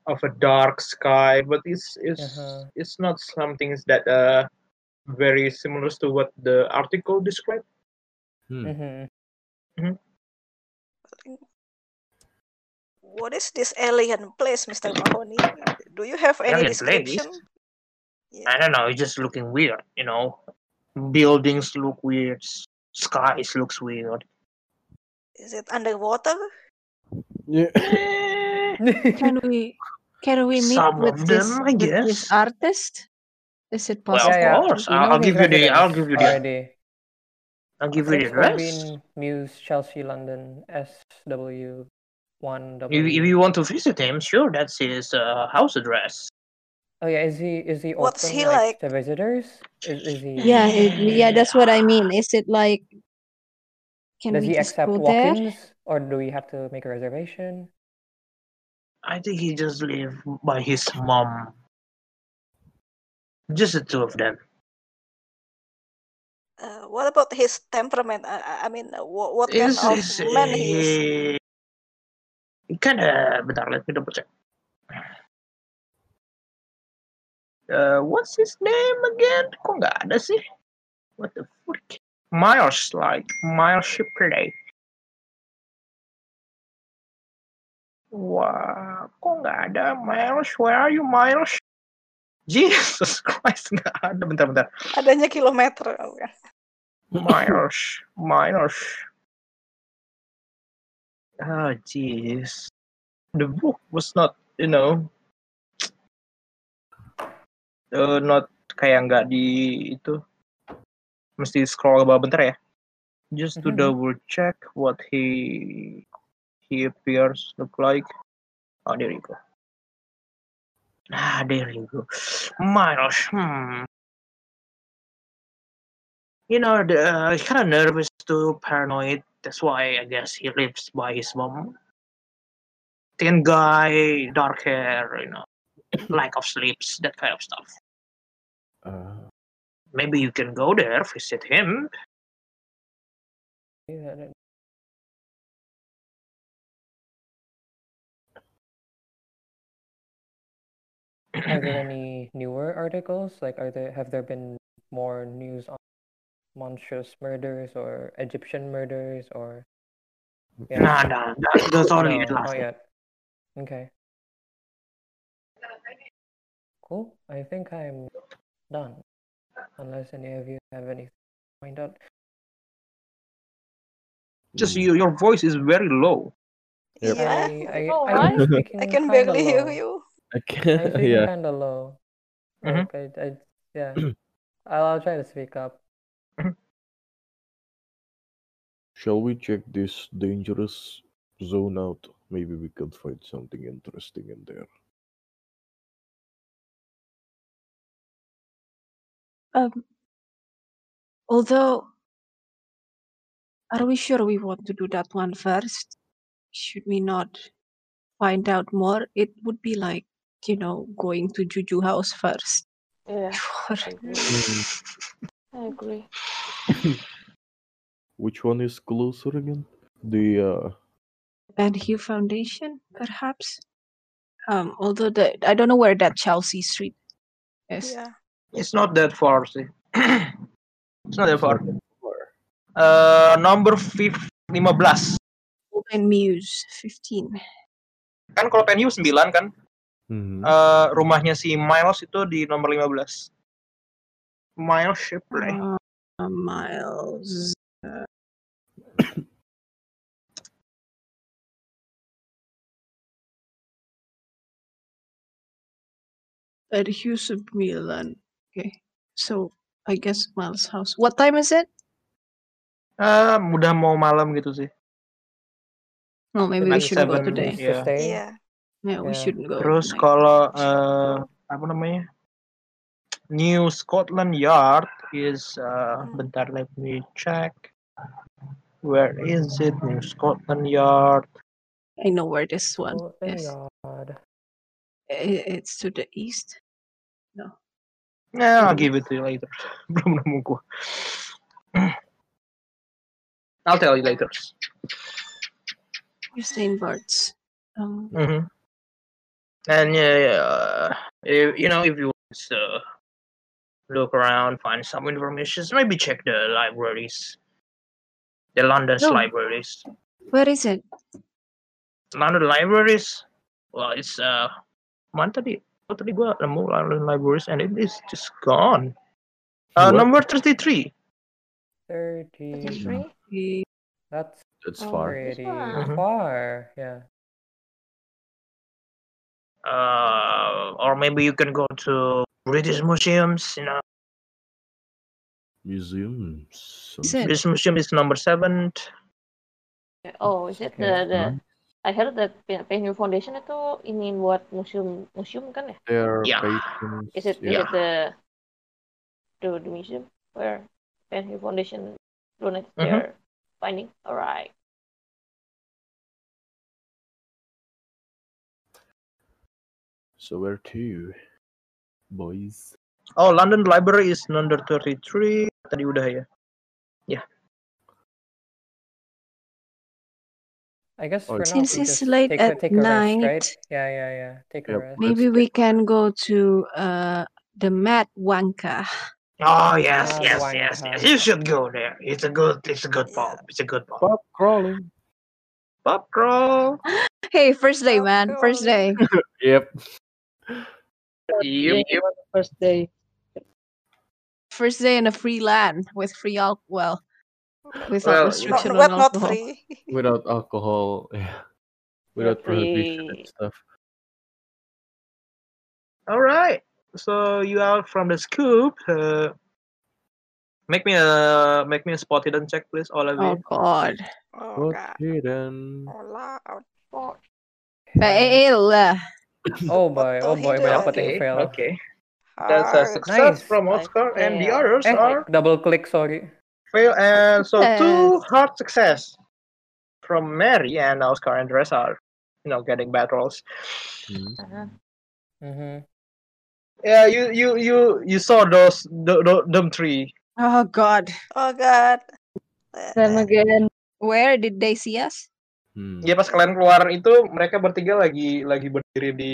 of a dark sky, but it's it's Uh-huh. it's not something that uh very similar to what the article described. Hmm. Mm-hmm. What is this alien place, Mr. Mahoney? Do you have any Alien description? I don't know. It's just looking weird. You know, buildings look weird, skies looks weird. Is it underwater? Yeah. Eh, Mm-hmm. Can we can we meet Some with of this them, I with this guess. artist? Is it Well, possible? of course, We I'll, know I'll his give you the I'll residence give you the already. I'll give you the Six address. Holbein Muse, Chelsea, London, SW one If, if W. you want to visit him, sure, that's his uh, house address. Oh yeah, is he is he What's open he like, like? to visitors? Is is he? Yeah, it, yeah, that's what I mean. Is it like can Does we he just accept go there? walk-ins or do we have to make a reservation? I think he just live by his mom. Just the two of them. Uh, what about his temperament? I, I- I mean, uh, what, what kind Is of is man he is? he Kinda, bentar, let me double check. Uh, what's his name again? Kok nggak ada sih? What the fuck? Miles, like Miles Shipley. Wah, kok nggak ada Miles? Where are you, Miles? Jesus Christ, nggak ada. Bentar, bentar. Adanya kilometer. Oh, Miles, Miles. Ah, jeez. The book was not, you know, uh, not kayak nggak di itu mesti scroll ke bawah bentar ya just to Mhm. double check what he he appears look like oh there you go ah there you go Miles hmm you know the, uh, he's kind of nervous too paranoid that's why I guess he lives by his mom thin guy dark hair you know lack of sleeps that kind of stuff Uh, maybe you can go there visit him Yeah, that- Are there any newer articles? Like, are there have there been more news on monstrous murders or Egyptian murders or? Nah, nah, that- that's only No, oh, it last not week. yet. Okay. Cool. I think I'm done. Unless any of you have anything to point out. just hmm. you, your voice is very low I, I, Oh, I've been right? speaking I kinda can barely hear low. you. I'm speaking Yeah. kind of low. Mhm. Like, I, I, yeah. I'll, I'll try to speak up. Shall we check this dangerous zone out? Maybe we can find something interesting in there. Um, although, are we sure we want to do that one first? Should we not find out more? It would be like, you know, going to Juju House first. Yeah. I agree. I agree. Which one is closer again? The uh And Hugh Foundation, perhaps? Um, although the, I don't know where that Chelsea Street is. Yeah. it's not that far see it's not that far uh number fif- 15 Open Muse, 15. kan kalau penyu 9 kan Eh, rumahnya si Miles itu di nomor 15 Miles Eh, Shipley Uh, miles. uh, At Hughes of Milan. Okay. So I guess Miles' house. What time is it? Eh, udah mau malam gitu sih No, Oh, maybe we Like should go seven, today. Place to yeah. stay? Yeah, Yeah. we should go. Terus tonight. kalau eh, apa namanya New Scotland Yard is uh, bentar let me check where is it New Scotland Yard I know where this one Oh, Thank is. God. I- Eh, It's to the east. No. yeah Nah, I'll give it to you later belum nemu gua I'll tell you later You're saying birds. Um, Mhm. and yeah, yeah uh, if, you know if you want to look around find some information maybe check the libraries the London's No. libraries Where is it? London libraries well it's uh mana tadi oh, tadi gue nemu London libraries and it is just gone uh, What? number 33 33? Eh, That's That's Oh, far. pretty Mhm. far. Yeah. uh, or maybe you can go to British museums you know museums? Is it? British museum is number 7 Oh, is it the the Mm-hmm. I heard that Pe- Penyu Foundation itu ini buat museum museum kan ya? Their Yeah. patients. Is it is yeah. it the the, the museum where Penhu Foundation donates Mhm. Mm-hmm. their finding? Alright. So where to, boys? oh London library is number 33 tadi udah ya I guess Oh, for now, Since we it's just late take a, at take a rest, night. right? Yeah, yeah, yeah. Take a rest. Maybe we can go to uh, the Mad Wanka. Oh yes, Ah, yes, wine yes, bar. yes. You should go there. It's a good, it's a good pub. It's a good pub. Pub crawling. Pub crawl. Hey, first day, man. First day. Yep. Yep, yep. First day. First day in a free land with free alcohol. Well, without Well, restriction on not, what not alcohol. free Without alcohol, yeah. Without prohibition and stuff. All right. So you are from the scoop. Uh, make me a make me a spot hidden check, please, all of you. Oh God. Oh God. Oh, Hidden. Fail. Oh boy, oh boy, banyak Okay, penting fail. okay. That's a success Nice. from Oscar, and the others Eh, are double click, sorry. fail. And uh, so two hard success from Mary and Oscar and the rest are, you know, getting bad rolls. Mm-hmm. Yeah, you you you you saw those the, the, them three. Oh God. Oh God. Them again. Where did they see us? Mm-hmm. Ya pas kalian keluar itu mereka bertiga lagi lagi berdiri di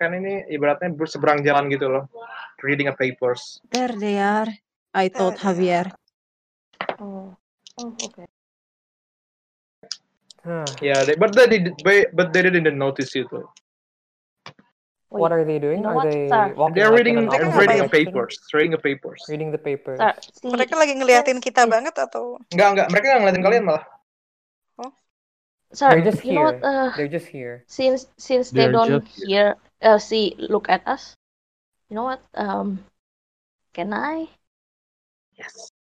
kan ini ibaratnya berseberang jalan gitu loh. Reading a papers. There they are. I thought Javier. Oh, oh, okay. Yeah, Ya, they, but they did, but they didn't notice you though. What are they doing? you know are what, they Star? walking They're like reading in an opposite reading a direction? papers, reading a papers. Reading the papers. Star, si Mereka lagi ngeliatin kita banget atau? Enggak enggak, mereka nggak ngeliatin kalian malah. Sir, They're just you know what? here. Uh, They're just here. since since they They're don't just hear, uh, see, look at us. You know what? Um, can I? Yes.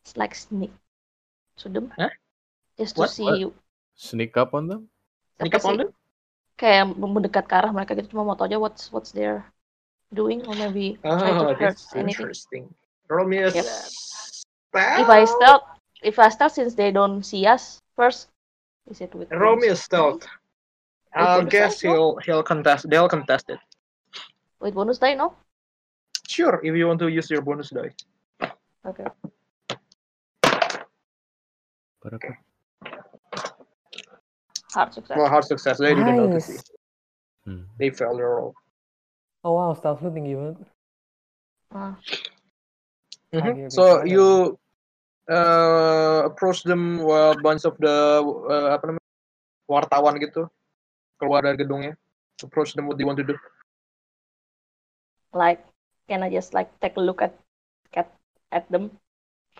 It's like sneak to them. Huh? Just to What? see. What? Sneak up on them? Sneak up on them? Kayak mendekat ke arah mereka gitu. Cuma mau tau aja what's what's they're doing or maybe try to Oh, hurt that's anything. interesting. Roll me a Yep. stealth. If I stealth, if I stealth since they don't see us first, is it with Roll me a bonus? stealth. Wait, I'll bonus guess die, no? he'll he'll contest. They'll contest it. With bonus die, no? Sure, if you want to use your bonus die. Okay. Hard success. Well, hard success. They didn't notice you. Nice. They failed their roll. Oh wow, stealth lu tinggi banget. Mhm. Akhirnya Mm-hmm. So bisa ada you uh, approach them while bunch of the uh, apa namanya wartawan gitu keluar dari gedungnya. Approach them what they want to do. Like, can I just like take a look at at at them?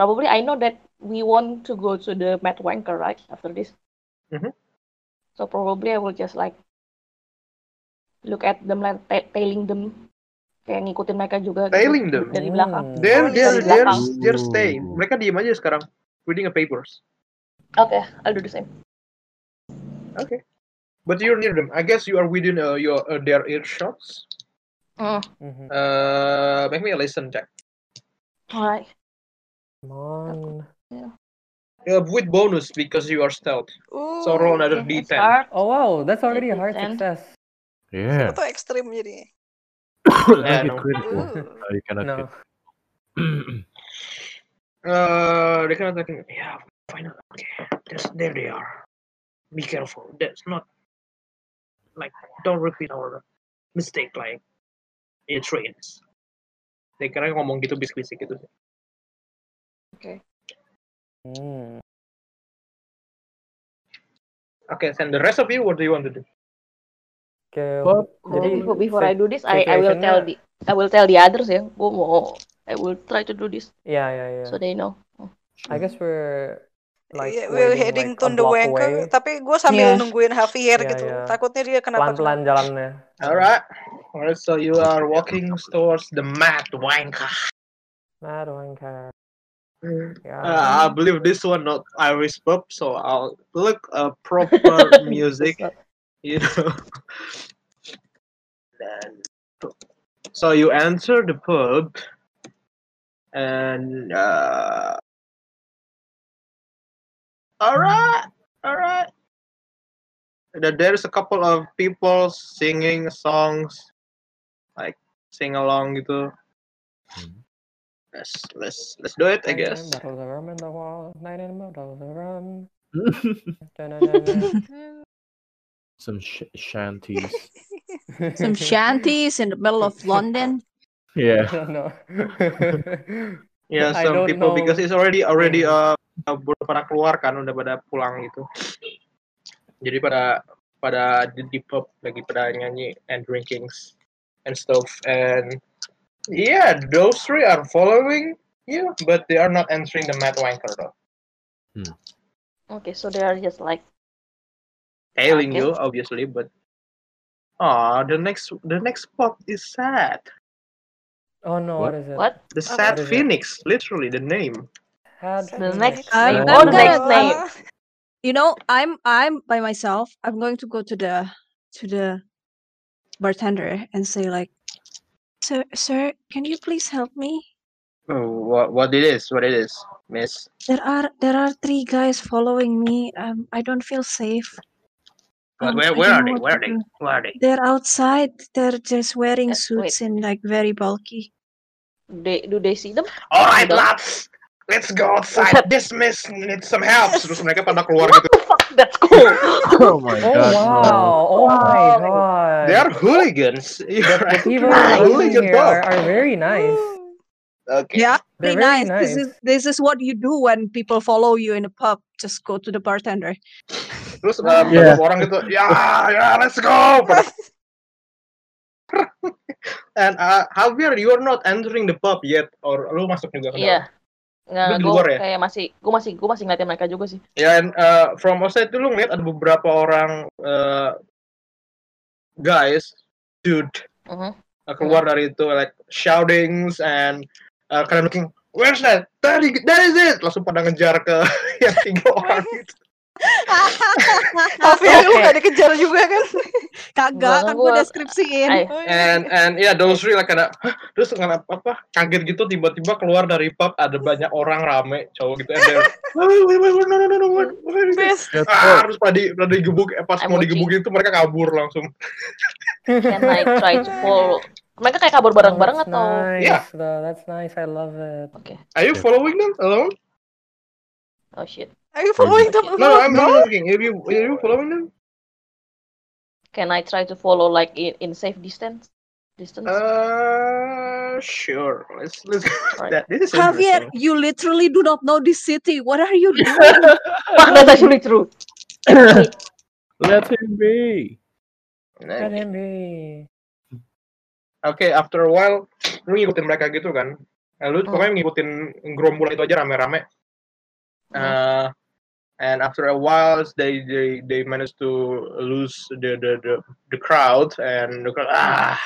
Probably I know that we want to go to the Mad Wanker, right? After this. Mhm. So probably I will just like look at them like ta- tailing them kayak ngikutin mereka juga gitu, Tailing them. dari belakang Mm. Hmm. They're dari they're they're, belakang they're staying. Mereka diem aja sekarang. Reading a papers. oke I'll do the same Okay. But you're near them. I guess you are within uh, your uh, their earshots. Mm. Mm-hmm. Uh, make me a listen check. alright Come on. Uh, with bonus because you are stealth. so roll Uh, another okay, d10. that's hard. Oh wow, that's already a hard D10. success. Yeah. Itu ekstrim Uh, jadinya. Make it no. critical. Ooh. No, you cannot No. get- Uh, they cannot attack. me. Yeah, final. Okay, That's, there they are. Be careful. That's not like don't repeat our mistake. Like it trains. They karena ngomong gitu bisik-bisik gitu. sih. okay Hmm. Okay, and the rest of you, what do you want to do? Oke, jadi Hmm. before, before I do this I I will situationnya- tell the I will tell the others ya gue mau I will try to do this Yeah, yeah, yeah. so they know I guess we're like Yeah, iya, we're waiting, heading like, to a the block wanker, away. tapi gue sambil Yeah. nungguin Javier Yeah, gitu. yeah. Takutnya dia kenapa Pelan-pelan jalannya. Alright. Alright, so you are walking towards the mad wanker. Nah, don't care. Yeah. Uh, I believe this one not Irish pub, so I'll look uh, proper music. you know. Then- so you enter the pub, and uh, all right, all right. There's a couple of people singing songs, like sing along gitu. Let's let's let's do it, I Nine guess. bottles of rum in the wall, nine bottles of rum. Some sh- shanties. Some shanties in the middle of London. Yeah. no. Yeah, I some don't people know. because it's already already uh, baru pada keluar kan udah pada pulang gitu. Jadi pada pada di, di pub lagi pada nyanyi and drinkings and stuff and yeah those three are following you but they are not entering the mad wanker though. Okay, so they are just like Tailing Okay. you obviously but ah the next the next pop is sad. Oh no, what is it? What? The Oh, What sad is it? phoenix literally the name. Had the Phoenix. next I'm, name. I'm Oh, the gonna, next name. you know, I'm I'm by myself. I'm going to go to the to the bartender and say like, Sir, sir, can you please help me? Oh, what what it is? What it is, Miss? There are there are three guys following me. Um, I don't feel safe. Wh- Oh, Um, Where I where don't are they? know what Where to are they? do. Where are they? They're outside. They're just wearing Yes, wait. suits and like very bulky. They do they see them? All right, No. lads, let's go outside. This miss needs some help. Terus mereka pada keluar gitu. That's cool. Oh my Oh god. wow! Oh my god! They are hooligans. The people Right. working Hooligan here are, pop. are very nice. Okay. yeah, They're be very nice. nice. This is this is what you do when people follow you in a pub. Just go to the bartender. Terus uh, Yeah. beberapa orang gitu, ya, ya, let's go. Pada- And uh, Javier, you are not entering the pub yet, or lu masuk juga ke dalam? Iya. Nggak, Lu di gue luar ya? kayak masih, gue masih, gue masih ngeliatin mereka juga sih. Ya, and, uh, from outside tuh lu ngeliat ada beberapa orang uh, guys, dude, Mhm. uh, keluar dari itu like shoutings and uh, kalian looking where's that that is, that is it langsung pada ngejar ke yang tiga orang itu Tapi lu gak dikejar juga kan? Oh, iya. Kagak, kan gue gua- deskripsiin. Ay. and and yeah those three like ada "Hah?" terus nggak apa apa kaget gitu tiba-tiba keluar dari pub ada banyak orang rame cowok gitu and they're, "Wait, wait, wait, no, no, no, no, what- what is this?" Best. ah terus pada di- pada digebuk eh, pas I'm mau watching. digebukin itu mereka kabur langsung Can I try to follow? Mereka kayak kabur bareng-bareng that's atau? nice. Yeah. though. That's nice. I love it. Okay. are you following them alone Oh shit. Are you following them no no I'm, bro? I'm asking are you are you following them Can I try to follow like in, in safe distance? Distance. Uh, sure. Let's let's. Alright. that this is Javier, interesting. you literally do not know this city. What are you doing? Fuck, that's actually true. Wait. Let him be. Let Oke, him be. okay, after a while, lu ngikutin mereka gitu kan? Nah, lu Hmm. pokoknya ngikutin gerombolan itu aja rame-rame. Uh, and after a while, they they they managed to lose the the the, the crowd and the crowd, ah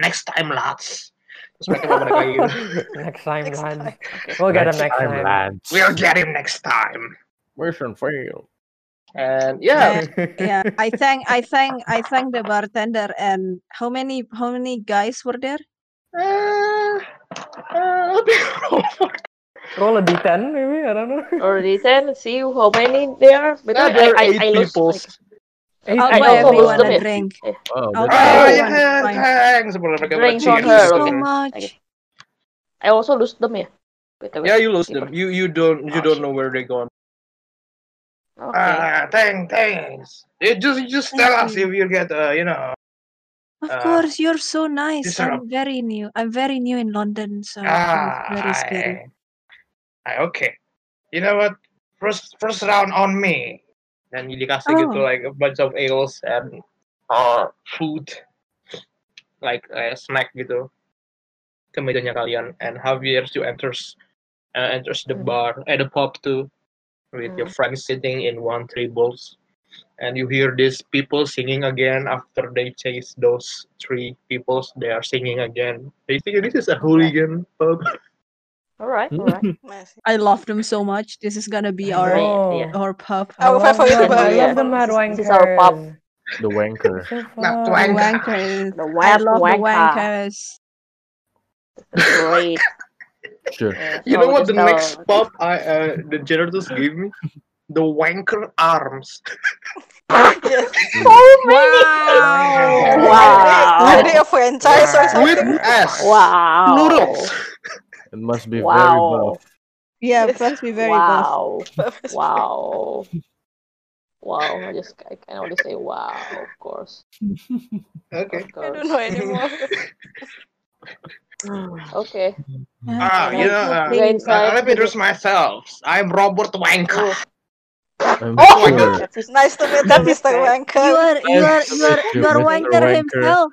next time lads. Terus mereka mau balik lagi. gitu. next time, Next lads. time. We'll get Next him next time, time. lads. We'll get him next time. Mission failed. And yeah, Uh, yeah, I thank, I thank, I thank the bartender. And how many, how many guys were there? uh, uh, Roll a d10, maybe. I don't know. Already ten. See how many there are. By Ah, the Nah, way, there are I, I, eight I lost. people. Like, Eight I'll I buy people. also lost everyone them a ya. drink. Eh, Wow, I'll that's Ah, buy everyone a yeah, drink. thanks. Sebelum mereka Drinks on bercium her, Thank you gitu okay. so kan. much. I also lost them ya. By the way. Yeah, you lose people. them. You you don't you Oh, don't shit. know where they gone. Okay. Ah, thank thanks. You just just Thank tell us if you. you get uh you know Of Uh, course, you're so nice. disrupt. I'm very new. I'm very new in London, so it's ah very scary. I, I okay. You know what? First first round on me. Dan dikasih gitu Oh, like a bunch of ales and uh food like uh, snack gitu ke mejanya kalian and Javier you enters uh, enters the Mhm. bar at the pub too with your friends sitting in one tables and you hear these people singing again after they chase those three peoples they are singing again they think this is a hooligan pub Alright, alright. Masih. I love them so much. This is gonna be I our know. Yeah. our pub. Oh. I Our love them. I favorite bar. love the Yeah. Mad This is- this is our pub. Wankers. the wanker. So Nah, The fun. wanker. wankers. The I Wet love the Wanker. wankers. Great. Sure. Yeah, you know so what Oh, just the next tell pub i uh, the generators gave me the wanker arms so many. Oh, Wow. Are Wow. they, are they a franchise or with something? s Wow. plurals It must be very Wow. buff. Yeah, Yes. must be very buff. Wow. Wow. Wow, I just I can only say wow, of course. Okay. Of course. okay. Ah, you know, uh, Gain uh, five let me introduce myself. I'm Robert Wanka. I'm Oh my sure. god. Nice to meet you, Mr. Wanker. You are you are Yes, you are you Mr. are wanker Wanker. himself.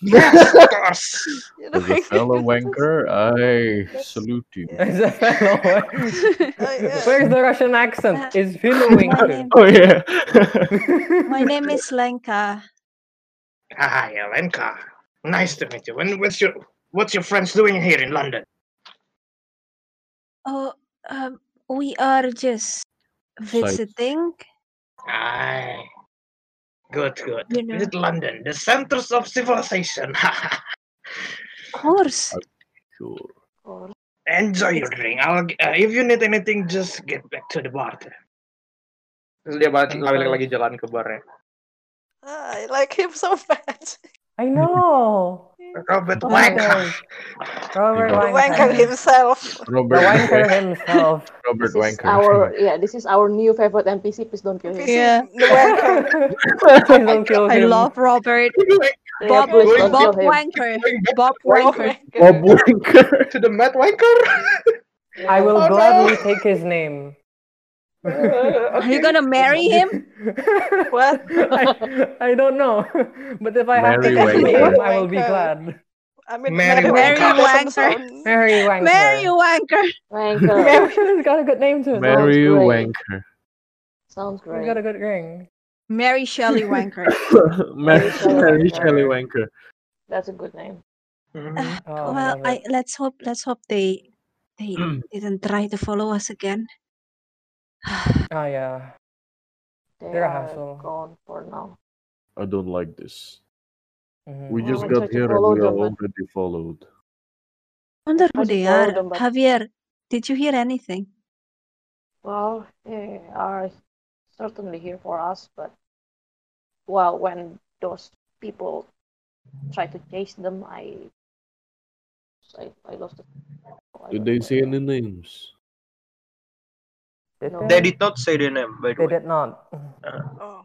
Yes, of course. As a fellow wanker, I salute you. As a fellow Oh, Where's the Russian accent? Is fellow wanker. name- Oh yeah. My name is Lenka. Hi, Elenka. Ah, Nice to meet you. And what's your what's your friends doing here in London? Oh, um, we are just visiting. Aye. Good, good. You know. Visit London, the centers of civilization. Of course. Enjoy your drink. I'll, uh, if you need anything, just get back to the bar. Terus dia balik balik lagi jalan ke barnya. Ah, I like him so much. I know. Robert Oh my Wanker. God. Robert The Wanker. wanker himself. Robert The wanker himself. Robert This is our yeah, this is our new favorite NPC. Please don't kill him. Yeah. Please don't kill I him. love Robert. Yeah, Bob, please don't Bob kill him. Wanker. Bob Wanker. Oh, Bob Wanker. to the Matt Wanker. I will Oh, no. gladly take his name. Are you gonna marry him? what? I, I don't know. But if I have Mary to take his Wanker. name, I will be glad. I mean, Mary Mary Wanker Wanker. doesn't sound- Mary Wanker. Mary Wanker. Wanker. He's got a good name to it. Mary great. Wanker. Sounds He's great. got a good ring. Mary Shelley Wanker. Mary, Shelley Mary Wanker. Shelley Wanker. That's a good name. Mm-hmm. Uh, Oh, I well, love I it. let's hope let's hope they they didn't try to follow us again. Oh, yeah. They They're a are hassle. gone for now. I don't like this. Mhm. We Well, just Oh, I got tried to here and follow we are them, but- already followed. Wonder I who just they follow are. them, but- Javier, did you hear anything? Well, they are certainly here for us, but well, when those people try to chase them, I I, I lost the. I Did don't they know. say any names? Did No. They did not say the name, by the They way. did not. Oh.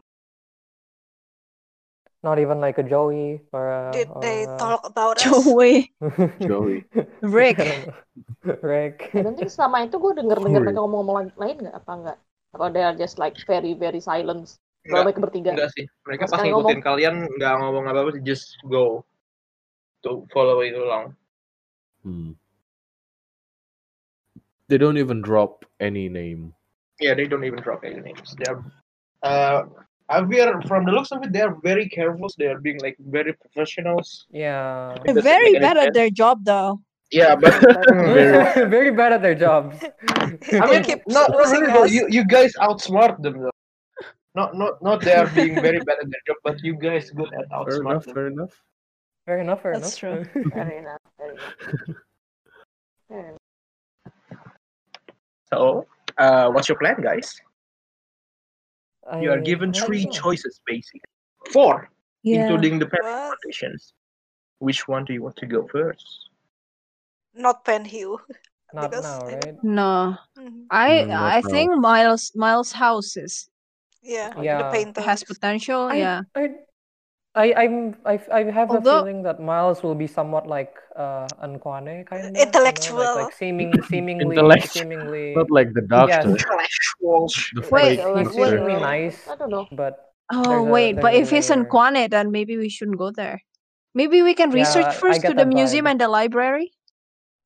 Not even like a Joey or a. Did or they a- talk about us? Joey, Joey. Rick. Rick. I don't think selama itu gue denger-denger Sorry. mereka ngomong-ngomong lain- lain nggak apa enggak? Apa they are just like very very silent. Kalau mereka bertiga. Enggak sih. Mereka Mas pas Kai ngikutin ngomong. kalian nggak ngomong apa-apa, sih, just go to follow it along. Hmm. They don't even drop any name. Yeah, they don't even drop any names. They're uh, Javier, from the looks of it, they're very careful. They're being like very professionals. Yeah. They're Does it very make any bad at sense? their job though. Yeah, but Very- Very bad at their jobs. I They mean, keep not, not really losing though. us. You you guys outsmart them though. Not not not they are being very bad at their job, but you guys good at Fair outsmart enough, them. fair enough. Fair enough, fair That's enough. Fair enough, fair enough, fair enough. So, uh, what's your plan, guys? You are I given I don't three know. choices, basically. Four, Yeah. including the parent What? conditions. Which one do you want to go first? Not Penhew. Not Because now, I don't. right? No. Mhm. I Mm, not I now. think Miles Miles houses Yeah, the Yeah. painting. has potential. Oh, I yeah. I I I'm I I have a Although feeling that Miles will be somewhat like uh Anquane kind of, you know, like Intellectual. like seeming seemingly Intellect, seemingly not like the yes, doctor, Intellectuals. the wait, fake wait, like he's wait. doctor. seemingly Intellectual. nice, I don't know. but Oh there's a wait, there's but a if it's in layer. Kwane, then maybe we shouldn't go there. Maybe we can research Yeah, I first to get the that museum vibe. and the library.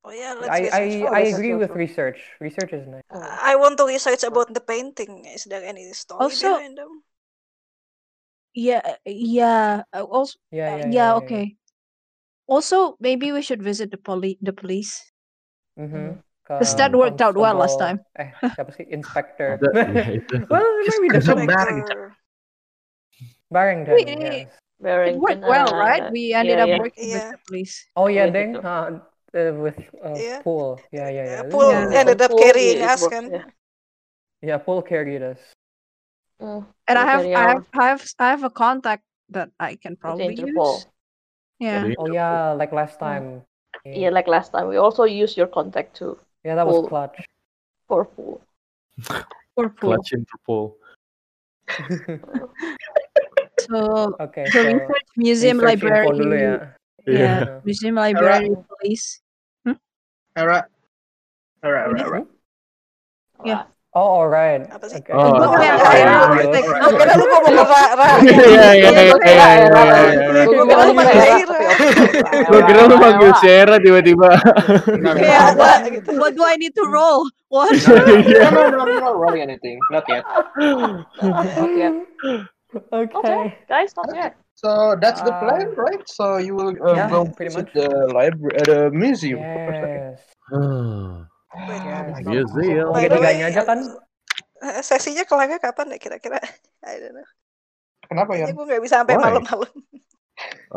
Oh yeah, let's I research. I Oh, I that's agree true, with true. research. Research is nice. Hmm. I want to research about the painting. Is there any story Also, behind them? yeah, uh, yeah. uh, Also, Yeah, uh, yeah, yeah, yeah. yeah, yeah. Okay. Also, maybe we should visit the poli the police. Mm-hmm. Ke Because that worked out well last time. Constable, eh siapa sih? Inspector. That, yeah, it Well, doesn't. it might be Inspector different. Barrington. Inspector. We, Barrington, it, yes. it worked Barrington. well, right? Uh, We yeah, ended up yeah, working with Yeah, the police. Oh yeah, yeah, Deng, gitu. uh, uh, with uh, yeah. Pool. Yeah, yeah, Uh, yeah. This Pool worked Yeah. out. ended Without up Paul, yeah, carrying it us, works. kan? Yeah. Yeah, Pool carried us. Hmm. And I We'll have carry I have our I have I have a contact that I can with the probably use. Interpol. Yeah. The Yeah. Oh Interpol. yeah, like last Hmm. time. Yeah, Yeah, like last time. We also use your contact to yeah, that pull was clutch. for pull. Or pool. Clutch Interpol. So, Okay, so so research museum research info library. dulu ya. Yeah, Yeah. museum library, police. Hmm? Alright. Alright, What alright, is it? alright. Yeah. Oh, alright. Okay. Oh, Google Alright, yang alright, Ra, alright, like, alright. oh, kira lu ngomong Ra, Ra. Iya, iya, Iya, gua iya, kira Ra, iya, iya, Ra. Gua iya, iya. Gue kira lu manggil Ra. Gua kira Ra. kira lu manggil Sierra tiba-tiba. Iya, Kayak, what, what do I need to roll? What? No, no, no, no, no, no, not rolling anything. Not yet. Not yet. Ah, Okay. Guys, not yet. So that's the Uh, plan, right? So you will uh, yeah, go pretty visit the library, uh, the museum. for first time. Yes. Oh Iya sih ya. By the Tiga-tiganya way, aja kan? eh, sesinya kelarnya kapan ya kira-kira? I don't know. Kenapa ya? Kayaknya gue nggak bisa sampai Why? malam-malam.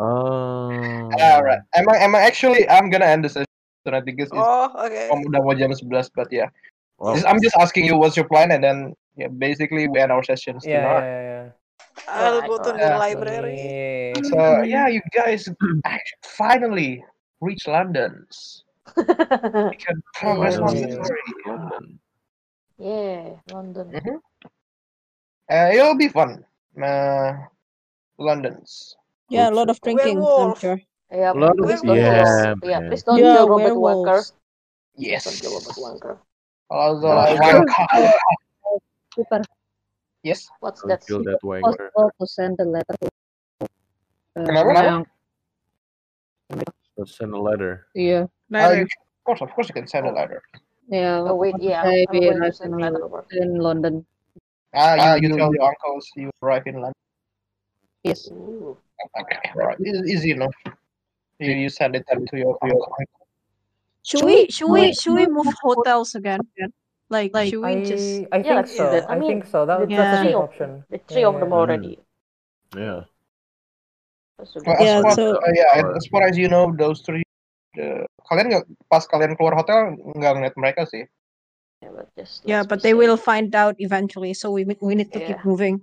Ah, Oh. Alright. Emang emang actually I'm gonna end the session I think it's, it's Oh, oke. um, udah mau jam 11 but yeah. Wow. Just- I'm just asking you what's your plan and then yeah, basically we end our sessions Yeah, tonight. yeah, yeah. I'll go to the Yeah. Iya. library. So yeah, you guys act- finally reach London. You can progress on the Finally. story. Yeah, London. Mhm. Uh, it'll be fun. Uh, London's. Yeah, a lot of drinking, I'm Werewolf. sure. Yeah, Lot of- please don't yeah, kill. Eh, Yeah, man. please don't Yeah, kill Robert Wanker. werewolves. Please don't kill Robert Yes. Wanker. Also, Don't like, kill- one card. Super. Yes. What's Don't that? kill that wanker. Possible to send the letter to uh, Kenapa? my Kenapa? uncle. Don't send a letter. Yeah. Uh, you can, of course, of course, you can send a letter. Yeah. Oh wait, what yeah, I I'm be going to arrived send in, a letter over. in London. Ah, you, Ah, you you- tell your uncles you arrive in London. Yes. Ooh. Okay, all right. It's easy enough. You, you send it then to your uncle. Should we, should we, should we move hotels again? Like, should we just? Yeah, I I think let's do that. so. I I mean, think so. That the that's a Yeah. three safe of option. the three of Yeah, them yeah. already. Yeah. Let's do Well, that. as Yeah, far, so- uh, yeah, and as far as you know, those three. Uh, kalian nggak pas kalian keluar hotel nggak ngeliat mereka sih. Yeah, but just Yeah, let's but be they safe. will find out eventually. So we we need to keep Yeah. moving.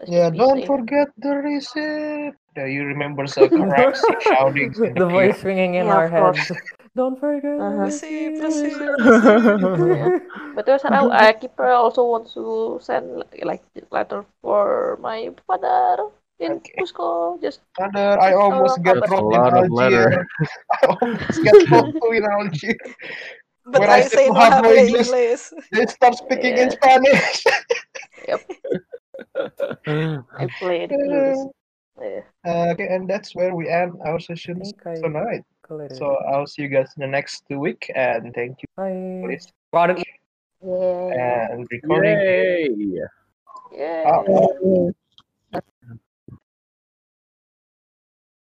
Let's Yeah, just be don't safe. forget the receipt. Do you remember the crazy shoutings in the, queue? the voice ringing in Yeah, our of course. heads. Don't forget the Uh-huh. receipt, Receipt, receipt, receipt, receipt. Yeah. receipt. But there's an uh, keeper also wants to send like letter for my father in Okay. Cusco. Just Brother, I just almost uh, get Albert. That's a robbed in lot of letter. Algiers. I almost get robbed too in Algiers. But When I I said say to no have no habla English, inglés. they start speaking in Yeah. Spanish. Yep. I played blues. Uh, Yeah. okay, and that's where we end our sessions think I tonight. collected So it. I'll see you guys in the next two week, and thank you for Bye. listening Rodden- Yeah. and recording. Ah. Yay! Yeah. Wow. Yeah.